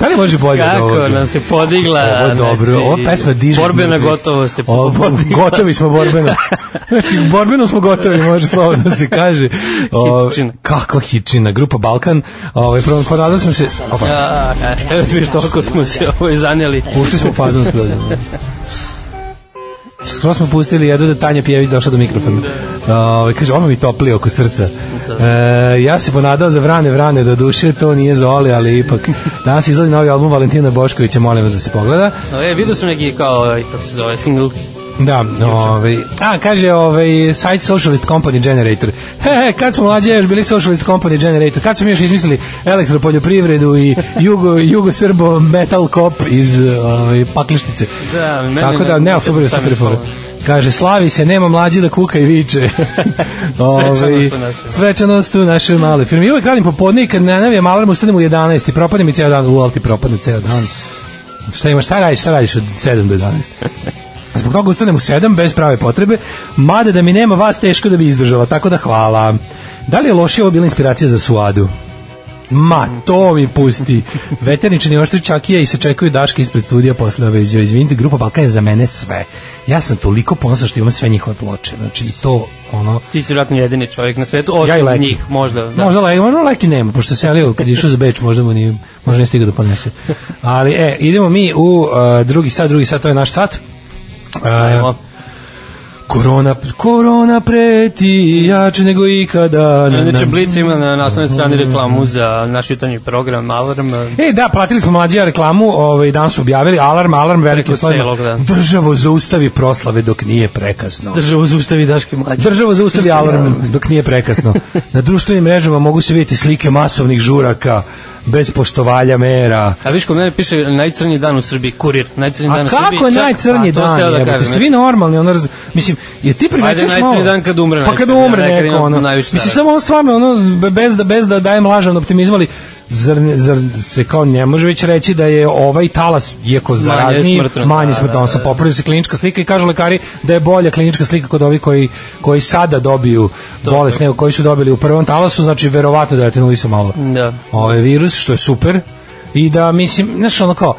S2: Da li može bolje od
S3: Kako
S2: ovoga?
S3: nam se podigla.
S2: Ovo je dobro,
S3: znači,
S2: ova pesma diže.
S3: Borbena
S2: iznutra.
S3: gotovo se
S2: Ovo,
S3: podigla.
S2: Gotovi smo borbeno. Znači, borbeno smo gotovi, može slobodno da se kaže. O,
S3: Hitčina.
S2: Kakva hičina, grupa Balkan. Ovaj prvo ponadao sam se. Opa,
S3: A, a, Evo ti vidiš toliko smo se ovo zaneli.
S2: pušti smo fazon skroz. Skroz smo pustili jedu da Tanja Pjević došla do mikrofona.
S3: Da.
S2: Ovaj kaže, ono mi topli oko srca. E, ja se ponadao za Vrane Vrane do duše, to nije za Oli, ali ipak. Danas izlazi novi album Valentina Boškovića, molim vas da se pogleda.
S3: No, e, vidio sam neki kao, ovaj, kako se zove, single.
S2: Da, ovaj, a kaže ovaj, site Socialist Company Generator. He, he, kad smo mlađe još bili Socialist Company Generator, kad smo još izmislili elektropoljoprivredu i jugo, jugo srbo metal kop iz ovaj, paklištice.
S3: Da, meni
S2: Tako da,
S3: ne-
S2: ne,
S3: ne-
S2: super,
S3: sam
S2: super
S3: ispalo.
S2: fora. Kaže, slavi se, nema mlađe da kuka i viče. Ovaj,
S3: u našoj.
S2: svečanost u našoj male firmi. I uvek radim popodne i kad ne navijem alarm, ustanem u 11 i propadne mi ceo dan. U, ali ti propadne ceo dan. Šta imaš, šta radiš, šta radiš od 7 do 11? Zbog toga ustanem u 7 bez prave potrebe, mada da mi nema vas teško da bi izdržala, tako da hvala. Da li je loše ovo bila inspiracija za suadu? Ma, to mi pusti. Veterničani oštri čakija i se čekaju daške ispred studija posle ove izjave. Izvinite, grupa Balkan je za mene sve. Ja sam toliko ponosan što imam sve njihove ploče. Znači, i to, ono,
S3: Ti si vratno jedini čovjek na svetu, osim
S2: Ja i
S3: ja
S2: Leki.
S3: njih, možda. Da.
S2: Da. Možda Lego, možda Leki nema, pošto se selio kad je išao za Beč, možda mu nije, možda nije stigao da ponese. Ali, e, idemo mi u uh, drugi sat, drugi sat, to je naš sat. Uh,
S3: Ajmo.
S2: korona, korona preti jače nego ikada. Na,
S3: Inače,
S2: na.
S3: Blic ima na naslovnoj strani reklamu za naš jutarnji program Alarm.
S2: E, da, platili smo mlađe reklamu, ovaj, dan su objavili, alarm, alarm, veliki
S3: Preko
S2: slovima.
S3: celog, da.
S2: Državo zaustavi proslave dok nije prekasno.
S3: Državu zustavi Daške mlađe.
S2: Država zaustavi alarm dok nije prekasno. Na društvenim mrežama mogu se vidjeti slike masovnih žuraka, bez poštovalja mera.
S3: A viš kod mene piše najcrnji dan u Srbiji, kurir, najcrnji dan
S2: A
S3: u Srbiji.
S2: kako je
S3: Čak-
S2: najcrnji
S3: A, to sam
S2: dan?
S3: teo
S2: Da
S3: kažem, znači-
S2: Jeste vi normalni? Ono, raz- mislim, je ti
S3: Ajde,
S2: primećuješ
S3: najcrnji
S2: malo...
S3: dan kad umre
S2: Pa
S3: najcrnji,
S2: kad umre
S3: da, nekad
S2: neko,
S3: imam
S2: ono.
S3: najviše
S2: Mislim,
S3: strah.
S2: samo ono stvarno, ono, be- bez da, bez da dajem lažan optimizam, ali zar, ne, zar se kao ne može već reći da je ovaj talas, iako zarazniji,
S3: smrtno,
S2: manje
S3: da,
S2: smrtnost,
S3: da, da.
S2: popravlja se klinička slika i kažu lekari da je bolja klinička slika kod ovih koji, koji sada dobiju bolest nego koji su dobili u prvom talasu, znači verovatno da je atenuli su malo
S3: Da.
S2: ovaj virus, što je super. I da, mislim, znaš, ono kao,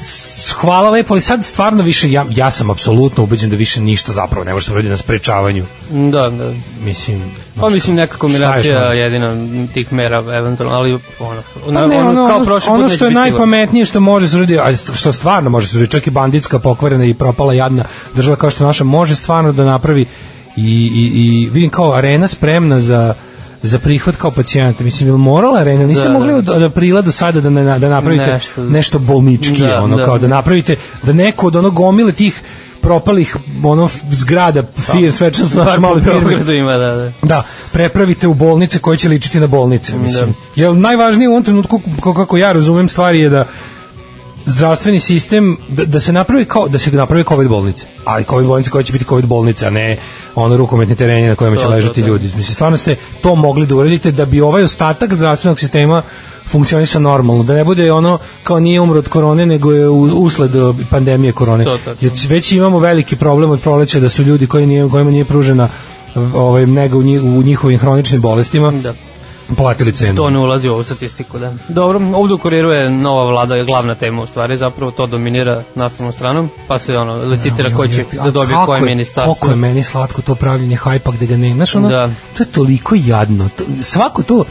S2: s- hvala lepo, ali sad stvarno više, ja, ja sam apsolutno ubeđen da više ništa zapravo ne može se uraditi na sprečavanju.
S3: Da, da.
S2: Mislim,
S3: Pa mislim neka kombinacija
S2: možda?
S3: jedina tih mera eventualno, ali ono,
S2: Pa ne, ono,
S3: kao
S2: ono,
S3: prošli put
S2: ono
S3: neće
S2: što je
S3: biti
S2: najpametnije što može se uraditi, a što stvarno može se uraditi, čak i banditska pokvarena i propala jadna država kao što je naša može stvarno da napravi i, i, i vidim kao arena spremna za za prihvat kao pacijenta. Mislim, je morala arena? Niste da,
S3: Da,
S2: mogli
S3: da.
S2: od, od aprila do sada da, ne, da napravite nešto,
S3: Nešto.
S2: nešto bolnički, da,
S3: Da,
S2: ono,
S3: da.
S2: kao da napravite, da neko od ono gomile tih propalih ono f- zgrada
S3: Pa,
S2: fir svečanost naše
S3: Bar
S2: male
S3: po
S2: firme
S3: Beogradu ima, da, da.
S2: Da, prepravite u bolnice koje će ličiti na bolnice, mislim. Da. Jer najvažnije u ovom trenutku, kako, kako ja razumem stvari, je da zdravstveni sistem da, da se napravi kao da se napravi covid bolnice. Ali covid bolnice koja će biti covid bolnica, a ne ono rukometni tereni na kojima će
S3: To, to,
S2: ležati
S3: to.
S2: ljudi. Mislim stvarno ste to mogli da uradite da bi ovaj ostatak zdravstvenog sistema funkcionisao normalno, da ne bude ono kao nije umro od korone, nego je u- usled e, pandemije korone.
S3: To, to, to.
S2: Jer Znači, već imamo veliki problem od proleća da su ljudi koji nije, kojima nije pružena v- ovaj, nega u, njih, u njihovim hroničnim bolestima
S3: Da.
S2: platili cenu.
S3: To ne ulazi u ovu statistiku, da. Dobro, ovdje u kuriru je nova vlada je glavna tema u stvari, zapravo to dominira naslovnom stranom, pa se ono licitira ko će da dobije koje
S2: Kako je
S3: ministarstvo.
S2: meni slatko to pravljenje hajpa gde ga ne, znaš ono,
S3: Da.
S2: to je toliko jadno. To, svako to,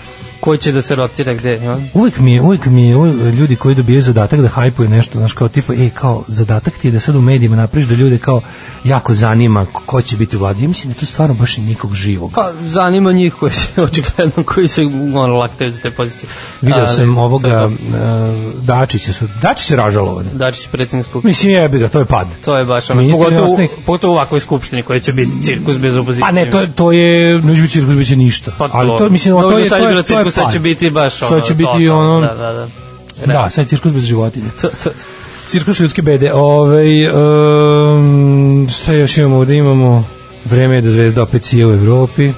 S3: Ko će da se rotira gde, ja?
S2: uvek mi je, uvek mi je, uvek, ljudi koji dobijaju zadatak da hajpuje nešto, znaš kao tipa, e, kao, zadatak ti je da sad u medijima napriš da ljude kao jako zanima ko će biti u vladi. Ja mislim da tu stvarno baš nikog živog.
S3: Pa zanima njih koji se očigledno koji se ono laktaju za te pozicije.
S2: Video
S3: Pa, Ali,
S2: sam
S3: to
S2: ovoga
S3: je
S2: uh,
S3: to.
S2: Dačića su, Dačić je ražalovan.
S3: Dačić predsjednik skupštine.
S2: Mislim jebi ga, to je pad.
S3: To je baš ono,
S2: Ministri
S3: pogotovo,
S2: inostranih-
S3: pogotovo u ovakvoj skupštini koja će biti cirkus bez opozicije.
S2: Pa ne, to, to je, neće biti cirkus, biće ništa.
S3: Pa to,
S2: Ali to, mislim, o,
S3: Dobro,
S2: to je, to
S3: sad
S2: je,
S3: bilo
S2: to je
S3: cirkus, sad će
S2: pad.
S3: biti baš ono,
S2: Sad će biti
S3: totalno,
S2: ono-
S3: da, da, da.
S2: Da, sad je cirkus bez životinja.
S3: To, to, to.
S2: Cirkus ljudske bede. Ove, um, šta još imamo ovde? Imamo vreme je da zvezda opet sije u Evropi.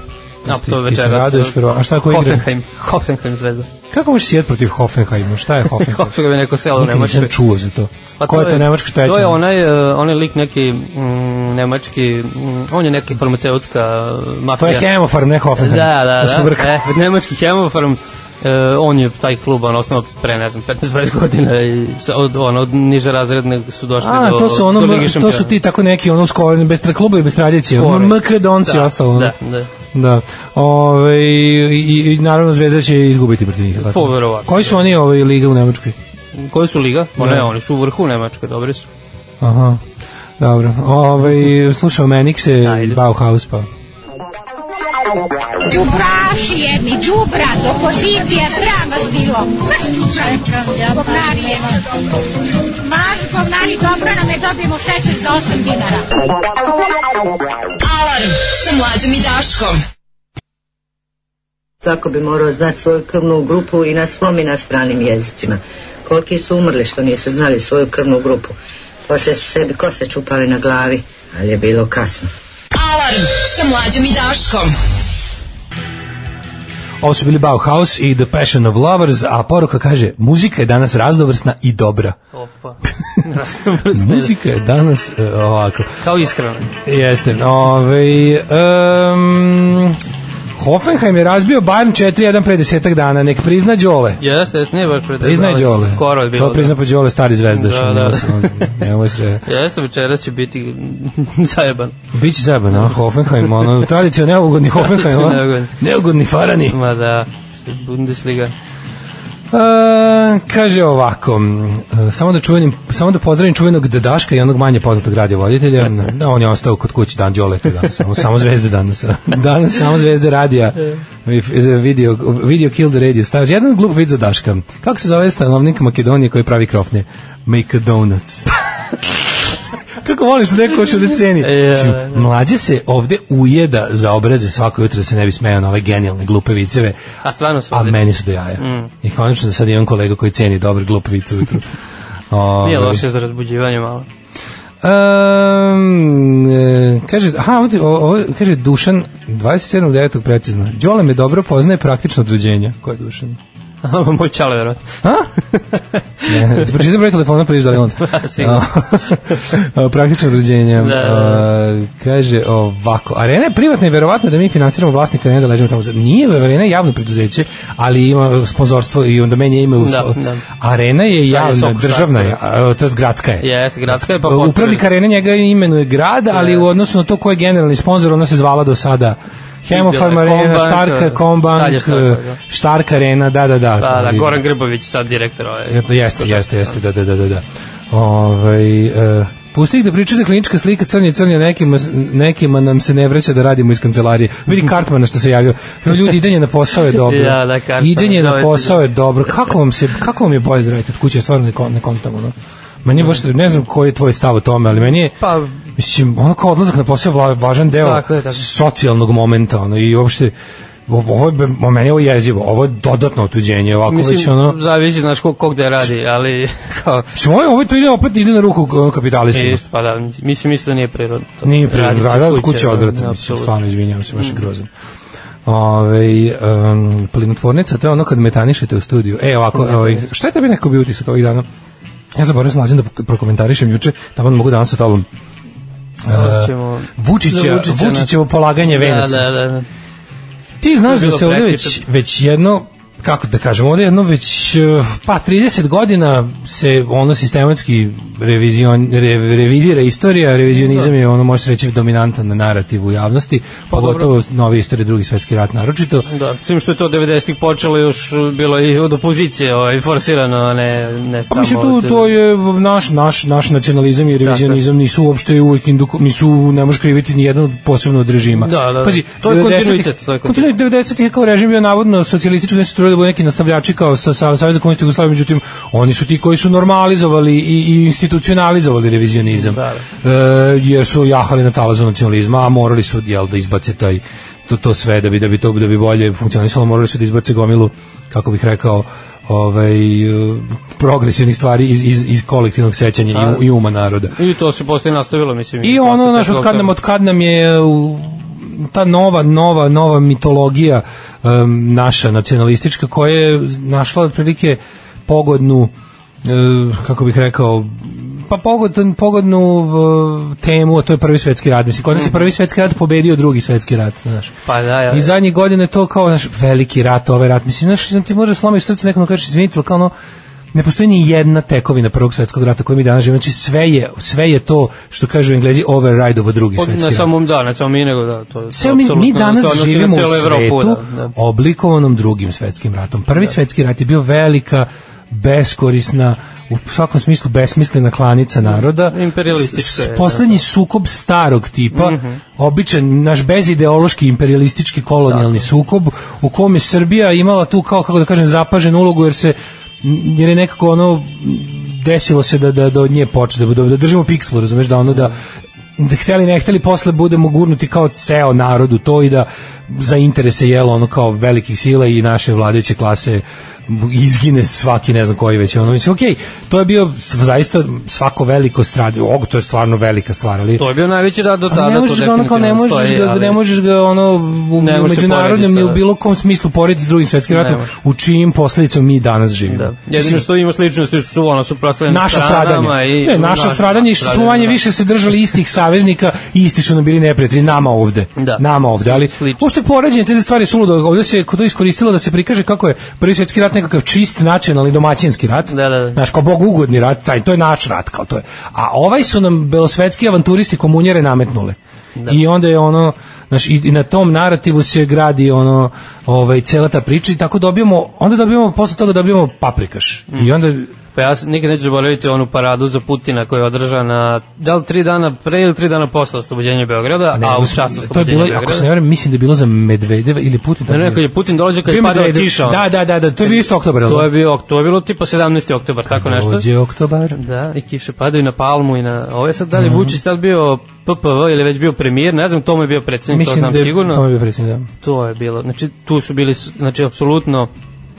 S3: A
S2: Ti-
S3: to
S2: ti se
S3: večeras. da.
S2: raduješ, prvo. A šta ko igra?
S3: Hoffenheim, Hoffenheim zvezda.
S2: Kako možeš sjeti protiv Hoffenheima? Šta je Hoffenheim?
S3: Hoffenheim je neko selo u
S2: Nikad nisam
S3: Nemačkoj.
S2: čuo za to. Ko je to nemačka šta je?
S3: Pa To je onaj, uh, onaj lik neki mm, nemački, mm, on je neki farmaceutska uh,
S2: To
S3: mafija.
S2: je Hemofarm, ne Hoffenheim.
S3: Da, da,
S2: smo
S3: da.
S2: brkali.
S3: E, nemački hemofarm, e, on je taj klub, on osnovao pre, ne znam, 15-20 godina i sa- od, on, od niže razredne su došli
S2: A,
S3: do,
S2: to su, ono,
S3: do Ligi
S2: to
S3: šampiona.
S2: su ti tako neki ono skoro, bez tra- kluba i bez tradicije.
S3: Skoro.
S2: MK Donci i
S3: Da,
S2: ostalo. ono.
S3: Da, da.
S2: Da. Ove, i, i, i naravno Zvezda će izgubiti protiv njih. jel tako?
S3: Pa, verovatno.
S2: Koji su oni ove lige u Nemačkoj?
S3: Koji su liga? Pa ne,
S2: Da.
S3: oni su u vrhu Nemačke, dobri su.
S2: Aha. Dobro. Ove, slušao Menik se
S3: Ajde.
S2: Bauhaus pa.
S6: Đubraši jedni, đubrat, opozicija, sram vas bilo. Maš govnari jedno. Maš govnari, dobro nam je dobijemo šećer za 8 dinara.
S4: Alarm sa mlađom i Daškom.
S7: Svako bi morao znati svoju krvnu grupu i na svom i na stranim jezicima. Koliki su umrli što nisu znali svoju krvnu grupu. Poslije su sebi kose čupali na glavi, ali je bilo kasno.
S4: Alarm sa mlađom i Daškom.
S2: Ovo su bili Bauhaus i The Passion of Lovers, a poruka kaže muzika je danas razdovrsna i dobra.
S3: Opa. Raznovrstne.
S2: Muzika je danas e, ovako.
S3: Kao iskreno.
S2: Jeste. Ove, um, Hoffenheim je razbio Bayern 4-1 pre desetak dana. Nek prizna Đole.
S3: Jeste, jeste, nije baš pretežno.
S2: Priznaj
S3: ali
S2: Đole.
S3: Skoro je bilo.
S2: Što prizna
S3: da.
S2: po Đole, stari zvezdaš.
S3: Da, da.
S2: nemoj se- nemoj se-
S3: Jeste, večeras će biti zajeban.
S2: Biće zajebano, a, Hoffenheim, ono, tradicija neugodni Hoffenheim, ono,
S3: Tradicionalno
S2: neugodni farani.
S3: Ma da, Bundesliga.
S2: E, kaže ovako, m, e, samo da čuvenim, samo da pozdravim čuvenog Dadaška i onog manje poznatog radiovoditelja, da on je ostao kod kuće dan Đoleta danas, samo, samo zvezde danas, danas samo zvezde radija, Vi- video, video kill the radio, stavio jedan glup vid za Daška, kako se zove stanovnik Makedonije koji pravi krofne? Make a donuts. Kako voliš da neko hoće da ceni.
S3: E,
S2: Znači,
S3: da, da.
S2: Mlađe se ovde ujeda za obraze svako jutro da se ne bi smejao na ove genijalne glupe viceve.
S3: A stvarno su
S2: A
S3: odlični.
S2: meni su do jaja.
S3: Mm.
S2: I konačno da sad imam kolega koji ceni dobar glup vic ujutru. Ove,
S3: Nije loše za razbuđivanje malo.
S2: Um, e, kaže, aha, ovdje, o- ovo, kaže Dušan 27.9. precizno. Đole me dobro poznaje praktično od rođenja. Ko je Dušan?
S3: Moj čale, verovatno.
S2: A? ne, ne, ti pročitam broj telefona, pa vidiš da li je on.
S3: Sigurno.
S2: A, Praktično rođenje.
S3: da, da.
S2: A, kaže ovako, arena je privatna i verovatno da mi finansiramo vlasnika arene da ležimo tamo. Nije arena je javno preduzeće, ali ima sponzorstvo i onda meni je ime. u-
S3: Da, da.
S2: Arena je
S3: Sad je
S2: javna,
S3: Soko
S2: državna, je, a, to je gradska je.
S3: Jeste, gradska je pa Da. postoje.
S2: Upravnik arene njega imenuje grad, ali u odnosu na to ko je generalni sponsor, ona se zvala do sada Hemofarm Arena,
S3: Combank,
S2: Štarka,
S3: sad
S2: Kombank,
S3: je Štarka, da.
S2: Štarka Arena, da, da, da.
S3: Da, da,
S2: Ali-
S3: Goran Grbović sad direktor ovaj. ove.
S2: Jeste, Jeste, jeste, jeste, da, da, da, da. da. Ovaj, e, pusti ih da pričaju da klinička slika crnje crnje nekima, nekima nam se ne vraća da radimo iz kancelarije. Vidi Kartmana što se javio. Evo, Ljudi, idenje na posao je dobro.
S3: Ja, da, Kartman,
S2: Idenje
S3: to
S2: na
S3: je-
S2: posao je dobro. Kako vam, se, kako vam je bolje da radite od kuće? Ja Stvarno ne, kon- ne kontamo. No? Meni je baš, ne znam koji je tvoj stav o tome, ali meni je,
S3: Pa-
S2: mislim, ono kao odlazak na posao je vla- važan deo
S3: Tako je, tako je.
S2: socijalnog momenta, ono, i uopšte, ovo je, be- meni je ovo jezivo, ovo je dodatno otuđenje, ovako Mislim, već
S3: Mislim,
S2: ono...
S3: zavisi, znaš, kog, kog da radi, ali kao...
S2: Mislim, ovo, je- ovo to ide opet ide na ruku ono, kapitalistima.
S3: Isto, pa da, mislim, mislim da nije prirodno. to.
S2: Nije prirodno,
S3: Radit će
S2: da, da, od kuće
S3: kuće,
S2: odvratan, mislim,
S3: apsolutno. Mhm.
S2: stvarno, izvinjavam se, baš je grozan. Ove, um, plinotvornica, to je ono kad metanišete u studiju. E, ovako, ovaj, šta je tebi neko bio utisak ovih dana? Ja zaboravim se mlađem da prokomentarišem juče, tamo mogu danas sa tobom. E,
S3: Hoćemo-
S2: Vučića,
S3: Za da Vučića,
S2: Vučićevo polaganje venaca.
S3: Da, da, da, da.
S2: Ti znaš
S3: To je
S2: da
S3: bilo
S2: se ovde već,
S3: prekjuče.
S2: već jedno kako da kažem, ovde jedno već eh, pa 30 godina se ono sistematski revizion, re, revidira istorija, revizionizam
S3: Da.
S2: je ono može se reći dominantan narativ u javnosti,
S3: Pa
S2: pogotovo nove istorije drugi svetski rat naročito.
S3: Da, s tim što je to 90-ih počelo još uh, bilo i od opozicije, ovaj, forsirano, a ne, ne
S2: Pa
S3: samo...
S2: mislim tu
S3: od-
S2: to je naš naš naš nacionalizam i revizionizam nisu uopšte uvek induko, nisu ne možeš kriviti ni jedan od- posebno od režima.
S3: Da, da,
S2: Pazi,
S3: to je
S2: 90-ih
S3: kontinuitet, to je
S2: kontinuitet.
S3: kontinuitet.
S2: 90-ih je kao režim bio navodno socijalistički, su trudili da budu neki nastavljači kao sa sa Saveza komunista Jugoslavije, međutim oni su ti koji su normalizovali i, i institucionalizovali revizionizam.
S3: Da,
S2: da. E, jer su jahali na talazu nacionalizma, a morali su jel da izbace taj to, to sve da bi da bi to da bi bolje funkcionisalo, morali su da izbace gomilu kako bih rekao ovaj e, progresivnih stvari iz, iz, iz kolektivnog sećanja i, u- i uma naroda.
S3: I to se posle nastavilo, mislim.
S2: I ono,
S3: posle
S2: znaš,
S3: tog-
S2: od kad nam, od kad nam je u, ta nova, nova, nova mitologija um, naša nacionalistička koja je našla otprilike pogodnu um, kako bih rekao pa pogodnu, pogodnu uh, temu, a to je prvi svetski rat. Mislim, kod nas je prvi svetski rat pobedio drugi svetski rat, znaš.
S3: Pa da, ja.
S2: I zadnje godine to kao naš veliki rat, ovaj rat. Mislim, znaš, ti može slomiš srce nekom da kažeš izvinite, ali kao ono, ne postoji ni jedna tekovina prvog svetskog rata koju mi danas živimo. Znači sve je, sve je to što kažu Englezi override ovo drugi
S3: Od-
S2: svetski
S3: na
S2: rat.
S3: samom da, na samom i nego da, to je
S2: Sve mi, mi
S3: apsolutno,
S2: danas
S3: se odnosi na
S2: živimo u
S3: celu Evropu,
S2: svetu
S3: da, da.
S2: oblikovanom drugim svetskim ratom. Prvi svetski rat je bio velika, beskorisna, u svakom smislu besmislena klanica naroda.
S3: Imperialistička je,
S2: S-
S3: da. Mhm.
S2: Poslednji sukob starog tipa, običan naš bezideološki imperialistički kolonijalni sukob u kom je Srbija imala tu kao kako da kažem zapaženu ulogu jer se jer je nekako ono desilo se da da da od nje počne da, da, da držimo pikslu, razumeš da ono da da hteli ne hteli posle budemo gurnuti kao ceo narod u to i da za interese jelo ono kao velikih sila i naše vladajuće klase izgine svaki ne znam koji već ono mislim okej to je bio zaista svako veliko stradanje og to je stvarno velika stvar ali
S3: To je bio najveći rad do
S2: Ali
S3: tada,
S2: ne
S3: to
S2: možeš ga ono kao ne
S3: definitivno
S2: možeš
S3: stoji,
S2: ga,
S3: ali-
S2: ne možeš ga ono u
S3: Ne može se
S2: međunarodnom
S3: porediti
S2: ni u
S3: sa-
S2: bilo kom smislu porediti s drugim svetskim
S3: Ne
S2: ratom
S3: može.
S2: u čijim posledicama mi danas živimo.
S3: Da.
S2: Mislim,
S3: Jedino što ima sličnosti su ono suprotstavljene
S2: naša
S3: stranama
S2: stradanja.
S3: i
S2: Ne, naša stradanja i što su manje
S3: da.
S2: više se držali istih saveznika i isti su nam bili neprijatelji nama ovde.
S3: Da.
S2: Nama ovde, ali
S3: Slično.
S2: uopšte poređenje te dve stvari su ludo. Ovde se to iskoristilo da se prikaže kako je Prvi svetski rat nekakav čist nacionalni domaćinski rat.
S3: Da, da, da.
S2: Naš kao bog ugodni rat, taj to je naš rat kao to je. A ovaj su nam belosvetski avanturisti komunjere nametnule. Da. I onda je ono Znaš, i, i na tom narativu se gradi ono ovaj cela ta priča i tako dobijamo onda dobijamo posle toga dobijamo paprikaš i onda
S3: Pa ja s- nikad neću zaboraviti onu paradu za Putina koja je održana da li tri dana pre ili tri dana posle oslobođenja Beograda, a u
S2: mislim,
S3: častu
S2: to je
S3: oslobođenja
S2: bilo, ako se ne
S3: Beograda.
S2: varam, mislim da je bilo za Medvedeva ili Putin.
S3: Ne,
S2: tako
S3: ne, kad
S2: bilo.
S3: je Putin dolazio kad je
S2: Bio
S3: padao
S2: Medvedev.
S3: kiša. ono.
S2: Da, da, da, da, to je bio isto oktobar.
S3: To je bio, to je bilo tipa 17. oktobar, tako nešto.
S2: Dođe oktobar.
S3: Da, i kiše padaju na Palmu i na... Ovo je sad, da li
S2: Mhm.
S3: Vučić sad bio PPV ili već bio premijer, ne znam, to mu je bio predsednik, to
S2: Mislim
S3: znam
S2: da je,
S3: sigurno.
S2: to je bio predsjednik, da.
S3: To je bilo, znači tu su bili, s- znači apsolutno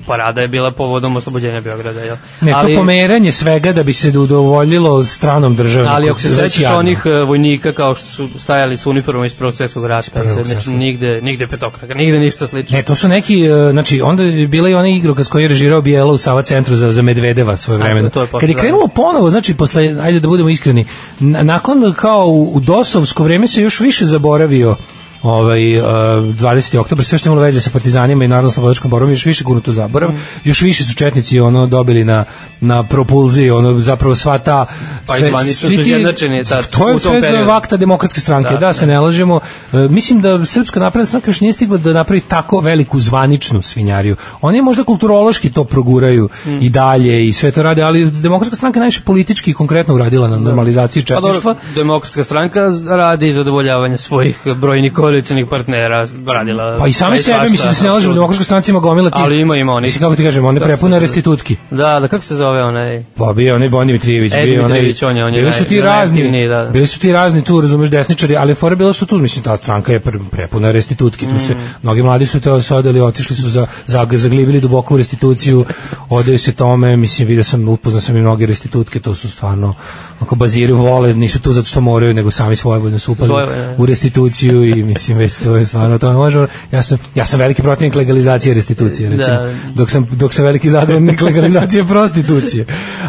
S3: parada je bila povodom oslobođenja Beograda, jel?
S2: Ne, to
S3: ali,
S2: pomeranje svega da bi se udovoljilo stranom državniku.
S3: ali ako se
S2: to je već
S3: sećaš
S2: jadno.
S3: onih e, vojnika kao što su stajali s uniformom iz Prvog svjetskog rata, i sve, znači nigde, nigde petokraka, nigde ništa slično.
S2: Ne, to su neki, e, znači, onda je bila i ona igrokaz koji je režirao Bijela u Sava centru za, za Medvedeva svoje vremena.
S3: to- to je potpuno
S2: Kad je krenulo ponovo, znači, posle, ajde da budemo iskreni, na, nakon kao u, u dosovsko vreme se još više zaboravio ovaj, e, 20. oktober, sve što je imalo veze sa partizanima i narodno slobodačkom borom, još više gurnuto zaborav,
S3: Mm.
S2: još više su četnici ono dobili na, na propulziji, ono zapravo sva ta...
S3: Pa i
S2: sve-
S3: zvanično
S2: svi
S3: su
S2: ti-
S3: izjednačeni tad,
S2: To je
S3: u tom
S2: sve za
S3: periodu.
S2: akta demokratske stranke, da,
S3: Da,
S2: da se ne lažemo. E, mislim da Srpska napredna stranka još nije stigla da napravi tako veliku zvaničnu svinjariju. Oni možda kulturološki to proguraju
S3: Mm.
S2: i dalje i sve to rade, ali demokratska stranka je najviše politički i konkretno uradila na normalizaciji
S3: Pa
S2: četništva.
S3: dobro, demokratska stranka radi zadovoljavanje svojih brojnih koalicijnih partnera radila.
S2: Pa i same
S3: sve
S2: sebe,
S3: svašta,
S2: mislim da se ne lažemo, u
S3: apsolutno.
S2: demokratskoj stranci ima gomila tih.
S3: Ali ima, ima onih.
S2: Mislim, kako ti kažem, one
S3: Da,
S2: prepune
S3: da.
S2: restitutki.
S3: Da, da, kako se zove onaj?
S2: Pa bio onaj Boni Mitrijević,
S3: Ed
S2: bio onaj.
S3: Mitrijević, on je- on je
S2: bili su
S3: naj-
S2: ti razni,
S3: najaktivniji, da, da.
S2: bili su ti razni tu, razumeš, desničari, ali fora je bila što tu, mislim, ta stranka je pre- prepuna restitutki, tu se,
S3: Mm.
S2: mnogi mladi su to sadali, otišli su za, za, zaglibili duboko u restituciju, odaju se tome, mislim, vidio sam, upoznao sam i mnoge restitutke, to su stvarno, ako baziri vole, nisu tu zato što moraju, nego sami svojevoljno su upali
S3: Svoje, da.
S2: u restituciju i mislim, već to je stvarno, to možemo, ja sam, ja sam veliki protivnik legalizacije restitucije,
S3: Da.
S2: recimo, dok sam dok sam veliki zagovornik legalizacije prostitucije.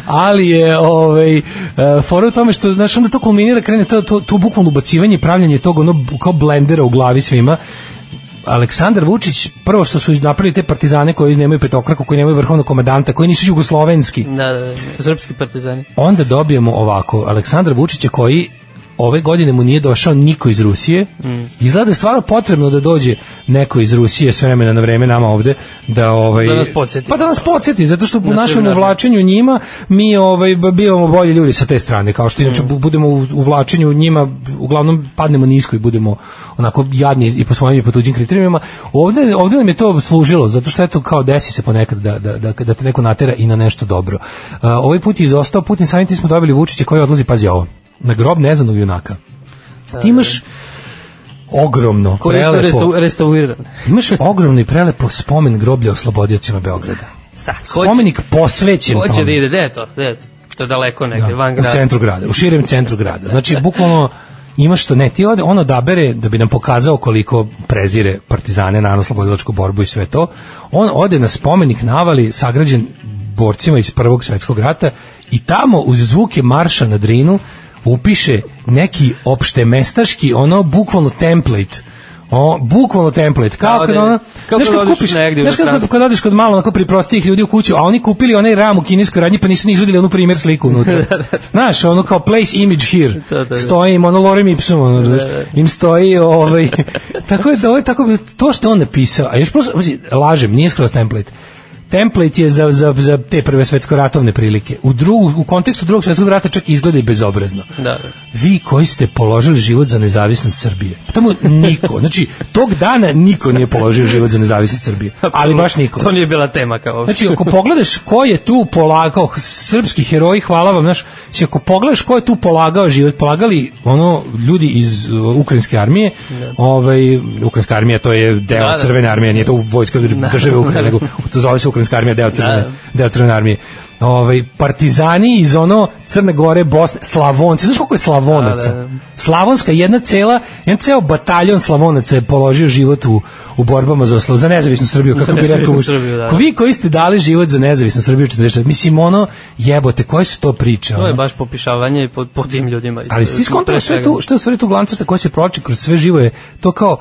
S2: Ali je ovaj e, fora u tome što znaš onda to kulminira krene to to, to bukvalno ubacivanje pravljanje tog ono kao blendera u glavi svima. Aleksandar Vučić prvo što su napravili te partizane koji nemaju petokraku, koji nemaju vrhovnog komandanta, koji nisu jugoslovenski
S3: Da, da, da, srpski partizani.
S2: onda dobijemo ovako Aleksandra Vučića koji ove godine mu nije došao niko iz Rusije.
S3: Mm.
S2: Izgleda da je stvarno potrebno da dođe neko iz Rusije s vremena na vreme nama ovde da ovaj
S3: Da nas podsjeti.
S2: Pa da nas podsjeti zato što u
S3: Na
S2: našem
S3: seminarima.
S2: uvlačenju njima mi ovaj b- bivamo bolji ljudi sa te strane kao što
S3: Mm.
S2: inače bu- budemo u uvlačenju njima uglavnom padnemo nisko i budemo onako jadni i po svojim i po tuđim kriterijumima. Ovde ovde nam je to služilo zato što eto kao desi se ponekad da da da, da te neko natera i na nešto dobro. A, ovaj put je izostao Putin samim tim smo dobili Vučića koji odlazi pazi ovo na grob neznanog junaka. Ti imaš ogromno,
S3: Koji je isto
S2: prelepo,
S3: restau- restauriran.
S2: imaš ogromno i prelepo spomen groblja oslobodiocima Beograda.
S3: Sa, ko će-
S2: Spomenik posvećen
S3: Ko će
S2: tome.
S3: da ide, gde je to? Gde je to? To je daleko negde,
S2: Da,
S3: van grada.
S2: U centru grada, u širem centru grada. Znači, bukvalno imaš što ne, ti ode, on odabere da bi nam pokazao koliko prezire partizane, naravno slobodilačku borbu i sve to. On ode na spomenik navali sagrađen borcima iz Prvog svetskog rata i tamo uz zvuke marša na Drinu upiše neki opštemestaški, ono bukvalno template O, bukvalno template. Kao
S3: Kao
S2: kad
S3: da-
S2: ono,
S3: kao
S2: znaš
S3: kad
S2: kad
S3: odeš
S2: kupiš,
S3: negde u
S2: znaš kad,
S3: inostranstvo.
S2: kad odeš kod malo onako pri prostih ljudi u kuću, a oni kupili onaj ram u kineskoj radnji pa nisu ni izvodili onu primjer sliku unutra. Znaš, ono kao place image here.
S3: Da, da, da.
S2: Stoji im ono lorem ipsum, ono, znaš, im stoji ovaj, tako je da ovo je tako, to što je on napisao, a još prosto, pazi, lažem, nije skroz template. Template je za, za, za te prve svetsko-ratovne prilike. U, drugu, u kontekstu drugog svetskog rata čak izgleda i bezobrazno
S3: Da, da.
S2: vi koji ste položili život za nezavisnost Srbije. Pa Tamo niko, znači tog dana niko nije položio život za nezavisnost Srbije, ali baš niko.
S3: To nije bila tema kao uopšte.
S2: Znači, ako pogledaš ko je tu polagao, srpski heroji, hvala vam, znaš, znači, ako pogledaš ko je tu polagao život, polagali ono ljudi iz uh, ukrajinske armije, ovaj, ukrajinska armija to je deo
S3: Da, da.
S2: crvene armije, nije to vojska države Ukrajine, nego to zove se ukrajinska armija, deo crvene,
S3: Da,
S2: deo crvene armije. Ovaj, partizani iz ono Crne Gore, Bosne, Slavonci, znaš koliko je Slavonaca?
S3: Da, da, da.
S2: Slavonska jedna cela, jedan ceo bataljon Slavonaca je položio život u, u borbama za, oslo, za nezavisnu Srbiju, kako bi rekao.
S3: nezavisnu
S2: Vučić.
S3: Srbiju, da.
S2: Ko vi koji ste dali život za nezavisnu Srbiju 44, mislim ono, jebote, koje su to priče?
S3: To
S2: ono?
S3: je baš popišavanje po, po tim ljudima.
S2: Ali si ti skontao
S3: Pre
S2: sve
S3: svega.
S2: tu, što je u stvari tu glancrta koja se proči kroz sve živo je, to kao,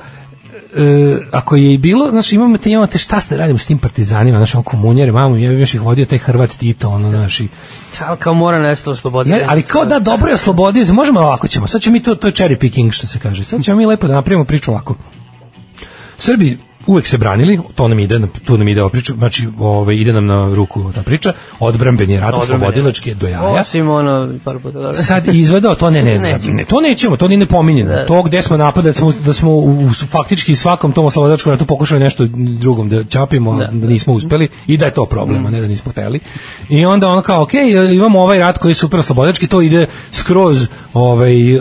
S2: e, ako je i bilo, znači imamo te, imamo te šta ste radimo s tim partizanima, znači on komunjare, mamu, ja bih još ih vodio taj Hrvat Tito, ono, znači,
S3: Ali kao mora nešto osloboditi.
S2: Ja, ali kao da dobro je oslobodio, možemo ovako ćemo. Sad ćemo mi to to je cherry picking što se kaže. Sad ćemo mi lepo da napravimo priču ovako. Srbi uvek se branili, to nam ide, tu nam ide ova priča, znači ovaj, ide nam na ruku ta priča, odbranben je rat,
S3: Odbranben je.
S2: oslobodilački je do jaja.
S3: Osim ono, par puta dobro.
S2: Sad izvedao, to ne, ne, ne,
S3: Nećemo.
S2: ne, to nećemo, to ni ne pominjeno.
S3: Da.
S2: To gde smo napadali, da smo, da smo u, u, faktički svakom tom oslobodačkom ratu pokušali nešto drugom da čapimo, a da, nismo uspeli i da je to problem, a ne da nismo hteli. I onda ono kao, ok, imamo ovaj rat koji je super oslobodački, to ide skroz ovaj, e,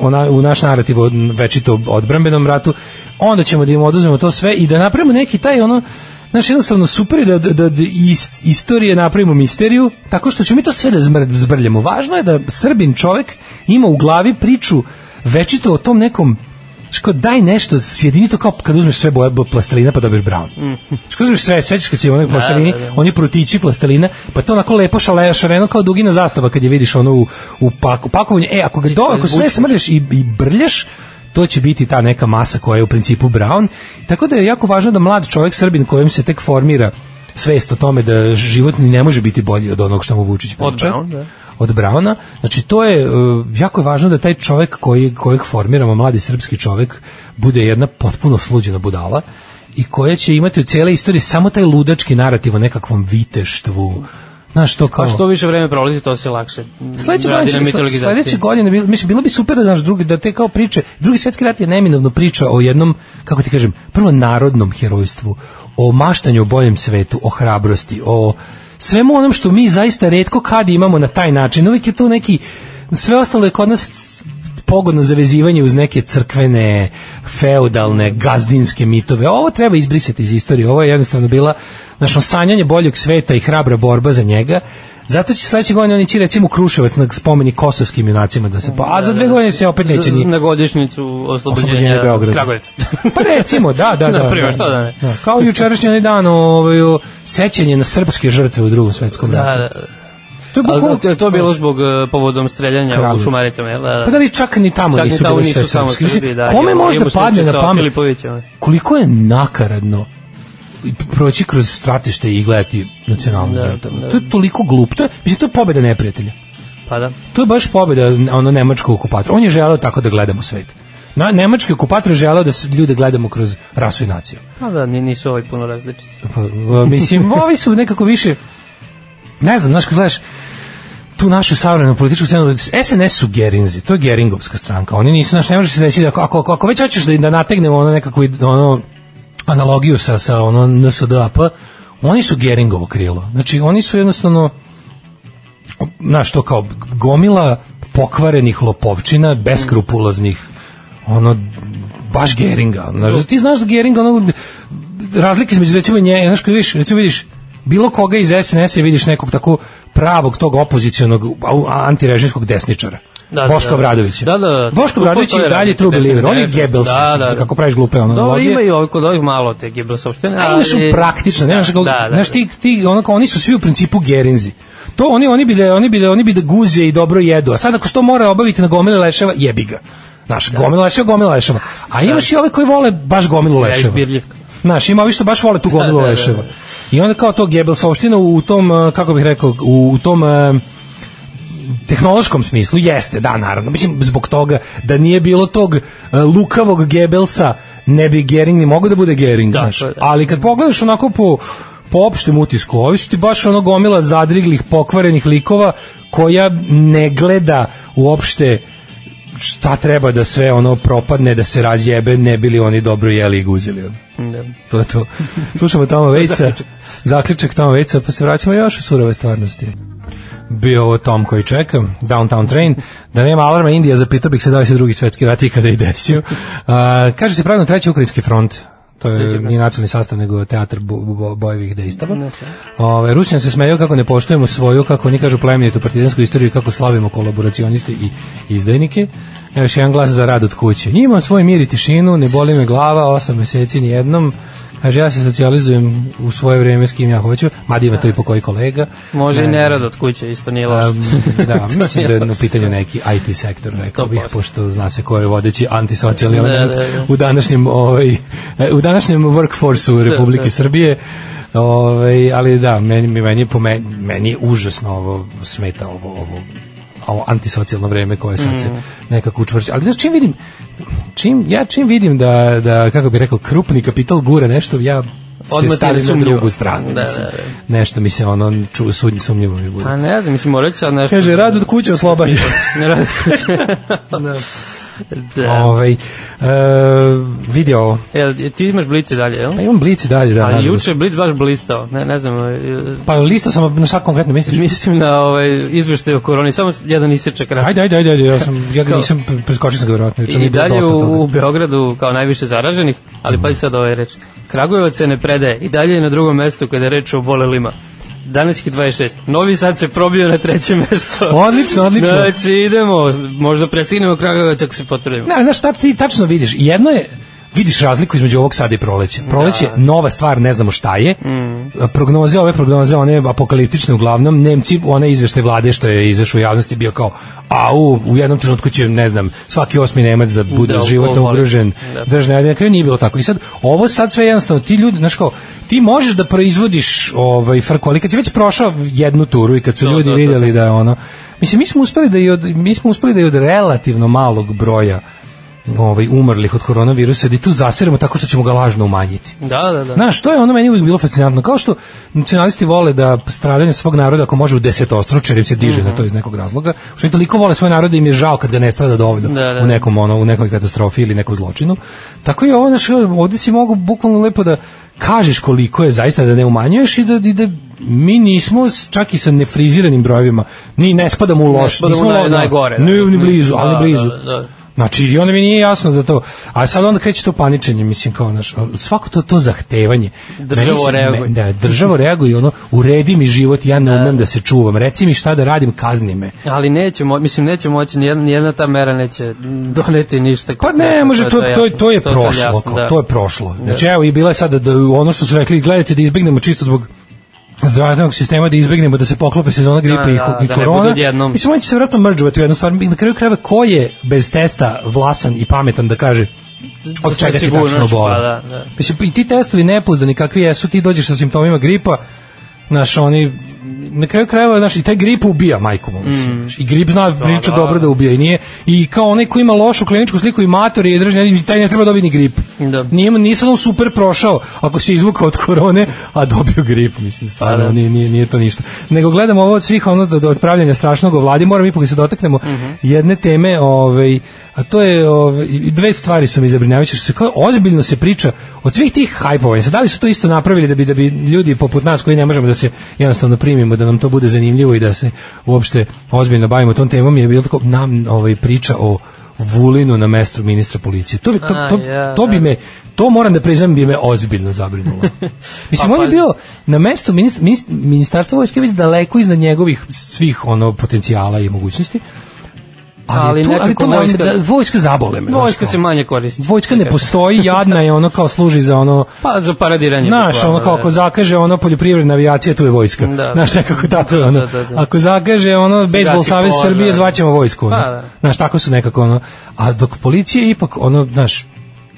S2: ona, u naš narativ o večito odbrambenom ratu, onda ćemo da im oduzmemo to sve i da napravimo neki taj ono, Znaš, jednostavno super je da, da, da is, istorije napravimo misteriju, tako što ćemo mi to sve da zmr, zbrljamo. Važno je da srbin čovek ima u glavi priču večito o tom nekom Što daj nešto, sjedini to kao kad uzmeš sve boje bo- plastelina pa dobiješ brown. Mm. Što uzmeš sve, sećaš kad si onaj plastelini, da, da, da. oni prutići plastelina, pa to onako lepo šale, šareno kao dugina zastava kad je vidiš ono u, u, pak, u pakovanju. E, ako ga do, ako sve smrljaš i, i brljaš, to će biti ta neka masa koja je u principu brown. Tako da je jako važno da mlad čovjek Srbin kojem se tek formira svest o tome da život ni ne može biti bolji od onog što mu Vučić priča.
S3: Od Brown, da.
S2: Od Brauna. Znači, to je, uh, jako je važno da taj čovjek koji, kojeg formiramo, mladi srpski čovjek, bude jedna potpuno sluđena budala i koja će imati u cijele istoriji samo taj ludački narativ o nekakvom viteštvu, Znaš, to kao...
S3: Pa što više vreme prolazi, to se lakše.
S2: Sledeće
S3: radi
S2: godine,
S3: na
S2: će-
S3: mitologizaciji.
S2: sledeće godine bilo, mislim, bilo bi super da znaš drugi, da te kao priče, drugi svetski rat je neminovno priča o jednom, kako ti kažem, prvo narodnom herojstvu, o maštanju o boljem svetu, o hrabrosti, o svemu onom što mi zaista redko kad imamo na taj način. Uvijek je to neki, sve ostalo je kod nas pogodno zavezivanje uz neke crkvene, feudalne, gazdinske mitove. Ovo treba izbrisati iz istorije. Ovo je jednostavno bila našo sanjanje boljeg sveta i hrabra borba za njega. Zato će sledeće godine oni će recimo u Kruševac na spomeni kosovskim junacima da se pa a za dve godine se opet neće ni
S3: Na godišnjicu
S2: oslobođenje
S3: oslobođenja
S2: Beograda.
S3: Kragujevca.
S2: pa recimo, da, da, da.
S3: Na primer, što da ne?
S2: Da, kao jučerašnji onaj dan ovaj, o, sećanje na srpske žrtve u drugom svetskom
S3: Da,
S2: ratu.
S3: da.
S2: To je
S3: Ali to,
S2: bukvalno...
S3: to je bilo zbog e, povodom streljanja
S2: Kragujevca.
S3: u Šumaricama, jel? Da, da.
S2: Pa da li čak ni tamo
S3: Čak ni
S2: nisu
S3: tamo
S2: bile sve
S3: nisu samo
S2: srpske? Mislim,
S3: Srbi, da,
S2: Kome
S3: imamo-
S2: možda
S3: imamo
S2: padne
S3: slučaj
S2: na
S3: sa
S2: pamet?
S3: Filipovićem, ono.
S2: Koliko je nakaradno i proći kroz stratište i gledati nacionalne da,
S3: Da,
S2: žrtve.
S3: da.
S2: To je toliko glup. To je, mislim, to je pobeda neprijatelja.
S3: Pa da.
S2: To je baš pobeda ono nemačkog okupatora. On je želeo tako da gledamo svet. Na, nemački okupator je želeo da se ljude gledamo kroz rasu i naciju.
S3: Pa da, ni- nisu ovaj puno različiti.
S2: Pa, a, mislim, ovi su nekako više, ne znam, znaš, kad gledaš tu našu savremenu političku scenu, SNS su Gerinzi, to je Geringovska stranka, oni nisu, znaš, ne možeš se reći da ako, ako, ako već hoćeš da, da nategnemo ono nekako, ono, analogiju sa, sa ono NSDAP, oni su Geringovo krilo, znači oni su jednostavno, znaš, to kao gomila pokvarenih lopovčina, beskrupuloznih, ono, baš Geringa. Znaš, ti znaš da Geringa, ono, razlike između, recimo, nje, znaš, koji vidiš, recimo, vidiš, bilo koga iz SNS-a i vidiš nekog tako pravog tog opozicionog au- antirežimskog desničara.
S3: Da, da,
S2: Boško
S3: da.
S2: Obradović.
S3: Da, da, da.
S2: Boško Obradović je i dalje
S3: Potpuno
S2: true
S3: je
S2: believer. On je
S3: definitivno.
S2: Goebbels.
S3: Da, da, da.
S2: Kako praviš glupe ono.
S3: Dobro,
S2: analogije.
S3: ima i ovih kod ovih malo te Gebels opštene,
S2: A imaš u praktično, nemaš kako,
S3: Da, da.
S2: znaš ti, ti ono kao, oni su svi u principu gerinzi. To oni oni bi da oni bi da oni bi da guze i dobro jedu. A sad ako se to mora obaviti na gomile leševa, jebi ga. Naš da. gomila leševa, gomila leševa. A imaš i ove koji vole baš gomilu
S3: Da. Ja
S2: leševa.
S3: izbirljiv.
S2: Znaš, ima ovi što baš vole tu gomilu
S3: da, da, da.
S2: leševa. I onda kao to Gebelsovština u tom, eh, kako bih rekao, u tom eh, tehnološkom smislu jeste, da, naravno. Mislim, zbog toga da nije bilo tog eh, lukavog Gebelsa, ne bi Gering ni mogao da bude Gering,
S3: Da,
S2: znaš.
S3: to je-
S2: Ali kad pogledaš onako po, po opštem utisku, ovi su ti baš ono gomila zadriglih, pokvarenih likova koja ne gleda uopšte šta treba da sve ono propadne, da se razjebe, ne bili oni dobro jeli i guzili. Ono.
S3: Da.
S2: To je to. Slušamo Toma Vejca, zaključak Toma Vejca, pa se vraćamo još u surove stvarnosti. Bio ovo Tom koji čekam, Downtown Train, da nema alarma Indija, zapitao bih se da li se drugi svetski rat ikada i desio. A, kaže se pravno treći ukrajinski front, to je nije nacionalni sastav, nego teatar bo, bo, bojevih dejstava. Ove, Rusija se smeju kako ne poštujemo svoju, kako oni kažu plemenitu partizansku istoriju, i kako slavimo kolaboracioniste i izdajnike. Evo još jedan glas za rad od kuće. Imam svoj mir i tišinu, ne boli me glava, osam meseci ni jednom. Kaže, ja se socijalizujem u svoje vreme s kim ja hoću, mada ima to i po koji kolega.
S3: da. Može i
S2: Ne znam.
S3: nerad od kuće, isto nije loše.
S2: Um, da, mislim da je na
S3: Loše.
S2: pitanju neki IT sektor, rekao bih,
S3: 100%.
S2: pošto zna se ko je vodeći antisocijalni
S3: Da,
S2: element
S3: da, da.
S2: u današnjem, ovaj, e, u današnjem workforce-u Republike
S3: da.
S2: Srbije. Ovaj, ali da, meni, mi- meni, je po meni, meni je užasno ovo smeta ovo, ovo ovo antisocijalno vreme koje sad se
S3: Mm.
S2: nekako učvršće. Ali znaš, čim vidim, čim, ja čim vidim da, da kako bih rekao, krupni kapital gura nešto, ja
S3: Odmah
S2: se
S3: ti je
S2: stavim na
S3: sumnjivo.
S2: drugu stranu.
S3: Da, da,
S2: mislim.
S3: da.
S2: Nešto mi se ono, ču, sumnj- sumnjivo mi bude.
S3: Pa ne znam, mislim, morat ću sad nešto...
S2: Kaže, rad od kuće oslobađa.
S3: Ne rad od kuće. da.
S2: Ovaj, e, vidi ovo.
S3: Jel, ti imaš blice dalje, jel?
S2: Pa imam blici dalje, da,
S3: Ali
S2: nažalost.
S3: juče je blic baš blistao. Ne, ne znam, e,
S2: Pa lista sam, na šta konkretno misliš?
S3: mislim na ovaj izveštaj o koroni, samo jedan isečak kratka.
S2: Ajde, ajde, ajde, ajde, ja, sam, ja ga
S3: Kao-
S2: nisam, pre- preskočio sam ga verovatno. juče, mi
S3: I
S2: je bilo
S3: dalje
S2: dosta toga.
S3: u, u Beogradu kao najviše zaraženih, ali pazi sad ove reči. Kragujevac se ne predaje i dalje je na drugom mestu kada je reč o obolelima. Danas ih je 26. Novi Sad se probio na treće mesto.
S2: Odlično, odlično.
S3: Znači idemo, možda presignemo Kragujevac ako se potrudimo.
S2: Ne, znaš šta ti tačno vidiš? Jedno je vidiš razliku između ovog sada i proleća. Proleće je nova stvar, ne znamo šta je. Prognoze, ove prognoze, one apokaliptične uglavnom, Nemci, one izvešte vlade što je izašao u javnosti bio kao a u, u jednom trenutku će, ne znam, svaki osmi Nemac da bude
S3: Da,
S2: životno
S3: oboli.
S2: ugrožen.
S3: Da.
S2: Držne, ali na kraju nije bilo tako. I sad, ovo sad sve jednostavno, ti ljudi, znaš kao, ti možeš da proizvodiš ovaj frku, ali kad si već prošao jednu turu i kad su
S3: Da,
S2: ljudi
S3: da, da.
S2: videli da je ono mislim mi smo uspeli da i od mi smo uspeli da i od relativno malog broja ovaj, umrlih od koronavirusa, da i tu zasiramo tako što ćemo ga lažno umanjiti.
S3: Da, da, da.
S2: Znaš, to je ono meni uvijek bilo fascinantno. Kao što nacionalisti vole da stradanje svog naroda, ako može u desetostroče, jer im se diže mm
S3: Mhm.
S2: -hmm. na to iz nekog razloga, što oni toliko vole svoj narod da im je žao kad ga ne strada dovoljno
S3: Da, da.
S2: u nekom, ono, u nekoj katastrofi ili nekom zločinu. Tako i ovo, znaš, ovdje si mogu bukvalno lepo da kažeš koliko je zaista da ne umanjuješ i da, i da mi nismo s- čak i sa nefriziranim brojevima, ni ne spadamo u loš,
S3: spadamo
S2: nismo
S3: u naj-
S2: lo-
S3: najgore, da.
S2: ni, ni blizu,
S3: Da,
S2: ali blizu.
S3: da, da.
S2: Znači, i onda mi nije jasno da to... A sad onda kreće to paničenje, mislim, kao, znaš, ali svako to, to zahtevanje.
S3: Državo
S2: Meni se-
S3: reaguje.
S2: me- Da, državo reaguje, ono, uredi mi život, ja ne umem da se čuvam, reci mi šta da radim, kazni me.
S3: Ali neće, mo, mislim, neće moći, nijedna, nijedna ta mera neće doneti ništa.
S2: Pa ne, može, to,
S3: da je-
S2: to, je- to je
S3: sad
S2: prošlo,
S3: jasno,
S2: kao,
S3: da.
S2: to je prošlo. Znači, evo, i bila je sada da, ono što su rekli, gledajte da izbignemo čisto zbog zdravstvenog sistema da izbegnemo da se poklope sezona gripe
S3: Da,
S2: i,
S3: da,
S2: i
S3: da ne
S2: korona.
S3: budu odjednom.
S2: Mislim, oni će se vratno mrđuvati u jednu stvar. I Na kraju krajeva, ko je bez testa vlasan i pametan da kaže od
S3: Sa
S2: čega si
S3: sigurnošću,
S2: tačno bolan?
S3: pa da, da.
S2: Mislim, i ti testovi nepouzdani kakvi jesu, ti dođeš sa simptomima gripa, znaš, oni na kraju krajeva, znaš, i taj grip ubija majku mu, mislim. I grip zna priča
S3: Mm. da,
S2: dobro
S3: da.
S2: da ubija i nije, i kao onaj ko ima lošu kliničku sliku i mator i držanje, i taj ne treba dobiti ni grip.
S3: Da.
S2: Nije, nije sad on super prošao ako se izvukao od korone, a dobio grip, mislim, stvarno,
S3: da.
S2: nije, nije, nije to ništa. Nego gledam ovo od svih ono do, do odpravljanja strašnog u vladi, moram ipak da se dotaknemo
S3: Mhm.
S2: jedne teme, ovaj, a to je, ovaj, i dve stvari su mi zabrinjavajuće, što se kao ozbiljno se priča od svih tih hajpovanja, sad da li su to isto napravili da bi, da bi ljudi poput nas koji ne možemo da se jednostavno primimo, da nam to bude zanimljivo i da se uopšte ozbiljno bavimo tom temom, je bilo tako nam ovaj, priča o Vulinu na mestu ministra policije. To, bi- to,
S3: A,
S2: to,
S3: ja,
S2: to bi
S3: da.
S2: me, to moram da priznam, bi me ozbiljno zabrinulo. Mislim,
S3: Pa,
S2: on je
S3: pazi.
S2: bio bio na mestu minist- minist- ministarstva vojske već daleko iznad njegovih svih ono potencijala i mogućnosti.
S3: Ali
S2: tu-
S3: nekako
S2: me-
S3: vojska-
S2: da, vojska zabole me.
S3: Vojska
S2: znaš,
S3: se
S2: kao.
S3: manje koristi.
S2: Vojska ne postoji, jadna je, ono kao služi za ono
S3: Pa za paradiranje.
S2: Naš,
S3: bukvalno,
S2: ono kao
S3: da.
S2: ako zakaže ono poljoprivredna avijacija, tu je vojska.
S3: Da.
S2: Znaš, nekako tako je ono.
S3: Da, da, da.
S2: Ako zakaže ono bejsbol
S3: gasi
S2: savez
S3: požar.
S2: Srbije, zvaćemo vojsku. Ono.
S3: Pa, da.
S2: Znaš, tako su nekako ono. A dok policija je ipak ono, znaš,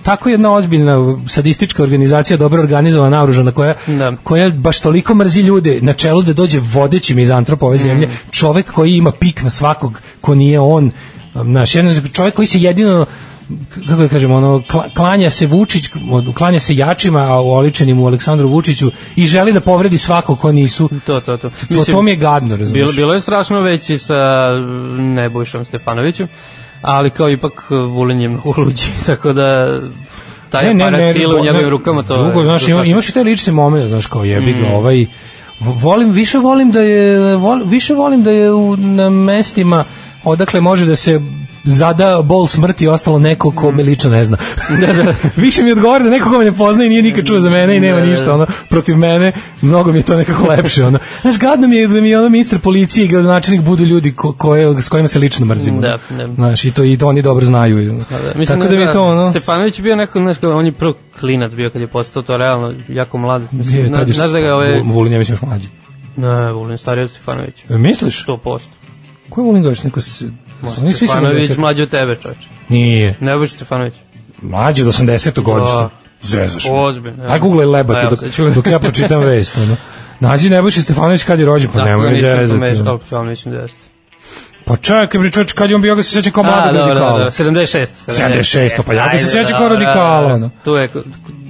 S2: tako jedna ozbiljna sadistička organizacija, dobro organizovana, naoružana, koja,
S3: Da.
S2: koja baš toliko mrzi ljude na čelu da dođe vodeći mizantrop
S3: Mm.
S2: ove zemlje, čovek koji ima pik na svakog ko nije on, naš jedan čovek koji se jedino kako da kažem, ono, kla- klanja se Vučić, klanja se jačima, a oličenim u Aleksandru Vučiću i želi da povredi svakog ko nisu.
S3: To, to, to.
S2: To, to mi je gadno, razumiješ?
S3: Bilo, bilo je strašno već i sa mm, Nebojšom Stefanovićem, ali kao ipak Vulin je mnogo luđi, tako da taj ne, aparat sile u
S2: ne,
S3: njegovim
S2: ne,
S3: rukama to
S2: drugo,
S3: je- Mm.
S2: znaš,
S3: to je
S2: ima,
S3: strašno.
S2: imaš i taj lični moment, znaš, kao jebi ga, ovaj, v- volim, više volim da je, vol, više volim da je u, na mestima odakle može da se zada bol smrti i ostalo neko ko
S3: Mm.
S2: me lično ne zna. Više mi odgovara da neko ko me ne pozna i nije nikad čuo za mene i nema
S3: Da, da,
S2: ništa
S3: da.
S2: ono protiv mene, mnogo mi je to nekako lepše ono. Znaš, gadno mi je da mi ono ministar policije i gradonačelnik budu ljudi ko, koje, s kojima se lično mrzimo.
S3: Da, da.
S2: Znaš, i to, i to oni dobro znaju.
S3: Da, mislim,
S2: Tako da mi je to ono...
S3: Stefanović je bio neko, znaš, kao, on je prvo klinac bio kad je postao to realno, jako mlad.
S2: Bio
S3: Mislim,
S2: je
S3: zna-
S2: tad još-
S3: znaš da ga ove...
S2: Vu- Vulin, ja mislim još mlađi.
S3: Ne, Vulin stariji od Stefanovića.
S2: E, Misliš?
S3: 100%.
S2: Ko je Vulin Gavić? Neko se... su oni svi
S3: Stefanović
S2: 70?
S3: mlađi od tebe, čovječe.
S2: Nije.
S3: Nebojša Stefanović.
S2: Pa Mlađi od 80. godišta.
S3: Da.
S2: Zezaš. me.
S3: Ozbiljno.
S2: Aj googlaj lebate
S3: Evo,
S2: dok,
S3: sad ću-
S2: dok ja pročitam vest. Ono. Nađi Nebojša Stefanović kad je rođen,
S3: da
S2: pa nemoj mi zezati. ono.
S3: Općalno mislim da jeste.
S2: Pa čekaj, bre čovječe, kad je on bio, ga se sjećam kao
S3: A,
S2: mladog
S3: dobro, dobro,
S2: radikala.
S3: 76.
S2: 76, pa ja ga se
S3: Ajde,
S2: sjećam kao
S3: dobro,
S2: radikala.
S3: da,
S2: ono.
S3: Tu je...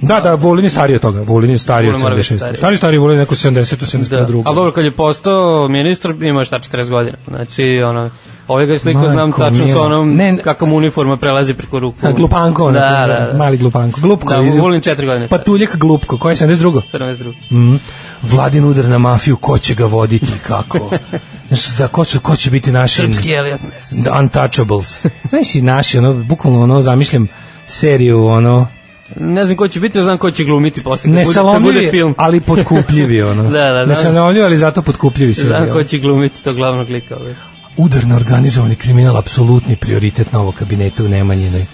S2: Da, da, Vulin je stariji od toga. Vulin je stariji od
S3: Vulin mora biti
S2: 76.
S3: stariji.
S2: Stari, stari Vulin je neko 70,
S3: Da.
S2: 72.
S3: Ali dobro, kad je postao ministar, imao je šta 40 godina. Znači, ono, ovaj ga sliku znam
S2: Majko
S3: tačno sa
S2: mila.
S3: onom,
S2: Ne,
S3: ne,
S2: ne.
S3: kako mu uniforma prelazi preko ruku.
S2: A, glupanko, ono,
S3: da, da, da.
S2: mali glupanko. Glupko.
S3: Da,
S2: iz-
S3: Vulin četiri godine
S2: Pa
S3: star.
S2: tuljak glupko, koje je 72.
S3: 72.
S2: Mm. Vladin udar na mafiju, ko će ga voditi i kako? Znaš, da, ko, su, ko će biti naši
S3: Srpski Elliot Ness.
S2: The untouchables? Znaš si naši, ono, bukvalno ono, zamišljam seriju, ono,
S3: Ne znam ko će biti, znam ko će glumiti posle. kad bude- kad bude
S2: nesalomljivi,
S3: film.
S2: ali potkupljivi, ono.
S3: Da, da, da.
S2: Nesalomljivi, ali zato potkupljivi serija.
S3: Znam ko će glumiti to glavnog lika. Ovaj.
S2: Udar na organizovani kriminal, apsolutni prioritet novog kabineta u Nemanjinoj.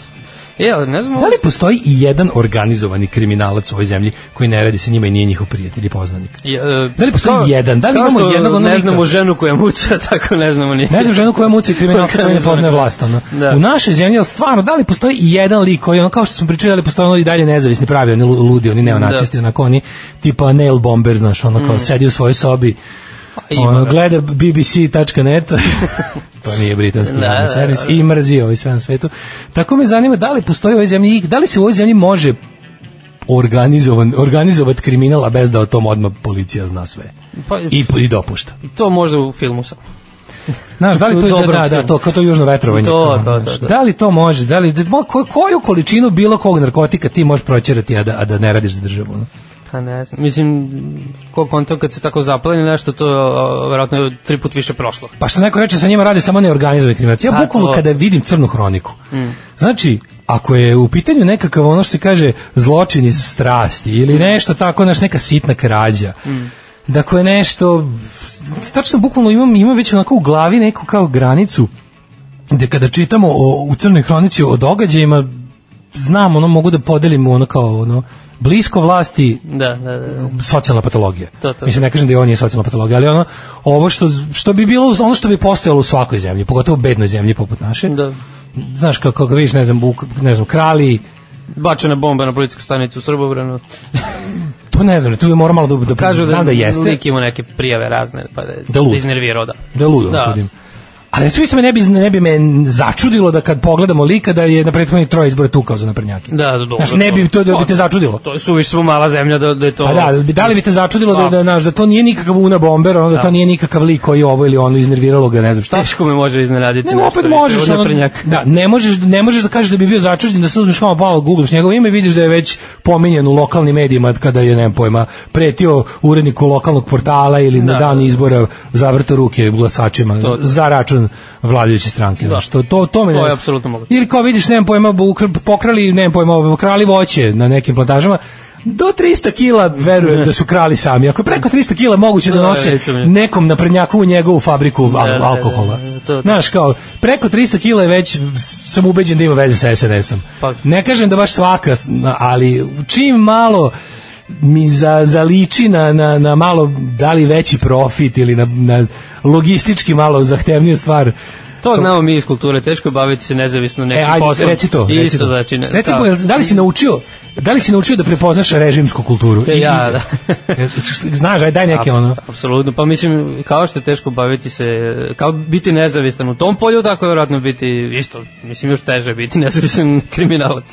S3: E, ali ne znam...
S2: Da li postoji i jedan organizovani kriminalac u ovoj zemlji koji ne radi sa njima i nije njihov prijatelj i poznanik?
S3: Je, e,
S2: Da li postoji
S3: kao-
S2: jedan? Da li
S3: kao
S2: imamo
S3: što
S2: jednog onog
S3: Ne
S2: lika?
S3: znamo ženu koja muca, tako ne znamo ni.
S2: Ne znam ženu koja muci kriminalca koja ne poznaje vlast. Ono.
S3: Da.
S2: U našoj zemlji, ali stvarno, da li postoji i jedan lik koji, ono, kao što smo pričali, ali postoje ono i dalje nezavisni pravi,
S3: Da.
S2: oni lu- ludi, oni neonacisti, onako oni, tipa nail bomber, znaš, ono kao sedi u svojoj sobi,
S3: Mm. Pa ima
S2: Ono,
S3: ga.
S2: gleda bbc.net, to nije britanski
S3: Da,
S2: javni
S3: da,
S2: servis,
S3: da.
S2: i mrzi ovaj sve na svetu. Tako me zanima da li postoji u ovoj zemlji, i da li se u ovoj zemlji može organizovan, organizovat kriminal, a bez da o tom odmah policija zna sve.
S3: Pa,
S2: I, i dopušta.
S3: To možda u filmu samo.
S2: Znaš, da li
S3: U
S2: to je,
S3: dobrom
S2: da, da,
S3: filmu.
S2: to, kao to južno vetrovanje.
S3: To, to,
S2: Znaš,
S3: to, to.
S2: Da li to može, da li, da, mo- ko, koju količinu bilo kog narkotika ti možeš proćerati, a da, a da ne radiš za državu? ono?
S3: Pa ne znam, mislim, ko kontam kad se tako zapleni nešto, to je o, verovatno je tri put više prošlo.
S2: Pa što neko reče, sa njima radi samo neorganizovani kriminalci. Ja
S3: Pa,
S2: bukvalno
S3: to. Mm.
S2: kada vidim crnu hroniku, znači, ako je u pitanju nekakav ono što se kaže zločin iz strasti
S3: Mm.
S2: ili nešto tako, naš neka sitna krađa, da ako je nešto, tačno bukvalno imam, imam već onako u glavi neku kao granicu, gde kada čitamo o, u crnoj hronici o događajima, znam, ono mogu da podelim ono kao ono, blisko vlasti,
S3: Da, da, da.
S2: socijalna patologija.
S3: To, to.
S2: Mislim, ne kažem da je ovo nije socijalna patologija, ali ono, ovo što, što bi bilo, ono što bi postojalo u svakoj zemlji, pogotovo u bednoj zemlji poput naše,
S3: da.
S2: znaš, kako, kako vidiš, ne znam, buk, ne znam, krali,
S3: Bačena bomba na policijsku stanicu u Srbobranu.
S2: to ne znam, tu je moramo malo da, da,
S3: Kažu da,
S2: znam da jeste,
S3: Lik ima neke prijave razne, pa da,
S2: Da lud.
S3: da iznervirao, da.
S2: da je ludo.
S3: Da.
S2: Da. Ali recimo isto me ne bi, ne bi me začudilo da kad pogledamo lika da je na prethodnih troje izbore tukao za naprednjake.
S3: Da, da, dobro.
S2: Znaš, ne bi to da bi te začudilo.
S3: To je suviš smo mala zemlja da, da je to... Pa.
S2: Pa da, da bi- da li bi te začudilo da, da, znaš, da to nije nikakav Una Bomber, ono, da, to nije nikakav lik koji je ovo ili ono iznerviralo ga, ne znam šta.
S3: Teško me može iznenaditi.
S2: Ne,
S3: nešto
S2: opet
S3: više
S2: možeš,
S3: od
S2: ono,
S3: naprednjaka.
S2: da, ne možeš, ne možeš da kažeš da bi bio začuđen, da se uzmeš kao malo googlaš njegovo ime, i vidiš da je već pominjen u lokalnim medijima kada je, nemam pojma, pretio uredniku lokalnog portala ili na
S3: Da.
S2: dan izbora zavrto ruke glasačima
S3: To- da.
S2: za račun vladajuće stranke. Da. Što, to, to, me
S3: To
S2: ne-
S3: je apsolutno moguće.
S2: Ili kao vidiš, nemam pojma, ukr- pokrali, nemam pojma, krali voće na nekim plantažama, do 300 kila verujem da su krali sami. Ako je preko 300 kila moguće da
S3: Da,
S2: nose
S3: recimo.
S2: nekom naprednjaku u njegovu fabriku al-
S3: da, da,
S2: alkohola.
S3: da, to-
S2: Znaš, kao, preko 300 kila je već, s- sam ubeđen da ima veze sa SNS-om.
S3: Pa-
S2: Ne kažem da baš svaka, s- na- ali čim malo mi za, zaliči na, na, na malo da li veći profit ili na, na logistički malo zahtevniju stvar.
S3: To znamo mi iz kulture, teško je baviti se nezavisno nekim
S2: E, ajde,
S3: poslom.
S2: reci to.
S3: I
S2: Reci
S3: isto,
S2: to.
S3: znači, ne,
S2: reci,
S3: da.
S2: da. da li si naučio Da li si naučio da prepoznaš režimsku kulturu?
S3: Te
S2: I-
S3: ja, da.
S2: i- e, Znaš, aj daj neke ono.
S3: Apsolutno, pa mislim, kao što je teško baviti se, kao biti nezavistan u tom polju, tako je vjerojatno biti isto, mislim još teže biti nezavistan kriminalac.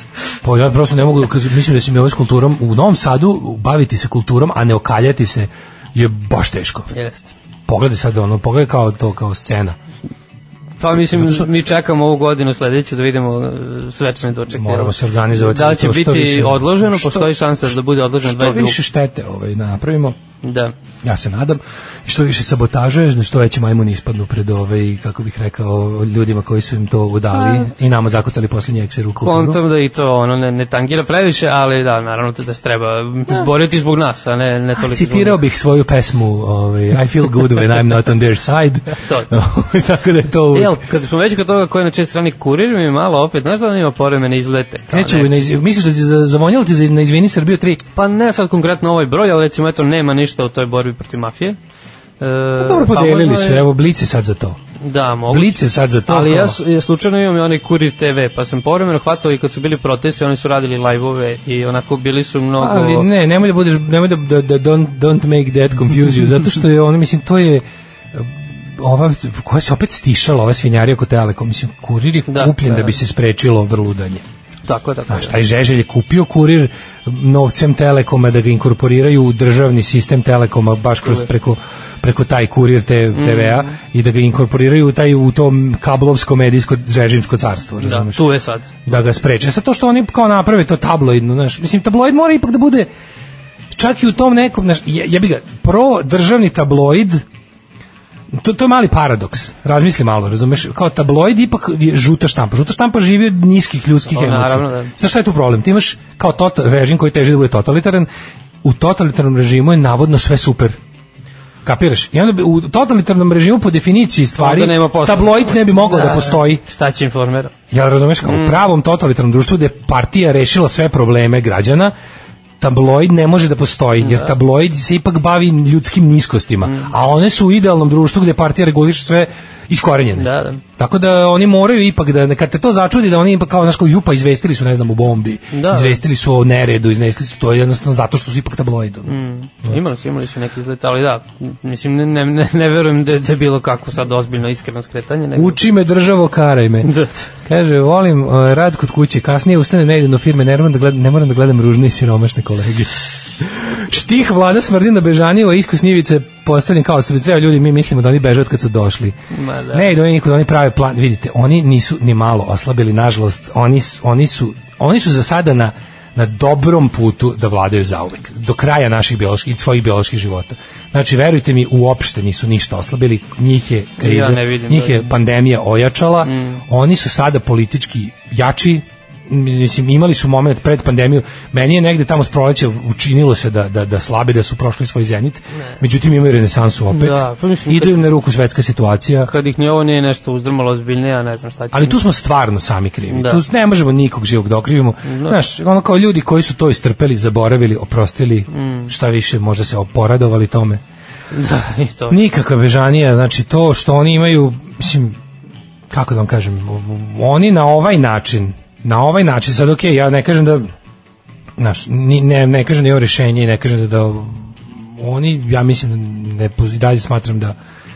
S2: Pa ja prosto ne mogu, kad- mislim da se mi ovo s kulturom, u Novom Sadu baviti se kulturom, a ne okaljati se, je baš teško.
S3: Jeste.
S2: Pogledaj sad ono, pogledaj kao to, kao scena.
S3: Pa mislim, mi čekamo ovu godinu sledeću da vidimo e, svečane dočeke.
S2: Moramo se organizovati
S3: Da
S2: za
S3: li će
S2: to, što
S3: biti
S2: više-
S3: odloženo,
S2: što-
S3: postoji šansa da bude odloženo
S2: Što
S3: 22.
S2: više štete ovaj, da napravimo,
S3: Da.
S2: ja se nadam, i što više sabotaže, na što veće majmuni ispadnu pred ove i kako bih rekao ljudima koji su im to udali i nama zakucali poslednji ekser u kulturu.
S3: Kontam da i to ono ne, ne tangira previše, ali da, naravno da se treba boriti zbog nas, a ne, ne toliko. zbog
S2: Citirao bih svoju pesmu ovaj, I feel good when I'm not on their side.
S3: To.
S2: Tako da je to...
S3: Jel, kad smo već kod toga ko je na čej strani kurir, mi malo opet, znaš da on ima poremene izlete? kao
S2: Neću,
S3: ne?
S2: ne, misliš da ti za, zamonjalo ti za, na Izvini Srbiju 3?
S3: Pa ne sad konkretno ovaj broj, ali recimo eto nema ništa u toj borbi protiv mafije. E, pa
S2: Dobro podelili
S3: možda
S2: su,
S3: je-
S2: evo Blic je sad za to.
S3: Da, mogu.
S2: Blic je sad za to.
S3: Ali
S2: kao-
S3: ja, su- ja slučajno imam i onaj Kurir TV, pa sam povremeno hvatao i kad su bili protesti, oni su radili live-ove i onako bili su mnogo...
S2: Ali ne, nemoj da budeš, nemoj da, da, da don't, don't make that confuse you, zato što je ono, mislim, to je eh, ova, koja se opet stišala, ova svinjarija oko Telekom, mislim, kurir je
S3: Da,
S2: kupljen da,
S3: da,
S2: bi se sprečilo vrludanje.
S3: Tako, tako.
S2: Znaš, taj Žeželj je kupio kurir novcem Telekoma da ga inkorporiraju u državni sistem Telekoma baš kroz preko preko taj kurir te, TV-a i da ga inkorporiraju u taj u tom kablovsko medijsko žežimsko carstvo,
S3: Da,
S2: razumeš?
S3: tu je sad.
S2: da ga spreče. Sad to što oni kao naprave to tabloidno, znaš, mislim tabloid mora ipak da bude čak i u tom nekom, znaš, je, jebi ga, pro državni tabloid to, to je mali paradoks. Razmisli malo, razumeš? Kao tabloid ipak je žuta štampa. Žuta štampa živi od niskih ljudskih
S3: O,
S2: emocija.
S3: naravno, da.
S2: Sa šta je tu problem? Ti imaš kao tot, režim koji teži da bude totalitaran. U totalitarnom režimu je navodno sve super. Kapiraš? I onda bi u totalitarnom režimu po definiciji stvari
S3: Onda nema posla.
S2: tabloid ne bi mogao da postoji.
S3: E, Šta će informera?
S2: Ja razumeš kao
S3: Mm.
S2: u pravom totalitarnom društvu gde je partija rešila sve probleme građana, tabloid ne može da postoji, jer
S3: Mm.
S2: tabloid se ipak bavi ljudskim niskostima, a one su u idealnom društvu gde partija reguliše sve iskorenjene.
S3: Da, da.
S2: Tako da oni moraju ipak da kad te to začudi da oni ipak kao znaš kao jupa izvestili su ne znam o bombi,
S3: Da.
S2: izvestili su o neredu, izvestili su to jednostavno zato što su ipak tabloid. Mm.
S3: Imali su, imali su neki izlet, ali da, mislim, ne, ne, ne, ne verujem da, je- da je bilo kako sad ozbiljno iskreno skretanje. Nego...
S2: Uči me državo, karaj me.
S3: Da.
S2: Kaže, volim uh, rad kod kuće, kasnije ustane ne idem do firme, ne moram da gledam, ne moram da gledam ružne i siromašne kolege. Štih vlada smrdi na bežanjivo, iskus njivice je postavljen kao osobi, ceo ljudi, mi mislimo da oni beže od kad su došli.
S3: Ma da.
S2: Ne idu oni nikud, oni prave plan, vidite, oni nisu ni malo oslabili, nažalost, oni, s- oni, su, oni su za sada na na dobrom putu da vladaju zauvek, do kraja naših bioloških, i svojih bioloških života. Znači, verujte mi, uopšte nisu ništa oslabili, njih je kriza,
S3: Ja ne vidim
S2: njih
S3: da-
S2: je pandemija ojačala,
S3: Mm.
S2: oni su sada politički jači, mislim, imali su moment pred pandemiju, meni je negde tamo s proleća učinilo se da, da, da slabe, da su prošli svoj zenit, međutim imaju renesansu opet,
S3: Da, pa mislim,
S2: idu im na ruku svetska situacija,
S3: Kad ih ni ovo nije nešto uzdrmalo ozbiljnije, ja ne znam šta će.
S2: ali tu smo stvarno sami krivi.
S3: Da.
S2: Tu ne možemo nikog živog da okrivimo. Znaš, ono kao ljudi koji su to istrpeli, zaboravili, oprostili,
S3: Mm.
S2: šta više, možda se oporadovali tome.
S3: Da, i to.
S2: Nikakva bežanija, znači to što oni imaju, mislim, kako da vam kažem, oni na ovaj način, na ovaj način, sad okej, ja ne kažem da, znaš, ni, ne, ne kažem da je rešenje i ne kažem da, da oni, ja mislim, da ne, poz- i dalje smatram da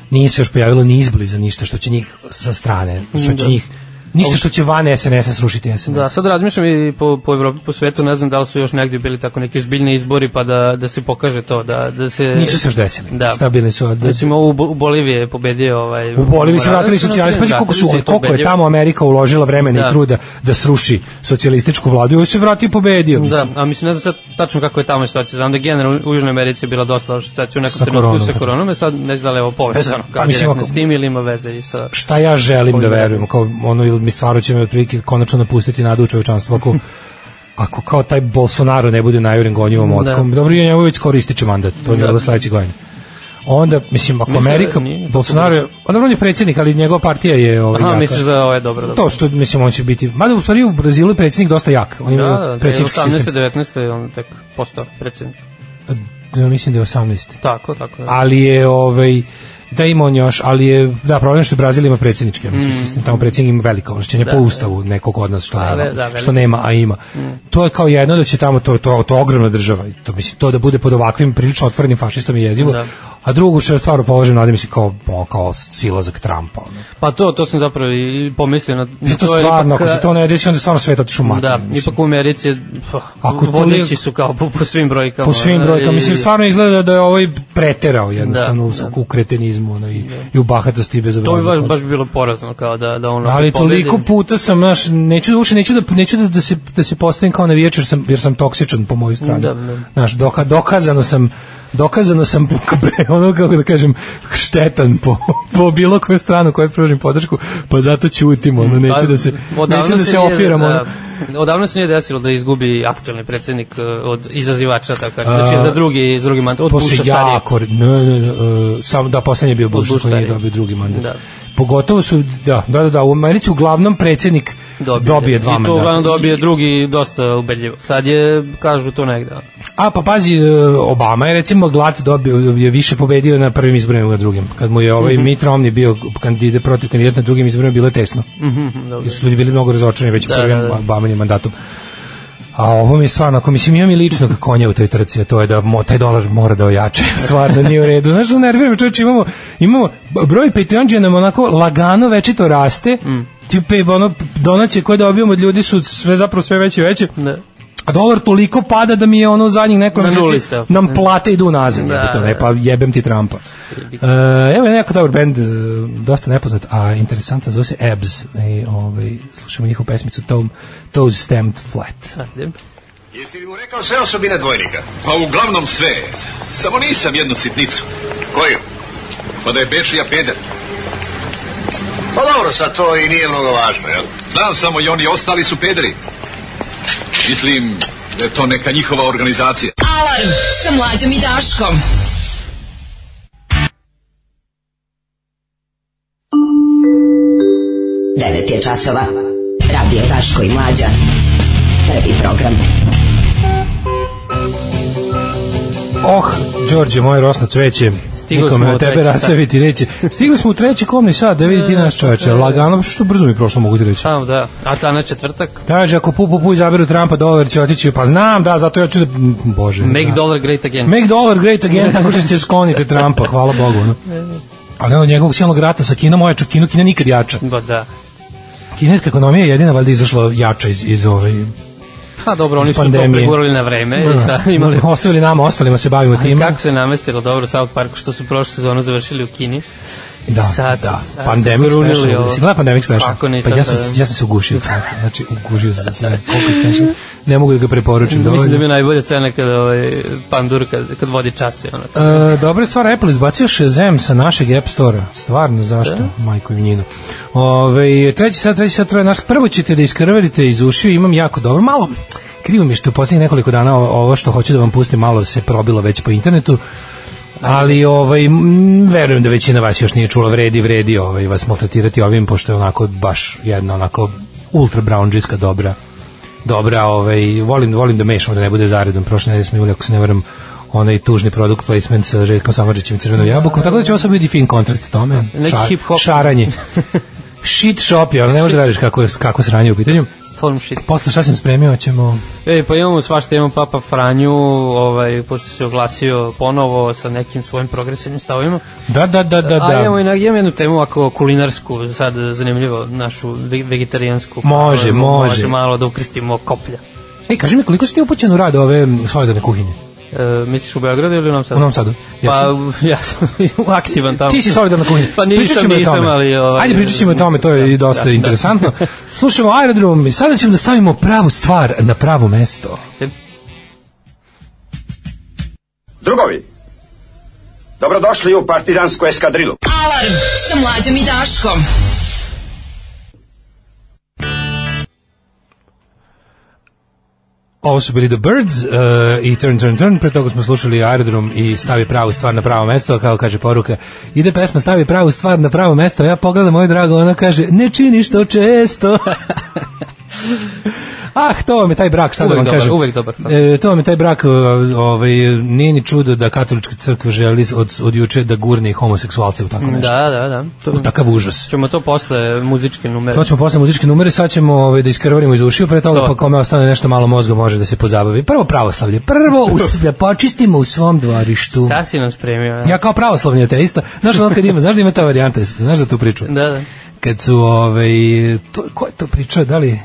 S2: nije se još pojavilo ni izbliza ništa što će njih sa strane, što će njih, ništa što će van SNS-a srušiti SNS.
S3: Da, sad razmišljam i po, po Evropi, po svetu, ne znam da li su još negdje bili tako neki ozbiljni izbori pa da, da se pokaže to, da, da se...
S2: Nisu se još desili.
S3: Da.
S2: Stabilni su. Da,
S3: Recimo u, Bo- u Boliviji je pobedio ovaj...
S2: U Boliviji se vratili
S3: Morales,
S2: socijalisti, pazi koliko su
S3: da vratili se i
S2: koliko je
S3: pobedio.
S2: tamo Amerika uložila vremena
S3: Da.
S2: i truda da sruši socijalističku vladu i on se vratio i pobedio.
S3: Da,
S2: mislim.
S3: a mislim ne znam sad tačno kako je tamo situacija. Znam da generalno u Južnoj Americi je bila dosta loša situacija u nekom
S2: Sa
S3: trenutku
S2: koronom,
S3: sa
S2: tako.
S3: koronom, e sad ne znam da li je ovo povezano kao
S2: mislim,
S3: direktno
S2: ako-
S3: s tim ili ima veze i sa...
S2: Šta ja želim da
S3: Koji je?
S2: verujem, kao ono ili mi stvarno će me otprilike konačno napustiti nadu u čovečanstvo ako ako kao taj Bolsonaro ne bude najuren gonjivom otkom. Dobro, ja njemu već skoro ističe mandat, to je
S3: Da.
S2: da. sledeće godine. Onda, mislim, ako
S3: Mislim da
S2: Amerika,
S3: nije tako
S2: Bolsonaro je, a dobro, on je predsjednik, ali njegova partija je ovaj,
S3: Aha,
S2: jaka.
S3: misliš da ovo je dobro, dobro.
S2: To što, mislim, on će biti, mada u stvari u Brazilu je predsjednik dosta jak, on
S3: Da,
S2: ima
S3: da, da, je
S2: predsjednički sistem.
S3: 18-19 je on tek postao predsjednik.
S2: Da, mislim da je 18.
S3: Tako, tako. Da.
S2: Ali je ovaj da ima on još, ali je da problem je što Brazil ima predsjednički ja mislim, sistem, tamo predsjednik ima veliko ovlašćenje po ustavu nekog od nas što
S3: Mm. Da,
S2: nema,
S3: ve- da, veliko.
S2: što nema, a ima. To je kao jedno da će tamo to to to je ogromna država i to mislim to da bude pod ovakvim prilično otvorenim fašistom je jezivo.
S3: Da.
S2: A drugo što je stvarno položaj nade mislim kao o, kao silazak Trumpa. ono.
S3: Pa to, to sam zapravo i pomislio na...
S2: Mislim, to
S3: je
S2: stvarno,
S3: ipak,
S2: ako se to ne desi, onda je stvarno svet otišu mater.
S3: Da, ipak u Americi je, pah,
S2: Ako to
S3: vodeći
S2: li-
S3: su kao po, po svim brojkama.
S2: po svim
S3: ono,
S2: brojkama.
S3: i-
S2: Mislim, stvarno izgleda da je ovaj preterao jednostavno
S3: Da,
S2: u, u kretenizmu ono, i, i u bahatosti i
S3: To bi
S2: bezobraznosti.
S3: baš, baš bilo porazno kao da, da ono...
S2: Ali toliko puta sam, znaš, neću, uopšte neću, da, neću da, da, se, da se postavim kao navijač jer sam, jer sam toksičan po moju stranu.
S3: Da, da.
S2: Znaš, doka, dokazano sam dokazano sam pre, ono kako da kažem štetan po, po bilo koju stranu kojoj pružim podršku pa zato ćutim ono neću da se
S3: Pa, odavno
S2: neću da se
S3: nije-
S2: ofiram ono.
S3: Da, odavno se nije desilo da izgubi aktualni predsednik eh, od izazivača, tako kažem. Znači, za drugi, za drugi mandat, od
S2: posle
S3: Busha starije.
S2: jako, ne, ne, ne, e, samo da poslednji je bio Bush,
S3: Bush
S2: koji nije
S3: stariji.
S2: dobio drugi mandat.
S3: Da.
S2: Pogotovo su, da, da, da, da, u Americi uglavnom predsednik dobije,
S3: Dobije, da.
S2: dva
S3: I
S2: mandata.
S3: to uglavnom dobije drugi dosta ubedljivo. Sad je, kažu to negde. ono.
S2: A pa pazi, e, Obama je recimo glat dobio, je više pobedio na prvim izborima nego na drugim. Kad mu je
S3: Mhm.
S2: ovaj Mitt Romney bio kandidat protiv kandidata na drugim izborima, bilo je tesno.
S3: Mhm, dobro.
S2: Jer su ljudi bili mnogo razočarani već da,
S3: Da,
S2: prvim
S3: da, da.
S2: Obamanim mandatom. A ovo mi je stvarno, ako mislim imam i ličnog konja u toj trci, a to je da mo, taj dolar mora da ojače, stvarno nije u redu. Znaš što nerviramo, čovječe, imamo, imamo b- broj Patreonđe nam onako lagano večito raste,
S3: Mm.
S2: tipe ono, donacije koje dobijamo od ljudi su sve zapravo sve veće i veće,
S3: Da.
S2: a dolar toliko pada da mi je ono u zadnjih nekoliko
S3: Na nuli
S2: meseci
S3: ste.
S2: nam plate idu nazad.
S3: Da,
S2: Da, to ne,
S3: da.
S2: pa jebem ti Trumpa. E, evo je neko dobar bend, e, dosta nepoznat, a interesantan, zove se Ebs. I, ovaj, slušamo njihovu pesmicu Tom, Toes Stamped Flat.
S3: Ajde.
S8: Jesi li mu rekao sve osobine dvojnika? Pa uglavnom sve. Samo nisam jednu sitnicu. Koju? Pa da je Bečija peder. Pa dobro, sad to i nije mnogo važno, jel? Znam samo i oni ostali su pederi. Mislim da je to neka njihova organizacija.
S4: Alarm sa mlađom i Daškom. Devet je časova. Radio Daško i Mlađa. Prvi program.
S2: Oh, Đorđe, moje rosno cveće.
S3: stigli
S2: Nikome
S3: smo
S2: od
S3: u
S2: tebe
S3: treći sat.
S2: rastaviti neće. Stigli smo u treći komni sad, da vidi ti nas čoveče. Lagano, što brzo mi je prošlo, mogu ti reći.
S3: Samo da, a danas četvrtak,
S2: Kaže, ako pu, pu, pu izaberu Trumpa, dolar će otići. Pa znam, da, zato ja ću da... Bože.
S3: make
S2: da.
S3: dollar great again.
S2: Make dollar great again, tako što će skloniti Trumpa, hvala Bogu. ono. Ali ono njegovog silnog rata sa Kinom, ojaču Kinu, Kina nikad jača.
S3: Ba da.
S2: Kineska ekonomija je jedina valjda izašla jača iz, iz ove...
S3: Pa dobro, oni su to
S2: Pandemije. Da.
S3: pregurali na vreme i sad imali
S2: Ostavili nama, ostalima se bavimo
S3: I
S2: time.
S3: kako se namestilo dobro u South Parku što su prošlu sezonu završili u Kini.
S2: Da,
S3: sad
S2: da.
S3: su- sad
S2: Pandemic
S3: su grunili
S2: special.
S3: ovo.
S2: Si gleda Pandemic special?
S3: Kako nisam,
S2: pa ja
S3: da,
S2: sam,
S3: da.
S2: ja sam se ugušio. od smeha. Znači, ugušio sam se od smeha. Koliko je smešan. Ne mogu da ga preporučim.
S3: Mislim da
S2: dovoljno.
S3: mi je najbolja cena kada ovaj, Pandur kad, kad vodi čas i ono.
S2: E, dobra je stvar, Apple izbacio Shazam sa našeg App Store-a. Stvarno, zašto? Majko i njinu. Ove, treći sat, treći sat, troje. Naš prvo ćete da iskrverite iz ušiju, imam jako dobro. Malo, krivo mi je što u poslednjih nekoliko dana o- ovo što hoću da vam pustim, malo se probilo već po internetu. Ali ovaj m, verujem da većina vas još nije čula vredi vredi ovaj vas maltretirati ovim pošto je onako baš jedna onako ultra brownđiska dobra dobra, ovaj, volim, volim da mešamo, da ne bude zaredom. Prošle nedelje smo imali, ako se ne varam, onaj tužni produkt placement sa Željkom Samarđićem i Crvenom jabukom, tako da će ovo sad biti fin kontrast tome.
S3: Neki hip-hop.
S2: Šaranje. Shit shop, ja, ne možeš da veriš kako, je, kako sranje u pitanju.
S3: Storm shit.
S2: Posle šta sam spremio, ćemo...
S3: E, pa imamo svašta, imamo Papa Franju, ovaj, pošto se oglasio ponovo sa nekim svojim progresivnim stavovima.
S2: Da, da, da, da,
S3: A imamo,
S2: da.
S3: i na- imamo jednu temu ako kulinarsku, sad zanimljivo, našu ve- vegetarijansku.
S2: Može,
S3: Ovo,
S2: može.
S3: malo da ukrstimo koplja.
S2: Ej, kaži mi, koliko si ti upućen u rad ove solidarne kuhinje?
S3: E, misliš u Beogradu ili u Novom Sadu?
S2: U Novom Sadu.
S3: Pa,
S2: Jesi?
S3: ja sam aktivan tamo.
S2: Ti si solidarna kuhinja.
S3: Pa
S2: Pričat
S3: nisam,
S2: ćemo i o
S3: nisam,
S2: tome.
S3: ali... Ovaj,
S2: Ajde, pričat ćemo o tome, to je i dosta
S3: Da, da.
S2: interesantno. Slušamo aerodrom i sada ćemo da stavimo pravu stvar na pravo mesto.
S8: Drugovi, dobrodošli u partizansku eskadrilu.
S4: Alarm sa mlađom i Daškom.
S2: Ovo su bili The Birds uh, i Turn, Turn, Turn. Pre toga smo slušali aerodrom i stavi pravu stvar na pravo mesto, a kao kaže poruka. Ide pesma stavi pravu stvar na pravo mesto, a ja pogledam moju drago, ona kaže ne činiš to često. Ah, to vam je taj brak, sad da
S3: Uvek
S2: vam
S3: dobar,
S2: kažem.
S3: uvek dobar.
S2: E, to vam je taj brak, e, ovaj, nije ni čudo da katolička crkva želi od, od juče da gurne i homoseksualce u tako nešto.
S3: Da, da, da. To,
S2: U takav užas.
S3: ćemo to posle muzičke numere.
S2: To ćemo posle muzičke numere, sad ćemo ovaj, da iskrvarimo iz ušiju, pre toga
S3: To.
S2: pa kome ostane nešto malo mozga može da se pozabavi. Prvo pravoslavlje, prvo u, s- da počistimo u svom dvorištu.
S3: Šta si nam spremio? a?
S2: Ja kao pravoslavni ateista, znaš ono kad ima, znaš da ima ta varijanta, znaš da tu priču.
S3: Da, da.
S2: Kad su, ovaj, to, ko je to pričao, da li,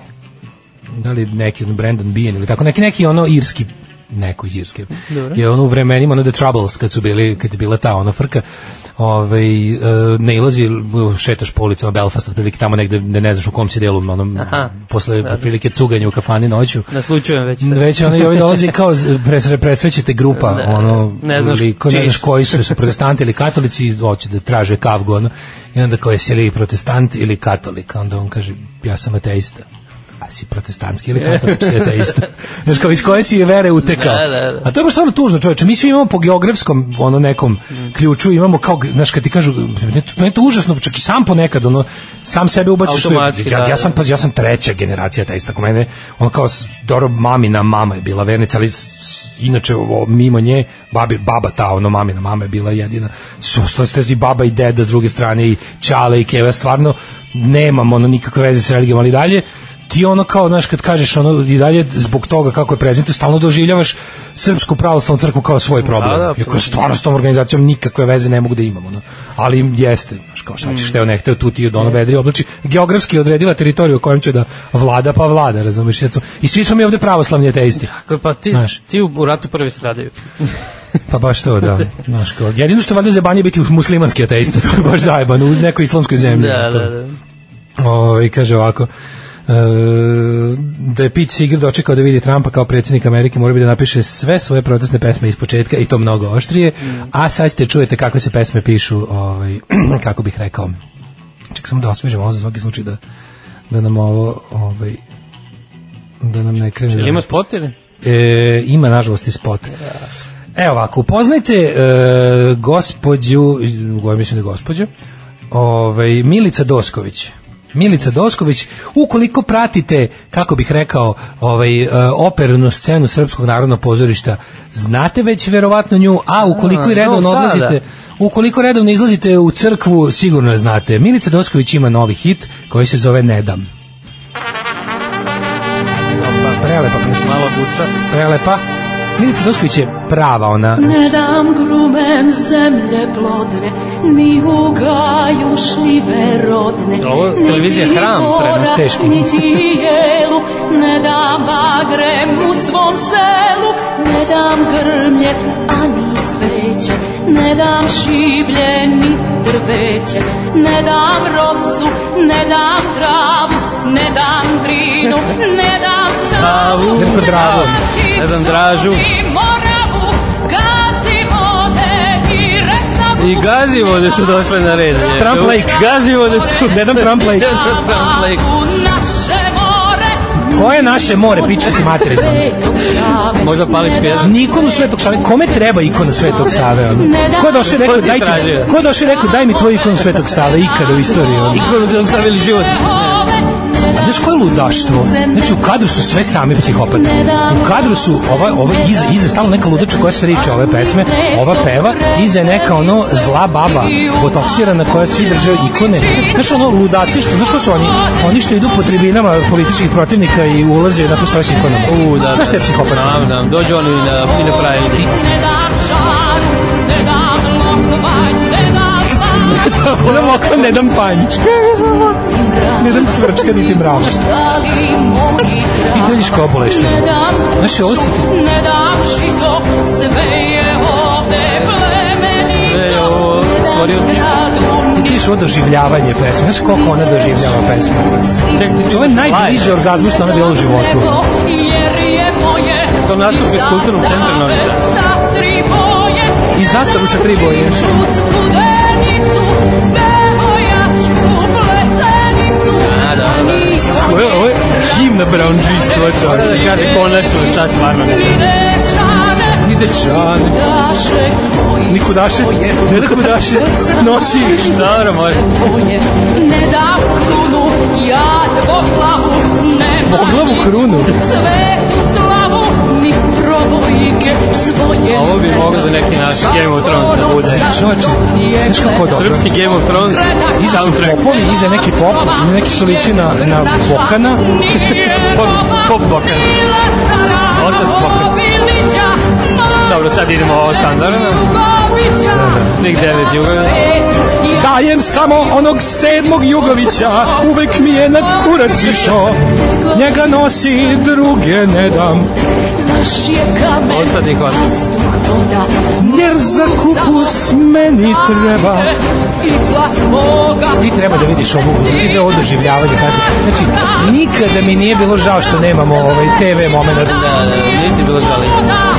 S2: da li neki, ono, Brandon Bean ili tako, neki, neki ono irski neko iz Irske.
S3: Dobro.
S2: Je ono u vremenima, ono The Troubles, kad su bili, kad je bila ta ona frka, ovaj, e, ne ilazi, šetaš po ulicama Belfasta, otprilike tamo negde, da ne, ne znaš u kom si delu, onom,
S3: Aha. Da,
S2: posle otprilike cuganja u kafani noću,
S3: Naslučujem već.
S2: već ono i ovi dolazi kao z- presre, presrećete grupa,
S3: Ne,
S2: ono,
S3: ne znaš
S2: liko, ne
S3: čiji
S2: znaš
S3: su.
S2: koji su, su protestanti ili katolici, i hoće da traže kavgu, ono, i onda kao jesi li protestant ili katolik, A onda on kaže, ja sam ateista. A si protestantski ili katolički ateista? Znaš, kao iz koje si je vere utekao.
S3: Da, da, da.
S2: A to je baš stvarno tužno, čoveče. Mi svi imamo po geografskom ono nekom ključu, imamo kao, znaš, kad ti kažu, meni je to- meni je to užasno, čak i sam ponekad, ono, sam sebe ubaciš. u-
S3: Automatski,
S2: ja,
S3: da,
S2: ja
S3: da.
S2: sam pazi, ja sam treća generacija ateista kod mene, ono kao s- dobro mamina mama je bila vernica, ali s- s- inače ovo, mimo nje babi, baba ta, ono mamina mama je bila jedina. Su ostali ste i baba i deda s druge strane i čale i keva, stvarno nemam ono nikakve veze sa religijom, ali dalje ti ono kao, znaš, kad kažeš ono i dalje zbog toga kako je prezentu, stalno doživljavaš srpsku pravoslavnu crkvu kao svoj problem.
S3: Da, da,
S2: Da, da,
S3: apsolutno.
S2: stvarno s tom organizacijom nikakve veze ne mogu da imamo. No. Ali im jeste, znaš, kao šta ćeš, teo ne hteo tu ti od ono vedri oblači. Geografski je odredila teritoriju u kojem će da vlada pa vlada, razumiješ? I svi smo mi ovde pravoslavni ateisti.
S3: Kako, Pa ti,
S2: Znaš.
S3: ti u, u ratu prvi stradaju.
S2: Pa baš to, da. Znaš, kao, jedino što valjda zajebanje je biti muslimanski ateista, to je baš zajebano, u nekoj islamskoj zemlji.
S3: Da,
S2: To-
S3: da, da.
S2: Ove, Ovaj, kaže ovako, e, da je Pete Seeger dočekao da vidi Trumpa kao predsjednik Amerike, mora bi da napiše sve svoje protestne pesme iz početka i to mnogo oštrije, a sad ste čujete kako se pesme pišu, ovaj, kako bih rekao. Ček samo da osvežem ovo za svaki slučaj da, da nam ovo ovaj, da nam ne krene.
S3: Ili ima spot ili?
S2: E, ima nažalost i spot. Evo ovako, upoznajte e, gospođu, govorim mislim da je gospođu, ovaj, Milica Dosković. Milica Dosković, ukoliko pratite, kako bih rekao, ovaj, e, opernu scenu Srpskog narodnog pozorišta, znate već verovatno nju, a ukoliko i
S3: A, iz Novog
S2: redovno
S3: Sada.
S2: odlazite, Ukoliko redovno izlazite u crkvu, sigurno je znate. Milica Dosković ima novi hit koji se zove Nedam. Pa prelepa pesma.
S3: Malo buča.
S2: Prelepa. Milica Dosković je prava ona.
S9: Ne dam grumen zemlje plodne, ni ugaju šljive rodne.
S3: Ovo televizija hram prenosi.
S2: Teški.
S9: Niti jelu, ne dam bagrem u svom selu, ne dam grmlje, ani cveće, ne dam šiblje, ni drveće, ne dam rosu, ne dam travu, ne dam drinu, ne dam savu,
S2: Drko Dravo.
S9: pticu,
S3: Ne dam dražu.
S9: ni moravu, gazi vode i resavu,
S3: I gazivode su došle na red. je.
S2: Trump Lake.
S3: Gazivode su.
S2: Ne dam Trump Lake.
S3: Ne dam Trump Lake.
S9: naše more,
S2: Koje naše more, pička ti materiš?
S3: Možda palić pježa.
S2: Nikonu Svetog Save, kome treba ikona Svetog Save? ono? Ko je došao i
S3: Ko
S2: rekao,
S3: ti
S2: daj, ti-
S3: tražio?
S2: ko je došao i rekao, daj mi tvoju ikonu Svetog Save ikada u istoriji? ono?
S3: Nikonu sam savili život.
S2: A Pa znaš koje ludaštvo? Znači u kadru su sve sami psihopati. U kadru su ova, ova iza, iza je stalno neka ludača koja se riče ove pesme, ova peva, iza je neka ono zla baba, botoksirana koja svi drže ikone. Znaš ono ludaci, što, znaš ko su oni? Oni što idu po tribinama političkih protivnika i ulaze i onako stoje s ikonama.
S3: U, da.
S2: Znaš što je psihopat?
S3: Nam, nam. Dođu oni
S9: Oh,
S3: na, i na pravi vidi.
S9: Ne dam šaru, ne dam lokvanj, ne dam šaru,
S2: Ne dam lokva, ne dam panj. Ne dam cvrčka, niti mrav.
S9: da li moji
S2: Ti
S9: grad?
S2: dođeš kao
S9: Ne
S2: obolešteni.
S9: dam
S2: Znaš, ovo su ti
S9: žut, ne dam žito, sve je ovde plemenito.
S3: Sve je ovo
S9: Ne dam
S3: stvorio ti.
S9: zgradu,
S2: Ti vidiš ovo doživljavanje pesme. Znaš koliko ona doživljava pesme?
S3: Ček, ti
S2: znači, Ovo je najbliže orgazmu što ona bila u životu.
S9: nego jer je moje
S3: To nastup iz kulturnog centra Novi Sad.
S9: Sa tri boje,
S2: I zastavu sa tri boje.
S9: Ču studenicu, devojačku pletenicu, ni
S2: Ovo je, ovo je himna brownđistva,
S3: Moram da
S2: čovječe.
S3: kaže konačno šta stvarno ne znam.
S9: dečane,
S2: Ni dečan,
S9: daše koji
S2: ni kudaše, ne da kudaše, nosi.
S3: Dobro, može.
S9: boje, ne dam krunu, ja dvoglavu, ne
S2: Dvoglavu
S9: manjiću,
S2: krunu?
S9: Svetu slavu, ni probojke svoje.
S3: Ovo bi
S9: ne
S3: moglo
S9: dam.
S3: za neki naš Game of Thrones da bude.
S2: Čovječe, znaš kako dobro.
S3: Srpski Game of Thrones
S2: znači, Iza su
S3: soundtrack.
S2: popovi, iza neki pop, iza neki su liči na, na Bokana.
S3: Pop, pop bokan. Otac Bokan. Dobro, sad idemo ovo standardno. Svih devet juga.
S2: Dajem samo onog sedmog Jugovića, uvek mi je na kurac išao. Njega nosi, druge ne dam.
S9: Naš je kamen,
S3: Ostatni konac.
S9: pastuh voda,
S2: Jer za kupus meni treba
S9: i zla svoga. da
S2: Ti treba da vidiš ovu ide ovo doživljavanje kasne. Znači, nikada mi nije bilo žao što nemamo ovaj TV moment.
S3: Da, da, niti bilo žali.
S9: Da,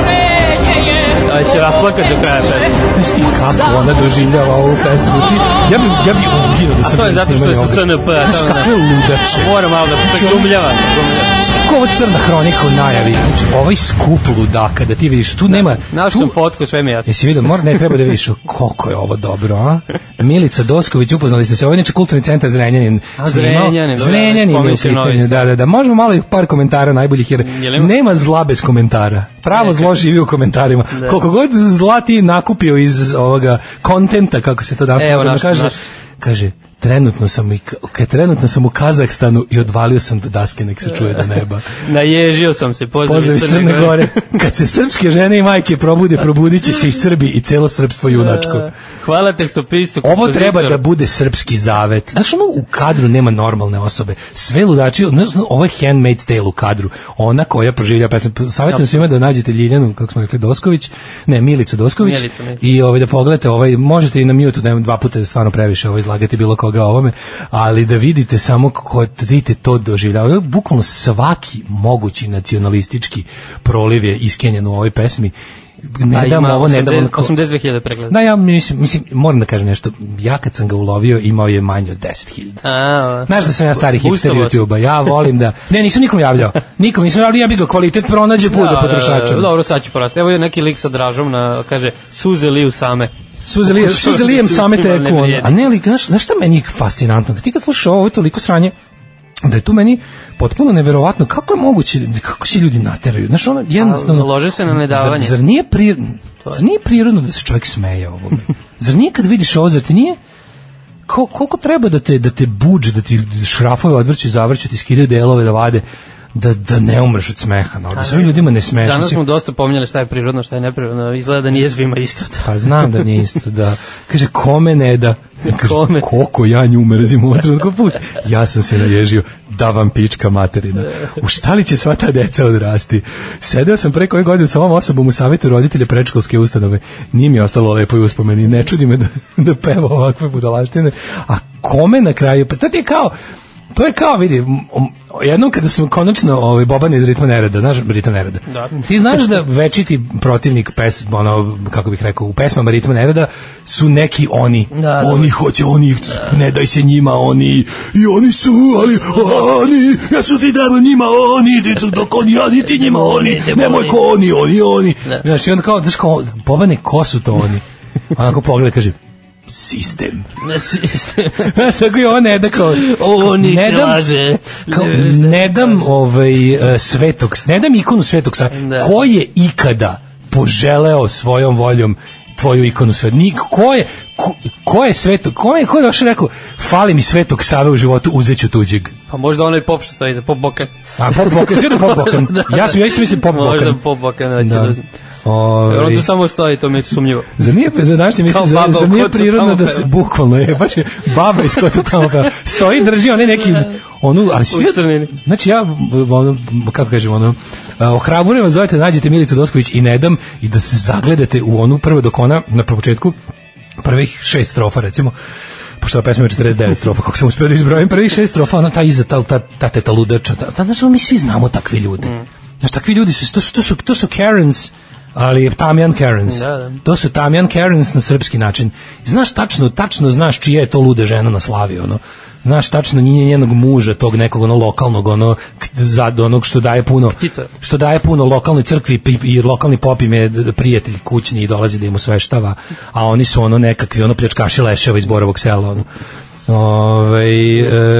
S9: korenje je
S3: Ali će rasplakati do kraja pesme.
S2: Znaš ti kako ona doživljava ovu pesmu? Ti, ja bi, ja bi ubio da sam
S3: To je zato što su SNP. a to
S2: Znaš
S3: onda-
S2: kakve ludače.
S3: Moram malo da glumljava.
S2: Kako ovo crna hronika u najavi? Znači, ovaj skup ludaka da ti vidiš, tu nema...
S3: Našao sam
S2: tu,
S3: fotku, sve mi je jasno.
S2: Jesi vidio, mora, ne treba da vidiš koliko je ovo dobro, a? Milica Dosković, upoznali ste se, ovo je inače kulturni centar Zrenjanin.
S3: A,
S2: snimao.
S3: Zrenjanin, da, dobro,
S2: Zrenjanin je u
S3: spomenuo si Novi
S2: pitanju, da,
S3: Sad.
S2: da, da. Možemo malo i par komentara najboljih, jer
S3: Je li ima-
S2: nema zla bez komentara. Pravo zlo živi u komentarima.
S3: Da.
S2: Koliko god zla ti nakupio iz ovoga kontenta, kako se to danas
S3: Evo,
S2: moderno
S3: naš-
S2: kaže,
S3: naš.
S2: kaže, trenutno sam, i, ka, trenutno sam u Kazahstanu i odvalio sam do daske, nek se čuje do neba.
S3: Naježio sam se, pozdrav,
S2: Pozdrav iz Crne Gore. Kad se srpske žene i majke probude, probudit će se i Srbi i celo srpstvo junačko.
S3: Hvala tekstopisu.
S2: Ovo treba da bude srpski zavet. Znaš, ono u kadru nema normalne osobe. Sve ludači, znaš, ono, ovo je handmaid's tale u kadru. Ona koja proživlja pesmu. Savjetujem svima da nađete Ljiljanu, kako smo rekli, Dosković, ne, Milicu Dosković,
S3: Milicu, Milicu.
S2: i ovaj, da pogledate, ovaj, možete i na mute, da dva puta je stvarno previše ovaj, izlagati bilo koga o ovome, ali da vidite samo kako da vidite to doživljavaju. Bukvalno svaki mogući nacionalistički proliv je iskenjen u ovoj pesmi.
S3: Pa
S2: Ne dam ovo, ne dam ono. kao-
S3: 82.000 pregleda.
S2: Da, ja mislim, mislim, moram da kažem nešto. Ja kad sam ga ulovio, imao je manje od 10.000.
S3: A,
S2: Znaš da sam ja stari hipster
S3: Boostovao si.
S2: YouTube-a, ja volim da... Ne, nisam nikom javljao. Nikom nisam javljao, ja bih ga kvalitet pronađe put da, potrošaču.
S3: da, Dobro, sad ću porasti. Evo je neki lik sa dražom na, kaže, suze liju same.
S2: Suze lijem, suze lijem same
S3: Suze
S2: te
S3: da ne
S2: kon.
S3: vrijedi.
S2: A ne, ali, znaš, znaš šta meni je fascinantno? Ti kad slušaš ovo, ovo je toliko sranje da je tu meni potpuno neverovatno kako je moguće kako se ljudi nateraju znaš ono jednostavno
S3: lože se na nedavanje.
S2: zar, zar nije pri
S3: stvar.
S2: Zar nije prirodno da se čovjek smeje ovome? Zar nije kad vidiš ovo, zar ti nije ko, koliko treba da te, da te buđe, da ti šrafove odvrću, zavrću, ti skidaju delove da vade, da, da ne umreš od smeha. No, da se ovim ljudima ne smeješ.
S3: Danas
S2: Mislim,
S3: smo dosta pomnjali šta je prirodno, šta je neprirodno. Izgleda da nije svima isto. Da.
S2: Pa znam da nije isto, da. Kaže, kome ne da? Kaže,
S3: Kome?
S2: Koliko ja nju mrzim u ovom trenutku put. Ja sam se naježio da vam pička materina. U šta li će sva ta deca odrasti? Sedeo sam preko ove godine sa ovom osobom u savjetu roditelja predškolske ustanove. Nije mi ostalo lepo i uspomeni. Ne čudi me da, da peva ovakve budalaštine. A kome na kraju? Pa to ti je kao, To je kao, vidi, m- m- jednom kada sam konačno ovaj, Boban iz ritma nereda, znaš ritma nereda,
S3: Da.
S2: ti znaš da večiti protivnik pes, ono, kako bih rekao, u pesmama ritma nereda su neki oni.
S3: Da, da.
S2: oni hoće, oni, ne daj se njima, oni, i oni su, ali oni, ja su ti dano njima, oni, ti su dok oni, ja ni ti njima, oni, nemoj ko oni, oni, oni.
S3: Da.
S2: Znaš, i onda kao, znaš, kao, Bobane, ko su to oni? Onako pogleda, kaže, sistem.
S3: Ne si-
S2: Znaš, tako je ovo ne da kao...
S3: Oni
S2: ne
S3: te
S2: dam-
S3: laže.
S2: Kao,
S3: Ne veruješ da
S2: ne
S3: ti
S2: dam
S3: laže.
S2: ovaj, e, svetog, ne dam ikonu svetog sa...
S3: Da.
S2: Ko je ikada poželeo svojom voljom tvoju ikonu svetog? Nik, ko je, ko, ko je svetog, ko je, ko je došao i rekao, fali mi svetog save u životu, uzeću tuđeg.
S3: Pa možda onaj pop što stoji za pop bokan.
S2: A pop bokan, svi da pop bokan. Ja sam, ja isto mislim pop bokan.
S3: Možda pop bokan. Da. će
S2: Da.
S3: da. Jer on
S2: Ovaj.
S3: tu samo stoji, to mi je sumnjivo.
S2: Za nije za naše mislim
S3: Kao
S2: za,
S3: baba
S2: za
S3: u
S2: nije
S3: kotu
S2: prirodno
S3: tamo
S2: da
S3: peva.
S2: se bukvalno je baš je baba iz kota tamo peva. Stoji drži onaj neki
S3: Da.
S2: onu ali
S3: U
S2: svi
S3: crnini.
S2: Znači ja ono kako kažem ono a, ohrabrujem vas zovete nađete Milicu Dosković i ne dam i da se zagledate u onu prvo dok ona na početku prvih šest strofa recimo pošto ova pesma je 49 strofa, kako sam uspeo da izbrojim, prvih šest strofa, ona ta iza, ta, ta, ta teta ludača, ta, ta, znaš, ono, mi svi znamo takvi ljudi.
S3: Mm.
S2: Znaš, takvi ljudi su, to su, to su, to su Karens, ali je Tamjan Karens.
S3: Da, da.
S2: To su Tamjan Karens na srpski način. Znaš tačno, tačno znaš čija je to luda žena na slavi, ono. Znaš tačno nije njenog muža, tog nekog ono lokalnog, ono k- zad onog što daje puno
S3: Ktica.
S2: što daje puno lokalnoj crkvi i, i lokalni pop im je d- d- prijatelj kućni i dolazi da im osveštava, a oni su ono nekakvi ono pljačkaši leševa iz Borovog sela. Ono. Ove,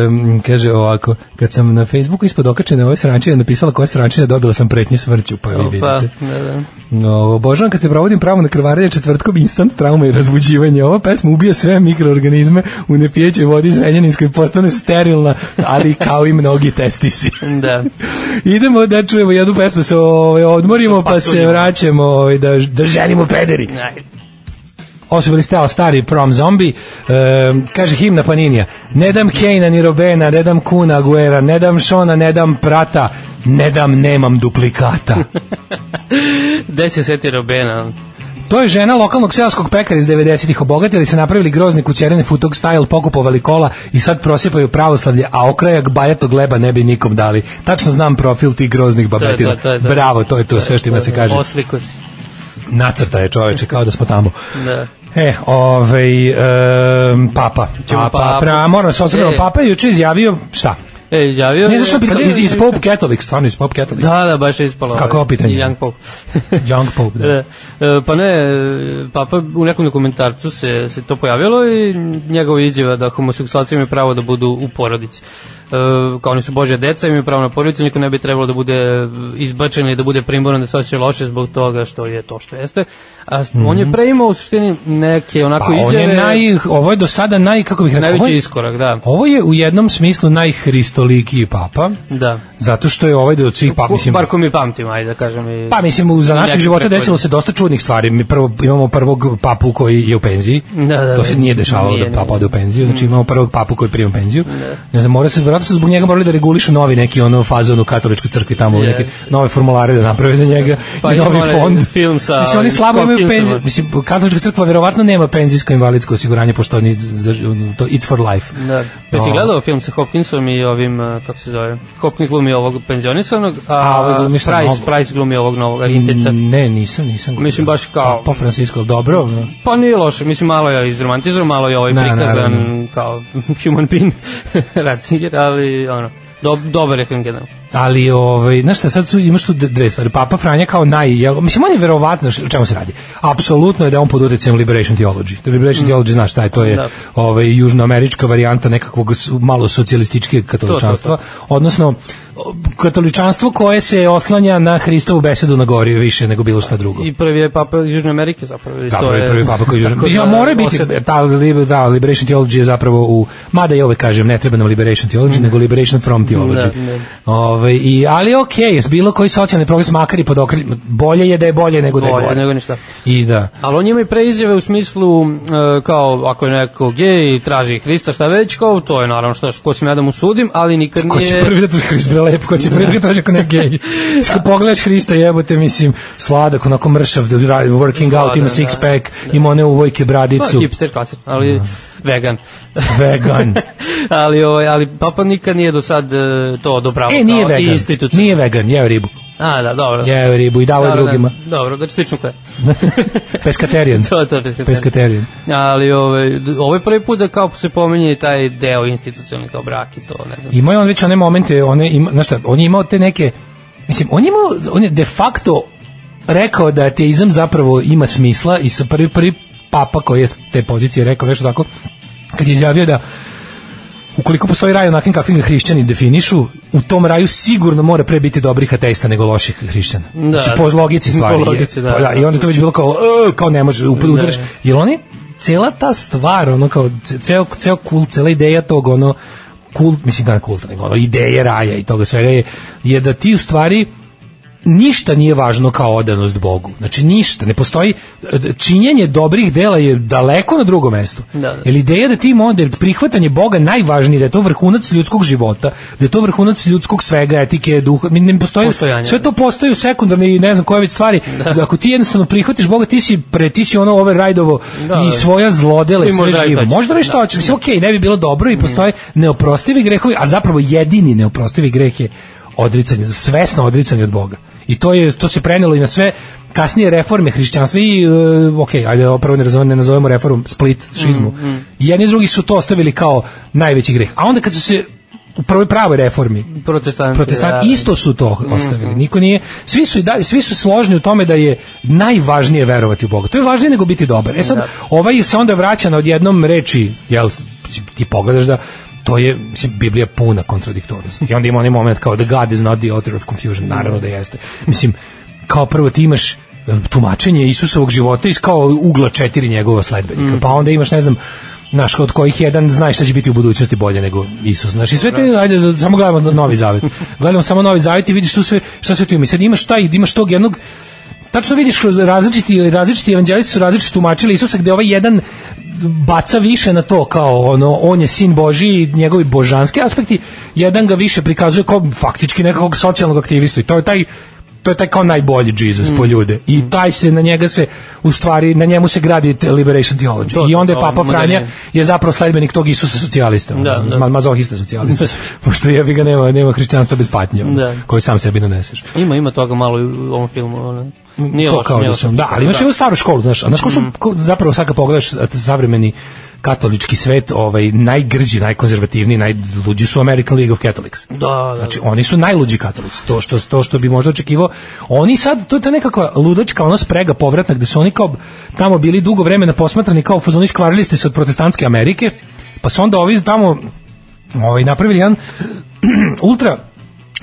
S2: um, kaže ovako, kad sam na Facebooku ispod okačene ove srančine napisala koja srančina, dobila sam pretnje smrću, pa vi
S3: Pa,
S2: vidite.
S3: da, da.
S2: No, obožavam kad se provodim pravo na krvarenje četvrtkom instant trauma i razbuđivanje. Ova pesma ubija sve mikroorganizme u nepijećoj vodi iz Renjaninskoj postane sterilna, ali kao i mnogi testisi.
S3: Da.
S2: Idemo da čujemo jednu pesmu, se ovaj, odmorimo pa se
S3: patuljimo.
S2: vraćamo ovaj, da, da ženimo pederi.
S3: Ajde.
S2: Ovo su bili stao stari prom zombi. E, kaže himna Paninija. Ne dam Kejna ni Robena, ne dam Kuna Aguera, ne dam Šona, ne dam Prata, ne dam nemam duplikata.
S3: Gde se seti Robena?
S2: To je žena lokalnog seoskog pekara iz 90-ih obogatili se napravili grozni kućerene futog style, pokupovali kola i sad prosipaju pravoslavlje, a okrajak bajatog leba ne bi nikom dali. Tačno znam profil tih groznih babetina.
S3: to, to je to.
S2: Bravo, to je to sve što ima se kaže.
S3: Osliko si.
S2: Nacrta je čoveče, kao da smo tamo.
S3: Da.
S2: E, ovej, um, papa.
S3: Ćemo
S2: Papa,
S3: papu.
S2: fra, moram da se osvrnuo,
S3: E.
S2: papa je juče izjavio, šta?
S3: E, izjavio...
S2: Ne
S3: je-
S2: znaš što bi,
S3: Pa ne,
S2: iz, iz Pope Catholic, stvarno iz Pope Catholic.
S3: Da, da, baš je ispalo.
S2: Kako ovo pitanje?
S3: Young Pope.
S2: Young Pope, da.
S3: E, e, pa ne, e, papa u nekom dokumentarcu se, se to pojavilo i njegova izjava da homoseksualci imaju pravo da budu u porodici. E, kao oni su Božja deca, imaju pravo na porodicu, niko ne bi trebalo da bude izbačen ili da bude primoran da se osjeća loše zbog toga što je to što jeste. A on je preimao u suštini neke onako
S2: Mhm. Pa on
S3: izjave...
S2: je naj, ovo je do sada naj, kako bih rekao, ovo
S3: Najveći
S2: je,
S3: iskorak, da.
S2: ovo je u jednom smislu najhristolikiji papa,
S3: Da.
S2: zato što je ovaj od svih papa, Pa mislim,
S3: Bar ko mi pamtimo, ajde da kažem. I...
S2: Pa mislim u- za naših
S3: Nekih
S2: života
S3: prekolja.
S2: desilo se dosta čudnih stvari. Mi prvo imamo prvog papu koji je u penziji.
S3: Da, da,
S2: to se
S3: da.
S2: nije dešavalo
S3: Nije,
S2: da papa
S3: nije. Mm.
S2: ode u penziju. Znači imamo prvog papu koji prima penziju. Ne znam, mora se verovatno su zbog njega morali da regulišu novi neki ono fazon u katoličkoj crkvi tamo
S3: Je.
S2: neke nove formulare da naprave za njega
S3: Pa
S2: i
S3: ima
S2: novi
S3: onaj
S2: fond.
S3: film sa
S2: mislim oni slabo imaju
S3: Hopkinsom.
S2: penziju. Mislim katolička crkva verovatno nema penzijsko invalidsko osiguranje pošto oni za, to it's for life.
S3: Da. Da si
S2: O,
S3: gledao film sa Hopkinsom i ovim, eh, kako se zove, Hopkins glumi ovog penzionisanog, a,
S2: A, ovaj glumi šta, Mm.
S3: Price,
S2: novog?
S3: Price glumi ovog novog arintica.
S2: Ne, nisam, nisam.
S3: Mislim, baš kao-
S2: Pa Francisco, dobro.
S3: Pa nije loše, mislim, malo je izromantizovan, malo je ovaj
S2: Da,
S3: prikazan
S2: naravno.
S3: kao human being, Ratzinger, ali ono, do, dobar je film generalno.
S2: Ali ovaj znaš šta sad su imaš tu d- dve stvari. Papa Franja kao naj jel, mislim on je verovatno š- o čemu se radi. Apsolutno je da je on pod uticajem liberation theology. Da liberation theology znaš šta je to je
S3: Mm. Da.
S2: ovaj južnoamerička varijanta nekakvog s- malo socijalističkog katoličanstva, odnosno katoličanstvo koje se oslanja na Hristovu besedu na gori više nego bilo šta drugo.
S3: I prvi je papa iz Južne Amerike zapravo. I
S2: Zapravo je prvi papa koji je Južne Amerike. mora biti, ta, liber, ta Liberation Theology je zapravo u, mada ja uvek kažem, ne treba nam Liberation Theology, nego Liberation from Theology.
S3: Mm. Da, da.
S2: Ove, i, ali je okej, okay, bilo koji socijalni progres, makar i pod okriljem, bolje je da je bolje nego da je
S3: Bolje
S2: gore.
S3: nego ništa.
S2: I da.
S3: Ali on ima i preizjave u smislu e, kao ako je neko gej i traži Hrista šta već kao to je naravno šta ko sam ja da mu sudim, ali nikad
S2: Ko će
S3: nije
S2: prvi da traži Hrista, da lep, ko će prvi da traži ako ne gej. Ako pogledaš Hrista jebote, mislim, sladak, onako mršav, da radi working out,
S3: Sladak,
S2: ima
S3: da.
S2: six pack, ima one uvojke
S3: Pa,
S2: bradicu,
S3: hipster klasir,
S2: Da.
S3: ali vegan.
S2: vegan.
S3: ali, ovaj, ali papa nikad nije do sad e, to odobravao.
S2: E, nije
S3: kao
S2: vegan,
S3: Instituciju.
S2: nije vegan, jeo ribu.
S3: A, da, dobro.
S2: Jeo je ribu i dao je
S3: Dobro,
S2: drugima.
S3: Da, dobro, znači slično koje.
S2: Peskaterijan.
S3: to, to, peskaterijan.
S2: Peskaterijan.
S3: Ali ovaj, d- ovo je prvi put da kao se pominje i taj deo institucionalni kao brak i to, ne znam.
S2: Imao je on već one momente, one ima, znaš šta, on je imao te neke, mislim, on je imao, on je de facto rekao da ateizam zapravo ima smisla i sa prvi, prvi papa koji je s te pozicije rekao nešto tako, kad je izjavio da ukoliko postoji raj onakvim kakvim ga hrišćani definišu, u tom raju sigurno mora pre biti dobrih ateista nego loših hrišćana.
S3: Da.
S2: znači, po logici stvari.
S3: Po
S2: je.
S3: logici, da,
S2: Pa
S3: da.
S2: I onda je to već bilo kao, "E, kao ne može, up- udaraš.
S3: Da.
S2: Jer oni, cela ta stvar, ono kao, ce- ceo, ceo kult, cela ideja tog, ono, kult, mislim da ne kult, nego ono, ideje raja i toga svega je, je da ti u stvari, ništa nije važno kao odanost Bogu. Znači ništa, ne postoji činjenje dobrih dela je daleko na drugom mestu.
S3: Da, da.
S2: Jer ideja da ti model prihvatanje Boga najvažnije, da je to vrhunac ljudskog života, da je to vrhunac ljudskog svega, etike, duha, mi ne postoji
S3: Postojanja,
S2: sve to postaju sekundarne i ne znam koje već stvari. Da. Ako ti jednostavno prihvatiš Boga, ti si pre ti si ono ove rajdovo
S3: Da,
S2: i
S3: da.
S2: svoja zlodela i
S3: I
S2: sve
S3: možda i
S2: živo.
S3: to ćeš.
S2: Možda radiš što hoćeš. Mislim, okej, ne bi bilo dobro i postoje neoprostivi grehovi, a zapravo jedini neoprostivi greh je odricanje, svesno odricanje od Boga. I to je to se prenelo i na sve kasnije reforme hrišćanstva i uh, okej, ajde ovo prvo ne nazovemo, ne nazovemo reformom split šizmu.
S3: Mhm,
S2: I jedni i drugi su to ostavili kao najveći greh. A onda kad su se u prvoj pravoj reformi
S3: Protestanti.
S2: protestanti
S3: da.
S2: isto su to ostavili. Niko nije, svi su i dalje, svi su složni u tome da je najvažnije verovati u Boga. To je važnije nego biti dobar. E sad
S3: Da.
S2: ovaj se onda vraća na odjednom reči, jel ti pogledaš da to je mislim Biblija puna kontradiktornosti. I onda ima onaj moment kao the God is not the author of confusion, naravno da jeste. Mislim kao prvo ti imaš e, tumačenje Isusovog života iz kao ugla četiri njegova sledbenika. Pa onda imaš ne znam naš od kojih jedan znaš šta će biti u budućnosti bolje nego Isus. Znaš, i sve te, ajde, da, samo gledamo Novi Zavet. Gledamo samo Novi Zavet i vidiš tu sve, šta sve tu ima. I sad imaš taj, imaš tog jednog, tačno vidiš kroz različiti različiti evanđelisti su različito tumačili Isusa gde ovaj jedan baca više na to kao ono on je sin Božji i njegovi božanski aspekti jedan ga više prikazuje kao faktički nekakvog socijalnog aktivistu i to je taj to je taj kao najbolji Jesus
S3: Mm.
S2: po ljude i taj se na njega se u stvari na njemu se gradi te- liberation theology
S3: To,
S2: i onda je
S3: to,
S2: papa
S3: ovo,
S2: Franja
S3: modeliranje.
S2: je zapravo sledbenik tog Isusa socijalista
S3: Da,
S2: ono,
S3: da.
S2: ma- mazohista socijalista pošto jebi ga nema nema hrišćanstva bez patnje ono,
S3: Da.
S2: koju sam sebi naneseš
S3: Ima, ima toga malo i u ovom filmu. Ono. Nije
S2: Mm, to
S3: loše,
S2: kao
S3: nije
S2: da
S3: loše. Mm.
S2: su, da, ali imaš
S3: Da.
S2: jednu staru školu, znaš, a znaš ko su, ko, zapravo sad kad pogledaš savremeni katolički svet, ovaj, najgrđi, najkonzervativniji, najluđi su American League of Catholics.
S3: Da, da, da.
S2: Znači, oni su najluđi katolici, to što, to što bi možda očekivao. Oni sad, to je ta nekakva ludačka ona sprega povratna, gde su oni kao tamo bili dugo vremena posmatrani kao fazoni skvarili ste se od protestantske Amerike, pa su onda ovi tamo ovaj, napravili jedan ultra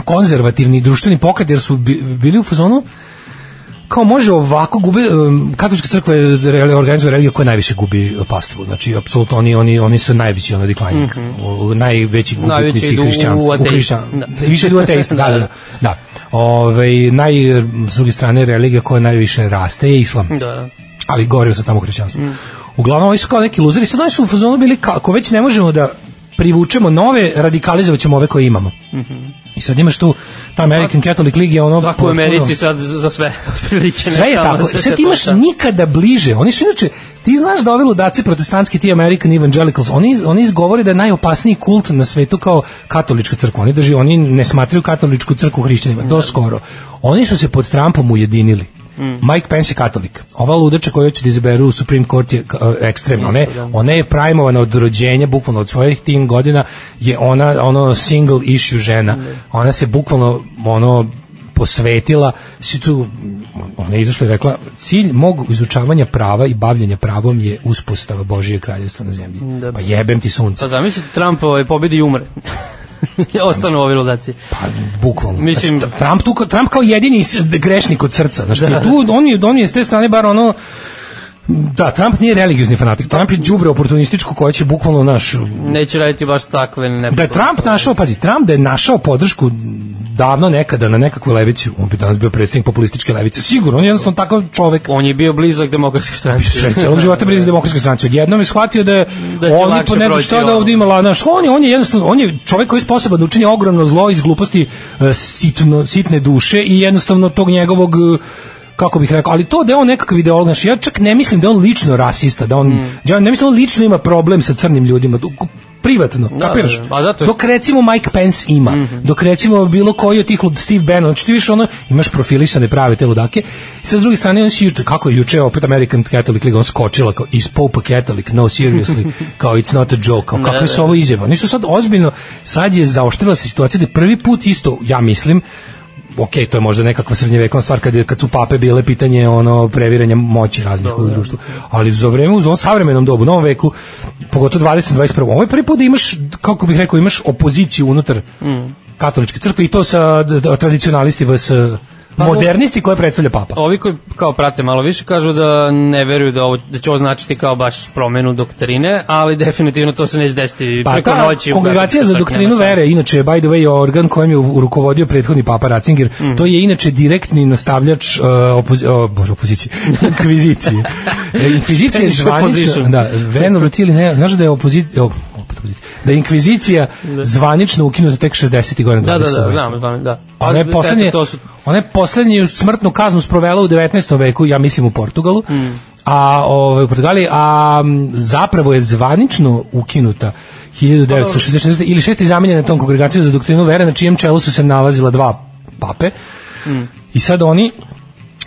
S2: konzervativni društveni pokret, jer su bi- bili u fazonu kao može ovako gubi um, katolička crkva je reli- organizuje religija koja najviše gubi pastvu znači apsolutno oni oni oni su najveći ono declining mm najveći
S3: Mhm. Najveći
S2: gubitnici
S3: idu u
S2: hrišćanstva
S3: ateizam.
S2: hrišćan-
S3: Da.
S2: više idu u ateizam da da da, da. Ove, naj, s druge strane religija koja najviše raste je islam
S3: Da, Mhm. da.
S2: ali govorim sad samo o hrišćanstvu. Uglavnom, oni su kao neki luzeri, sad oni su u fazonu bili kako već ne možemo da privučemo nove, radikalizovat ćemo ove koje imamo. I sad imaš tu, ta American Catholic League je ono...
S3: Mhm. Tako u Americi
S2: potpuno-
S3: sad za za sve, otprilike. ne
S2: sve je
S3: samo
S2: tako.
S3: za
S2: I sad
S3: sve
S2: ti
S3: to,
S2: imaš
S3: da.
S2: nikada bliže. Oni su inače, ti znaš da ovi ludaci protestantski, ti American Evangelicals, oni, oni izgovore da je najopasniji kult na svetu kao katolička crkva. Oni drži, oni ne smatraju katoličku crkvu hrišćanima, do skoro. Oni su se pod Trumpom ujedinili.
S3: Mm.
S2: Mike Pence je katolik. Ova ludača koju će da izaberu u Supreme Court je k- e, ekstremna. Ona je,
S3: da.
S2: ona je primovana od rođenja, bukvalno od svojih tim godina, je ona ono single issue žena.
S3: Da.
S2: Ona se bukvalno ono posvetila, si tu, ona je izašla i rekla, cilj mog izučavanja prava i bavljenja pravom je uspostava Božije kraljevstva na zemlji.
S3: Da.
S2: Pa jebem ti sunce.
S3: Pa zamisli, Trump ovaj, pobedi i umre. Ostanu ovi ludaci.
S2: Pa, bukvalno.
S3: Mislim-
S2: Znači, Trump, tu, kao- Trump kao jedini s- grešnik od srca. Znači,
S3: Da.
S2: tu, on, je, on je s te strane bar ono, Da, Trump nije religiozni fanatik. Trump je đubre oportunističko koje će bukvalno naš
S3: Neće raditi baš takve nepogode.
S2: da je Trump našao, pazi, Trump da je našao podršku davno nekada na nekakvoj levici, on bi danas bio predsednik populističke levice. Sigurno, on je jednostavno takav čovek.
S3: On je bio blizak demokratske stranke.
S2: Sve celog života blizu demokratske stranci. Odjednom je shvatio da je
S3: Da će
S2: on
S3: lakše
S2: ipo ne znam
S3: proći
S2: šta da
S3: ovo.
S2: ovde ima la- znaš, on je, on je jednostavno, on je čovek koji je sposoban da učini ogromno zlo iz gluposti e, sitno, sitne duše i jednostavno tog njegovog e, kako bih rekao, ali to da je on nekakav ideolog, znači ja čak ne mislim da je on lično rasista, da on,
S3: Mm.
S2: ja ne mislim da on lično ima problem sa crnim ljudima, tu- privatno,
S3: da,
S2: kapiraš?
S3: da, pa zato je-
S2: Dok recimo Mike Pence ima, dok recimo bilo koji od tih lud, Steve Bannon, znači ti više ono, imaš profilisane prave te ludake, i sa druge strane on si, juče- kako je juče opet American Catholic League, on skočila kao, is Pope a Catholic, no seriously, kao it's not a joke, kao kakve su ovo izjava. Nisu sad ozbiljno, sad je zaoštrila se situacija da je prvi put isto, ja mislim, ok, to je možda nekakva srednjevekovna stvar kad, je, kad su pape bile pitanje ono previranja moći raznih u društvu. Ali za vreme u ovom savremenom dobu, novom veku, pogotovo 20. 21. Ovo je prvi put da imaš, kako bih rekao, imaš opoziciju unutar katoličke crkve i to sa d- d- tradicionalisti vs modernisti koje predstavlja papa.
S3: Ovi koji kao prate malo više kažu da ne veruju da, ovo, da će ovo značiti kao baš promenu doktrine, ali definitivno to se neće desiti
S2: Pa
S3: preko
S2: ta
S3: noći. u
S2: kongregacija
S3: Vatikan,
S2: za
S3: čak
S2: doktrinu
S3: nema šanse.
S2: vere, inače, by the way, organ kojem je u- rukovodio prethodni papa Ratzinger,
S3: Mhm.
S2: to je inače direktni nastavljač uh, opozi o, bože, opozicije, inkvizicije. E, Inkvizicija je
S3: Spanish
S2: zvanično,
S3: opposition.
S2: da, verovali ti ili ne, znaš da je opozicija, opet opozicija, da je inkvizicija zvanično ukinuta tek 60. godina 20.
S3: Da, da, da,
S2: veka.
S3: znam, znam, da.
S2: Ona je
S3: Pa,
S2: poslednje,
S3: eto, to su
S2: ona je poslednju smrtnu kaznu sprovela u 19. veku, ja mislim u Portugalu.
S3: Mm.
S2: A ovaj u Portugaliji, a m, zapravo je zvanično ukinuta 1966. ili 6. zamenjena tom kongregacijom za doktrinu vere na čijem čelu su se nalazila dva pape.
S3: Mm.
S2: I sad oni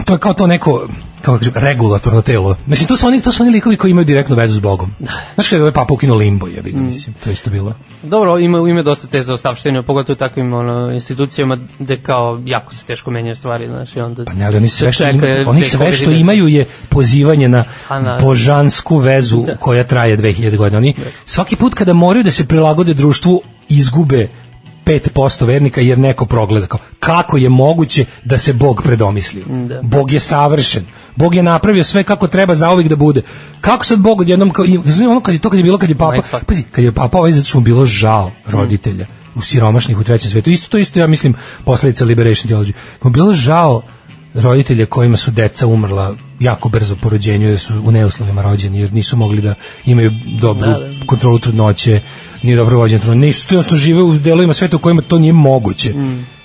S2: to je kao to neko kao da kažem, regulatorno telo. Mislim, to su oni, to su oni likovi koji imaju direktnu vezu s Bogom.
S3: Da.
S2: Znaš kada je ovaj papa ukinuo limbo, jebi ga, mislim, to je isto bilo.
S3: Dobro, ima, ima dosta teza ostavštine, pogotovo u takvim ono, institucijama gde kao jako se teško menjaju stvari, znaš, i onda...
S2: Pa ne, ali oni sve što,
S3: čeka
S2: ima, oni
S3: tek
S2: sve što
S3: objedinjenje.
S2: imaju je pozivanje na
S3: A, Da. naravno.
S2: božansku vezu koja traje 2000 godina. Oni svaki put kada moraju da se prilagode društvu izgube 5% vernika jer neko progleda kao kako je moguće da se Bog predomislio.
S3: da.
S2: Bog je savršen. Bog je napravio sve kako treba za uvek da bude. Kako sad Bog odjednom kao i- znaš, ono kad je to kad je bilo kad je papa,
S3: Mindfuck.
S2: pazi, kad je papa ovaj zato što mu bilo žao roditelja u siromašnih u trećem svetu. Isto to isto ja mislim posledica liberation theology. Mu je bilo žao roditelja kojima su deca umrla jako brzo po rođenju jer su u neuslovima rođeni jer nisu mogli da imaju dobru kontrolu trudnoće ni dobro vođenje trudnoće nisu to jednostavno žive u delovima sveta u kojima to nije moguće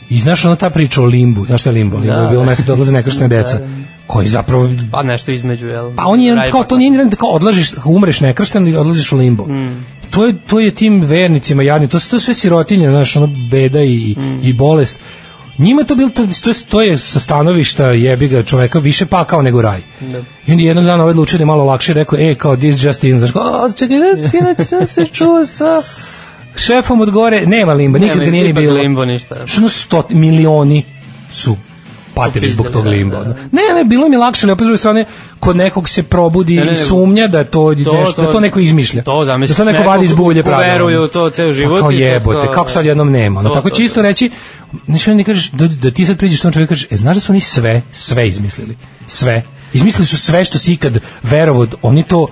S2: i znaš ona ta priča o limbu znaš šta je limbo? Limbo je
S3: Da.
S2: bilo mesto Mm. da odlaze nekaštene deca koji zapravo
S3: Pa nešto između, jel?
S2: Pa on je
S3: Raj-
S2: kao to nije jedan kao odlažeš umreš nekršten i odlaziš u limbo. To je to je tim vernicima jadni, to su to sve sirotinje, znaš, ono beda i i bolest. Njima je to bilo to, to, je- to je sa stanovišta jebiga čoveka više pakao nego raj. I onda jedan dan ovaj odlučio da je malo lakše i rekao, e, kao this just in, znaš, kao, "A, čekaj, da, sinac sam se čuo sa šefom od gore, nema limba,
S3: Nema,
S2: nikada ga nije ni
S3: ipak
S2: bilo
S3: Limbo ništa.
S2: što ono sto, milioni su patili
S3: Popizdali,
S2: zbog tog
S3: da,
S2: limba.
S3: da.
S2: ono. Ne, ne, bilo mi je lakše, ali opet s druge strane, kod nekog se probudi
S3: Ne, ne, ne.
S2: sumnja da to,
S3: To-
S2: nešto, da
S3: to-
S2: to neko izmišlja.
S3: to, zamisli,
S2: Da to neko
S3: neko
S2: vadi iz bulje
S3: ko- ko
S2: pravda.
S3: veruje
S2: ono.
S3: u to ceo život
S2: Pa kao
S3: i sad
S2: jebote,
S3: kao-
S2: kako sad jednom nema. Ono,
S3: To,
S2: tako
S3: to,
S2: će isto
S3: to.
S2: reći, znači oni kažeš, da, da ti sad priđeš tom čovjeku i kažeš, e, znaš da su oni sve, sve izmislili. Sve. Izmislili su sve što si ikad verovao, oni to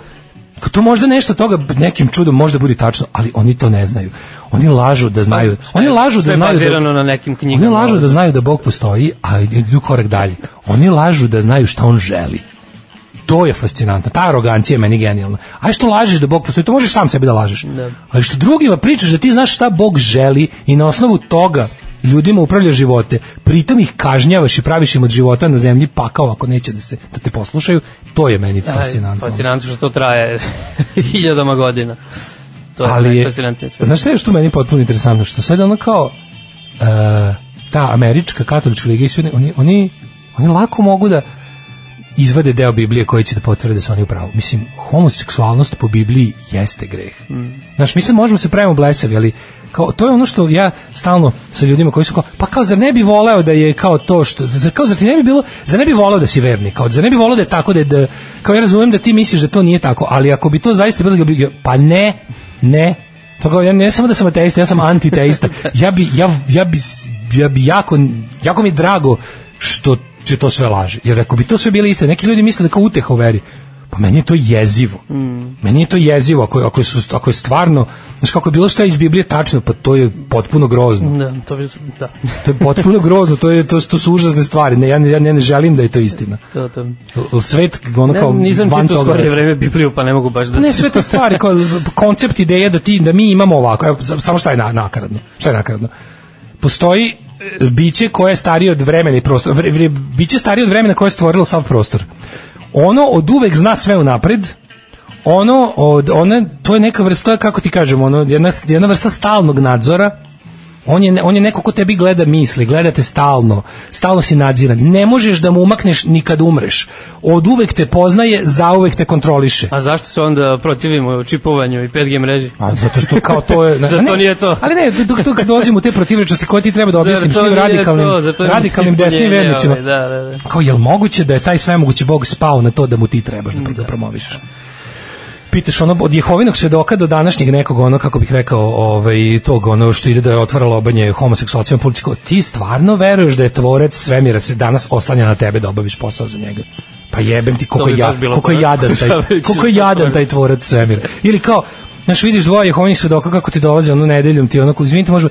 S2: to možda nešto toga nekim čudom možda bude tačno, ali oni to ne znaju. Oni lažu da znaju. Oni lažu
S3: Pa, sve
S2: da
S3: je
S2: znaju da,
S3: bazirano na nekim knjigama.
S2: Oni lažu da znaju da Bog postoji, a idu korak dalje. Oni lažu da znaju šta on želi. To je fascinantno. Ta arogancija je meni genijalna. A što lažeš da Bog postoji, to možeš sam sebi da lažeš. Ali što drugima pričaš da ti znaš šta Bog želi i na osnovu toga ljudima upravljaš živote, pritom ih kažnjavaš i praviš im od života na zemlji pakao ako neće da se da te poslušaju, to je meni fascinantno.
S3: Aj, Fascinantno što to traje hiljadama godina. To je
S2: ali je,
S3: najfascinantnije sve.
S2: znaš šta je što meni potpuno interesantno što sad ono kao e, ta američka katolička liga i sve ne- oni, oni, oni lako mogu da izvade deo Biblije koji će da potvrde da su oni u pravu. Mislim, homoseksualnost po Bibliji jeste greh. Znaš, mi se možemo se pravimo blesavi, ali kao, to je ono što ja stalno sa ljudima koji su kao, pa kao, zar ne bi voleo da je kao to što, zar, kao, zar ti ne bi bilo, zar ne bi voleo da si verni, kao, zar ne bi voleo da je tako da, je, da kao ja razumem da ti misliš da to nije tako, ali ako bi to zaista bilo, ja bi- ja- pa ne, ne, To kao, ja ne samo da sam ateista, ja sam antiteista. Ja bi, ja, ja bi, ja bi jako, jako mi je drago što će to sve laže. Jer ako bi to sve bile iste, neki ljudi misle da kao uteha u veri. Pa meni je to jezivo. Meni je to jezivo ako, ako, su, ako je stvarno, znaš kako je bilo šta iz Biblije tačno, pa to je potpuno grozno.
S3: Da, to bi, da.
S2: To je potpuno grozno, to, je, to, to su užasne stvari. Ne, ja, ne- ja ne želim da je to istina.
S3: To, to.
S2: L- Svet, ono
S3: Ne,
S2: kao,
S3: nisam
S2: van
S3: čitao
S2: toga
S3: skorije
S2: reći.
S3: vreme Bibliju, pa ne mogu baš da...
S2: Ne, sve te stvari, kao koncept ideje da, ti, da mi imamo ovako, evo, sa- samo šta je na, nakaradno, šta je nakaradno. Postoji e, biće koje je starije od vremena i prostora, vre, vre, biće starije od vremena koje je stvorilo sav prostor. Ono od uvek zna sve unapred, ono od, ona, to je neka vrsta, kako ti kažemo, ono, jedna, jedna vrsta stalnog nadzora, On je, on je neko ko tebi gleda misli, gleda te stalno, stalno si nadziran. Ne možeš da mu umakneš ni kad umreš. Od uvek te poznaje, zauvek te kontroliše.
S3: A zašto se onda protivimo čipovanju i 5G mreži?
S2: A pa zato što kao to je...
S3: Zato
S2: ne,
S3: nije to.
S2: Ali ne, dok tu kad dođemo u te protivrečnosti koje ti treba da objasnim s
S3: Zato
S2: tim
S3: nije
S2: radikalnim,
S3: to, zato je
S2: radikalnim desnim
S3: ispunjenje,
S2: vernicima.
S3: ovaj, Da, da, da.
S2: Kao, jel moguće da je taj svemogući Bog spao na to da mu ti trebaš da, da promoviš? Pitaš ono od Jehovinog svedoka do današnjeg nekog ono kako bih rekao ovaj tog ono što ide da je otvaralo obanje homoseksualcima policiji kao ti stvarno veruješ da je tvorac svemira se danas oslanja na tebe da obaviš posao za njega pa jebem ti koliko
S3: To
S2: je
S3: bi
S2: ja,
S3: baš bilo
S2: koliko je jadan taj
S3: poražavajuće.
S2: koliko je jadan taj tvorac svemira ili kao znaš vidiš dvoje Jehovinih svedoka kako ti dolaze ono nedeljom ti onako izvinite može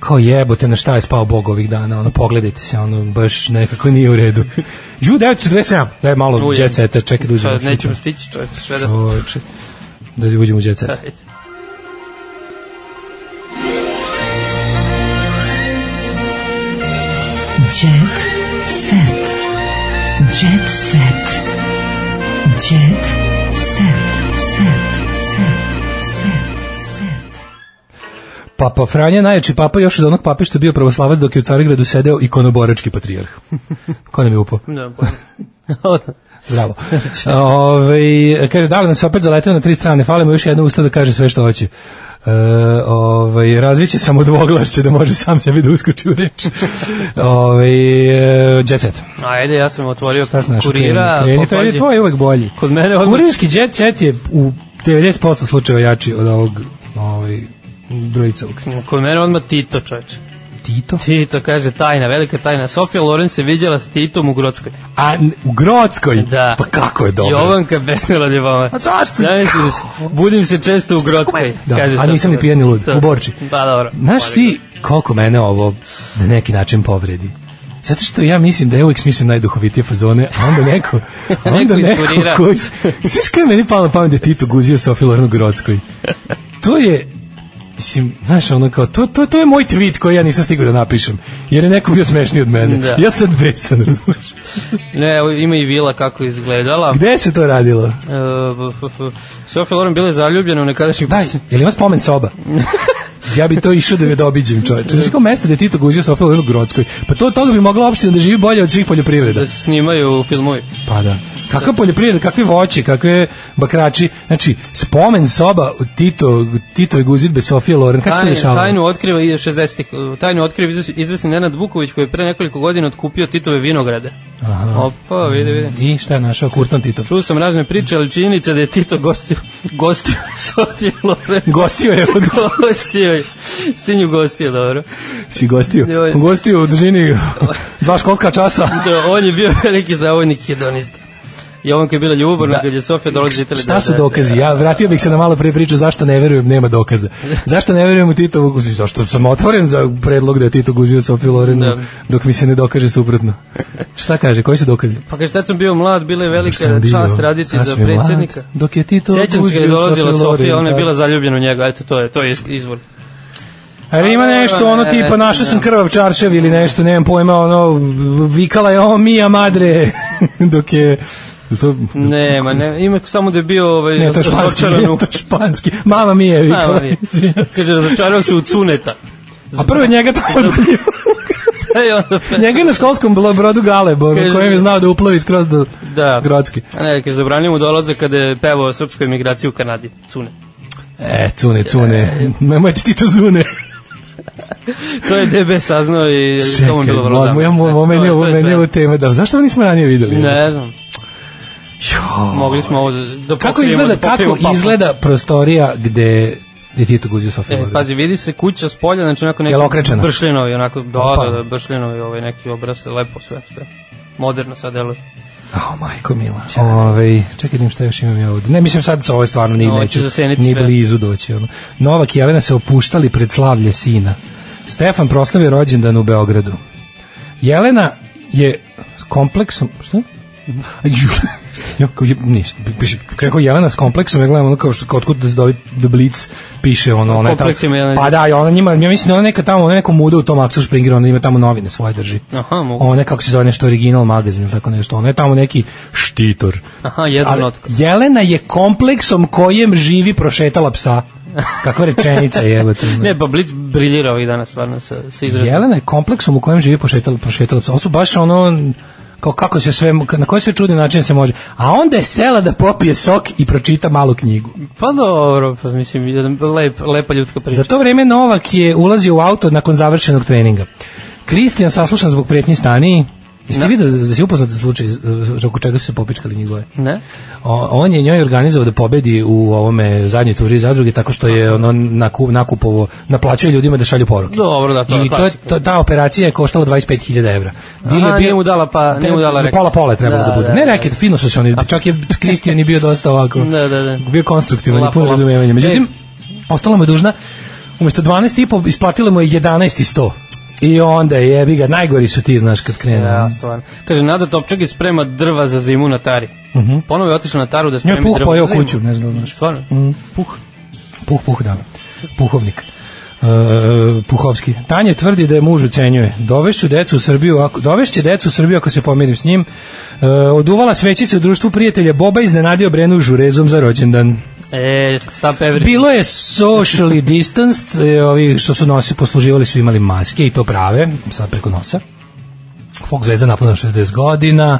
S2: kao jebote na šta je spao Bog ovih dana ono pogledajte se ono baš nekako nije u redu Ju 947 daj malo
S3: Ujem.
S2: jet seta čekaj da uzmem
S3: Sad nećemo stići, čovječ, sve da...
S2: Čoveče, da uđemo u jet set.
S3: Ajde.
S4: Jet set. Jet set. Jet set. Set. Set. Set. Set.
S2: Papa Franja, najjači papa još od onog pape što je bio pravoslavac dok je u Carigradu sedeo ikonoborački patrijarh. Ko nam je upao?
S3: Da, pa.
S2: Bravo. Ove, kaže, da li nam se opet zaleteo na tri strane, falimo još jedno usta da kaže sve što hoće. E, ovaj razviće samo dvoglašće da može sam sebi da uskoči u reč. Ovaj e, jet set.
S3: Ajde, ja sam otvorio
S2: Šta znaš?
S3: kurira.
S2: kreni, to je
S3: popađi.
S2: tvoj uvek bolji.
S3: Kod mene odmah-
S2: Kurirski jet set je u 90% slučajeva jači od ovog ovaj brojicovog.
S3: Kod mene odmah Tito, čovječ.
S2: Tito?
S3: Tito kaže tajna, velika tajna. Sofija Loren se viđala s Titom u Grockoj.
S2: A n- u Grockoj?
S3: Da.
S2: Pa kako je dobro.
S3: Jovanka besnila ljubava.
S2: A zašto?
S3: Zamisli da se- budim se često u Grockoj.
S2: Da,
S3: kaže
S2: a
S3: Sofija
S2: nisam ni
S3: Loren.
S2: pijan ni lud,
S3: Da.
S2: u Borči.
S3: Da, dobro.
S2: Znaš ti koliko mene ovo na neki način povredi? Zato što ja mislim da ja uvijek smislim najduhovitije fazone, a onda neko, a onda
S3: Neko
S2: neko
S3: iskurira.
S2: koji... Znaš kada je meni palo na pamet da je Tito guzio Sofiju Lornu Grockoj? To je, mislim, znaš, ono kao, to, to, to je moj tweet koji ja nisam stigao da napišem, jer je neko bio smešniji od mene.
S3: Da.
S2: Ja sad besan, razumiješ?
S3: Ne, evo, ima i vila kako je izgledala.
S2: Gde se to radilo?
S3: Uh, Sofia Loren bila je zaljubljena u nekadašnjih...
S2: Daj, je li ima spomen soba? ja bi to išao da ga dobiđem, čoveče. Znači, kao mesto gde je Tito guzio Sofiju Lornu Grockoj. Pa to od toga bi mogla opština da živi bolje od svih poljoprivreda.
S3: da se snimaju filmovi.
S2: Pa da. Kakva poljoprivreda, kakvi voće, kakve bakrači. Znači, spomen soba Tito, Tito i guzidbe Sofije Loren. Kako se to
S3: Tajnu,
S2: dešavalo?
S3: tajnu otkriva i 60-ih. uh, Tajnu otkriva izves- izvesni Nenad Vuković koji je pre nekoliko godina otkupio Titove vinograde. Aha. Opa, vidi, vidi.
S2: I šta je našao Kurton Tito?
S3: Čuo sam razne priče, ali činjenica da je Tito gostio, gostio Sofiju Loren.
S2: Gostio je od...
S3: gostio je. Stinju gostio, dobro.
S2: Si gostio?
S3: Joj.
S2: Gostio u dužini dva školska časa.
S3: Da, on je bio veliki zavojnik hedonista. Jovanka je bila ljubavna
S2: Da.
S3: kad je Sofija dolazila iz da,
S2: Šta su dokazi? Ja vratio bih se na malo pre priču zašto ne verujem, nema dokaza. Zašto ne verujem u Titovu guziju? Zašto sam otvoren za predlog da je Tito guzio Sofiju Lorenu
S3: Da.
S2: dok mi se ne dokaže suprotno. Šta kaže? Koji su dokazi?
S3: Pa kaže, tad sam bio mlad, bila je velika
S2: Sam bio-
S3: čast raditi
S2: Sad
S3: za
S2: sam bio mlad,
S3: predsjednika.
S2: Dok je Tito
S3: Sećam se kad je
S2: guzio
S3: dolazila
S2: Sofiju
S3: Sofija,
S2: Lorenu,
S3: ona je
S2: da.
S3: bila zaljubljena u njega, eto to je, to je izvor.
S2: Ali ima nešto ono tipa našao sam krvav čaršev ili nešto, nemam pojma, ono vikala je o mija madre dok je to
S3: Ne, ma ne, ima samo da je bio ovaj,
S2: Ne, to je španski,
S3: razočaran u-
S2: to je španski. Mama mi je
S3: A,
S2: vikala.
S3: ali, Kaže, razočarao se u cuneta.
S2: A prvo je njega tamo bio.
S3: E, onda pre-
S2: Njega je na školskom blo- brodu Galebor, u
S3: Kaže-
S2: kojem je znao da uplovi skroz do
S3: Da.
S2: Grodski.
S3: A Ne, kaže, zabranio mu dolaze kada je pevao o srpskoj emigraciji u Kanadi, cune.
S2: E, cune, cune, nemojte ti to zune.
S3: To je DB saznao i to mu je bilo vrlo
S2: mo- ja, mo-
S3: zamrno.
S2: mo- meni je
S3: To je-
S2: ovo
S3: to je
S2: meni je
S3: sve.
S2: ovo tema, da, zašto ovo nismo ranije videli?
S3: Ne znam,
S2: Jo.
S3: mogli smo ovo da- da
S2: Kako
S3: pokrijemo,
S2: izgleda,
S3: da pokrijemo
S2: kako
S3: papu.
S2: izgleda prostorija gde je Tito guzio Sofiju
S3: E, pazi, vidi se kuća s polja, znači onako neki
S2: Jel okrečena?
S3: bršljinovi, onako, da,
S2: Opa.
S3: da, da, bršljinovi, ovaj, neki obraz, lepo sve, sve. Moderno sad deluje.
S2: Oh, majko mila. Ove, čekaj da im šta još imam ja ovde. Ne, mislim sad sa ovo stvarno ni
S3: Ovo će
S2: neću,
S3: zaseniti
S2: ni
S3: sve.
S2: blizu doći. Ono. Novak i Jelena se opuštali pred slavlje sina. Stefan proslavio rođendan u Beogradu. Jelena je s kompleksom... Šta? Ju, ja, kao, je- ništa, piše, kako Jelena s kompleksom, ja gledam ono kao što, kao otkud da se dobi The Blitz, piše ono, ona je tamo,
S3: Kompleks ima Jelena.
S2: pa da, i ona njima, ja mislim da ona neka tamo, ona neko muda u tom Axel Springer, ona ima tamo novine svoje drži.
S3: Aha, mogu.
S2: Ona je, kako se zove nešto original magazin ili tako nešto. Ona je tamo neki štitor.
S3: Aha, jedno
S2: Ali
S3: notko.
S2: Jelena je kompleksom kojem živi prošetala psa. Kakva rečenica je, jebote. ono.
S3: Ne, pa Blitz briljira ovih dana stvarno sa, sa izrazom.
S2: Jelena je kompleksom u kojem živi prošetala, prošetala psa. Ovo su baš ono kao kako se sve, na koji sve čudni način se može. A onda je sela da popije sok i pročita malu knjigu.
S3: Pa dobro, pa mislim, jedan lep, lepa ljudska priča.
S2: Za to vreme Novak je ulazio u auto nakon završenog treninga. Kristijan saslušan zbog pretnji staniji. Jeste no. vidio da si upoznat za slučaj eh, oko čega su se popičkali njih dvoje?
S3: Ne?
S2: O- on je njoj organizovao da pobedi u ovome zadnjoj turi zadruge tako što je ono naku, nakupovo naplaćuje ljudima da šalju poruke.
S3: Dobro, da, to je
S2: I to,
S3: klasika.
S2: to, ta operacija je koštala 25.000 evra. Deal
S3: Aha,
S2: je bio-
S3: nije mu dala pa- nije mu dala reket.
S2: Pola pola je trebalo da,
S3: Da,
S2: bude.
S3: da,
S2: ne
S3: da.
S2: reket, fino su se oni, čak je Kristijan je bio dosta ovako.
S3: Da, da, da.
S2: Bio konstruktivan i
S3: Lapa,
S2: puno
S3: lapa. E.
S2: razumevanja. Međutim, ostala mu je dužna umesto 12,5 isplatila mu je 11.100. I onda je, jebi ga, najgori su ti, znaš, kad krene.
S3: Da, stvarno. Kaže, Nada Topčagić sprema drva za zimu na tari. Uh -huh. Ponovo je otišao na taru da spremi
S2: Mhm. Njoj puh
S3: drva
S2: pojeo
S3: za zimu.
S2: kuću, ne znam da li znaš.
S3: Stvarno? Puh.
S2: Puh, puh, da. Puhovnik. E, Puhovski. Tanje tvrdi da je muž ucenjuje. Dovešću decu u Srbiju, ako, dovešće decu u Srbiju ako se pomirim s njim. E, oduvala svećice u društvu prijatelja Boba i iznenadio Brenu žurezom za rođendan.
S3: E, stop every...
S2: Bilo je socially distanced, e, ovi što su nosi posluživali su imali maske i to prave, sad preko nosa. Fox Zvezda napunila 60 godina,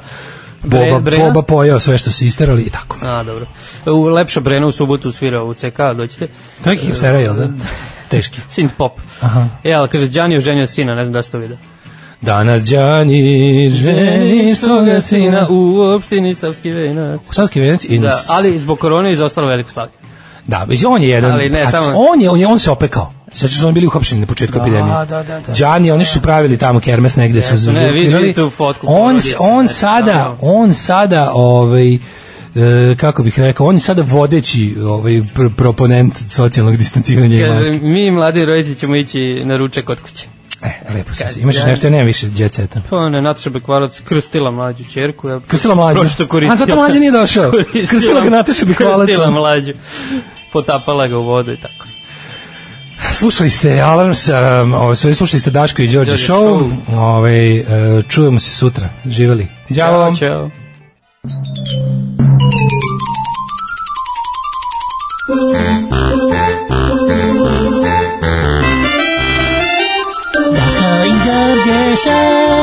S3: Bre-
S2: Boba,
S3: Brena?
S2: Boba pojeo sve što su isterali i tako.
S3: A, dobro. U Lepša Brena u subotu svira u CK, doćete.
S2: To je hipstera, jel
S3: Mm.
S2: da? Teški.
S3: Synth pop. Aha. E, ali kaže, Đani je oženio sina, ne znam da ste to vidio.
S2: Danas Đani ženi svoga sina u
S3: u opštini Savski venac.
S2: Savski venac i
S3: Da, ali zbog korone je izostalo veliko slavlje.
S2: da, mislim, on je jedan,
S3: Ali ne,
S2: a,
S3: samo-
S2: on, je, on, je, on se opekao. Sad su oni bili uhapšeni na početku epidemije.
S3: da, da, da.
S2: Đani, oni su pravili tamo kermes negde su
S3: Jesu, ne, vidi-
S2: zažurkirali.
S3: vidi tu fotku, znači,
S2: On,
S3: porodije se,
S2: on
S3: ne,
S2: sada,
S3: naravno.
S2: on sada, ovaj, e, kako bih rekao, on je sada vodeći ovaj, pr proponent socijalnog distanciranja i
S3: Kaže,
S2: maske.
S3: mi mladi roditelji ćemo ići na ručak kod kuće.
S2: E, lepo si se. Imaš još nešto, ja nemam više djeceta.
S3: Pa ona je Nataša Bekvarac krstila mlađu čerku. Ja,
S2: Krstila mlađu.
S3: Prošto koristila.
S2: A zato mlađa nije došao.
S3: Koristila-
S2: Krstila ga Nataša Bekvalac.
S3: Krstila mlađu. Potapala ga u vodu i tako.
S2: Slušali ste Alarm sa, um, ovaj, sve slušali ste Daško i Đorđe
S3: Đorđe
S2: Show. Ovaj, e, čujemo se sutra. Živeli. Ćao vam.
S3: Ćao.
S1: Daško i Đorđe show.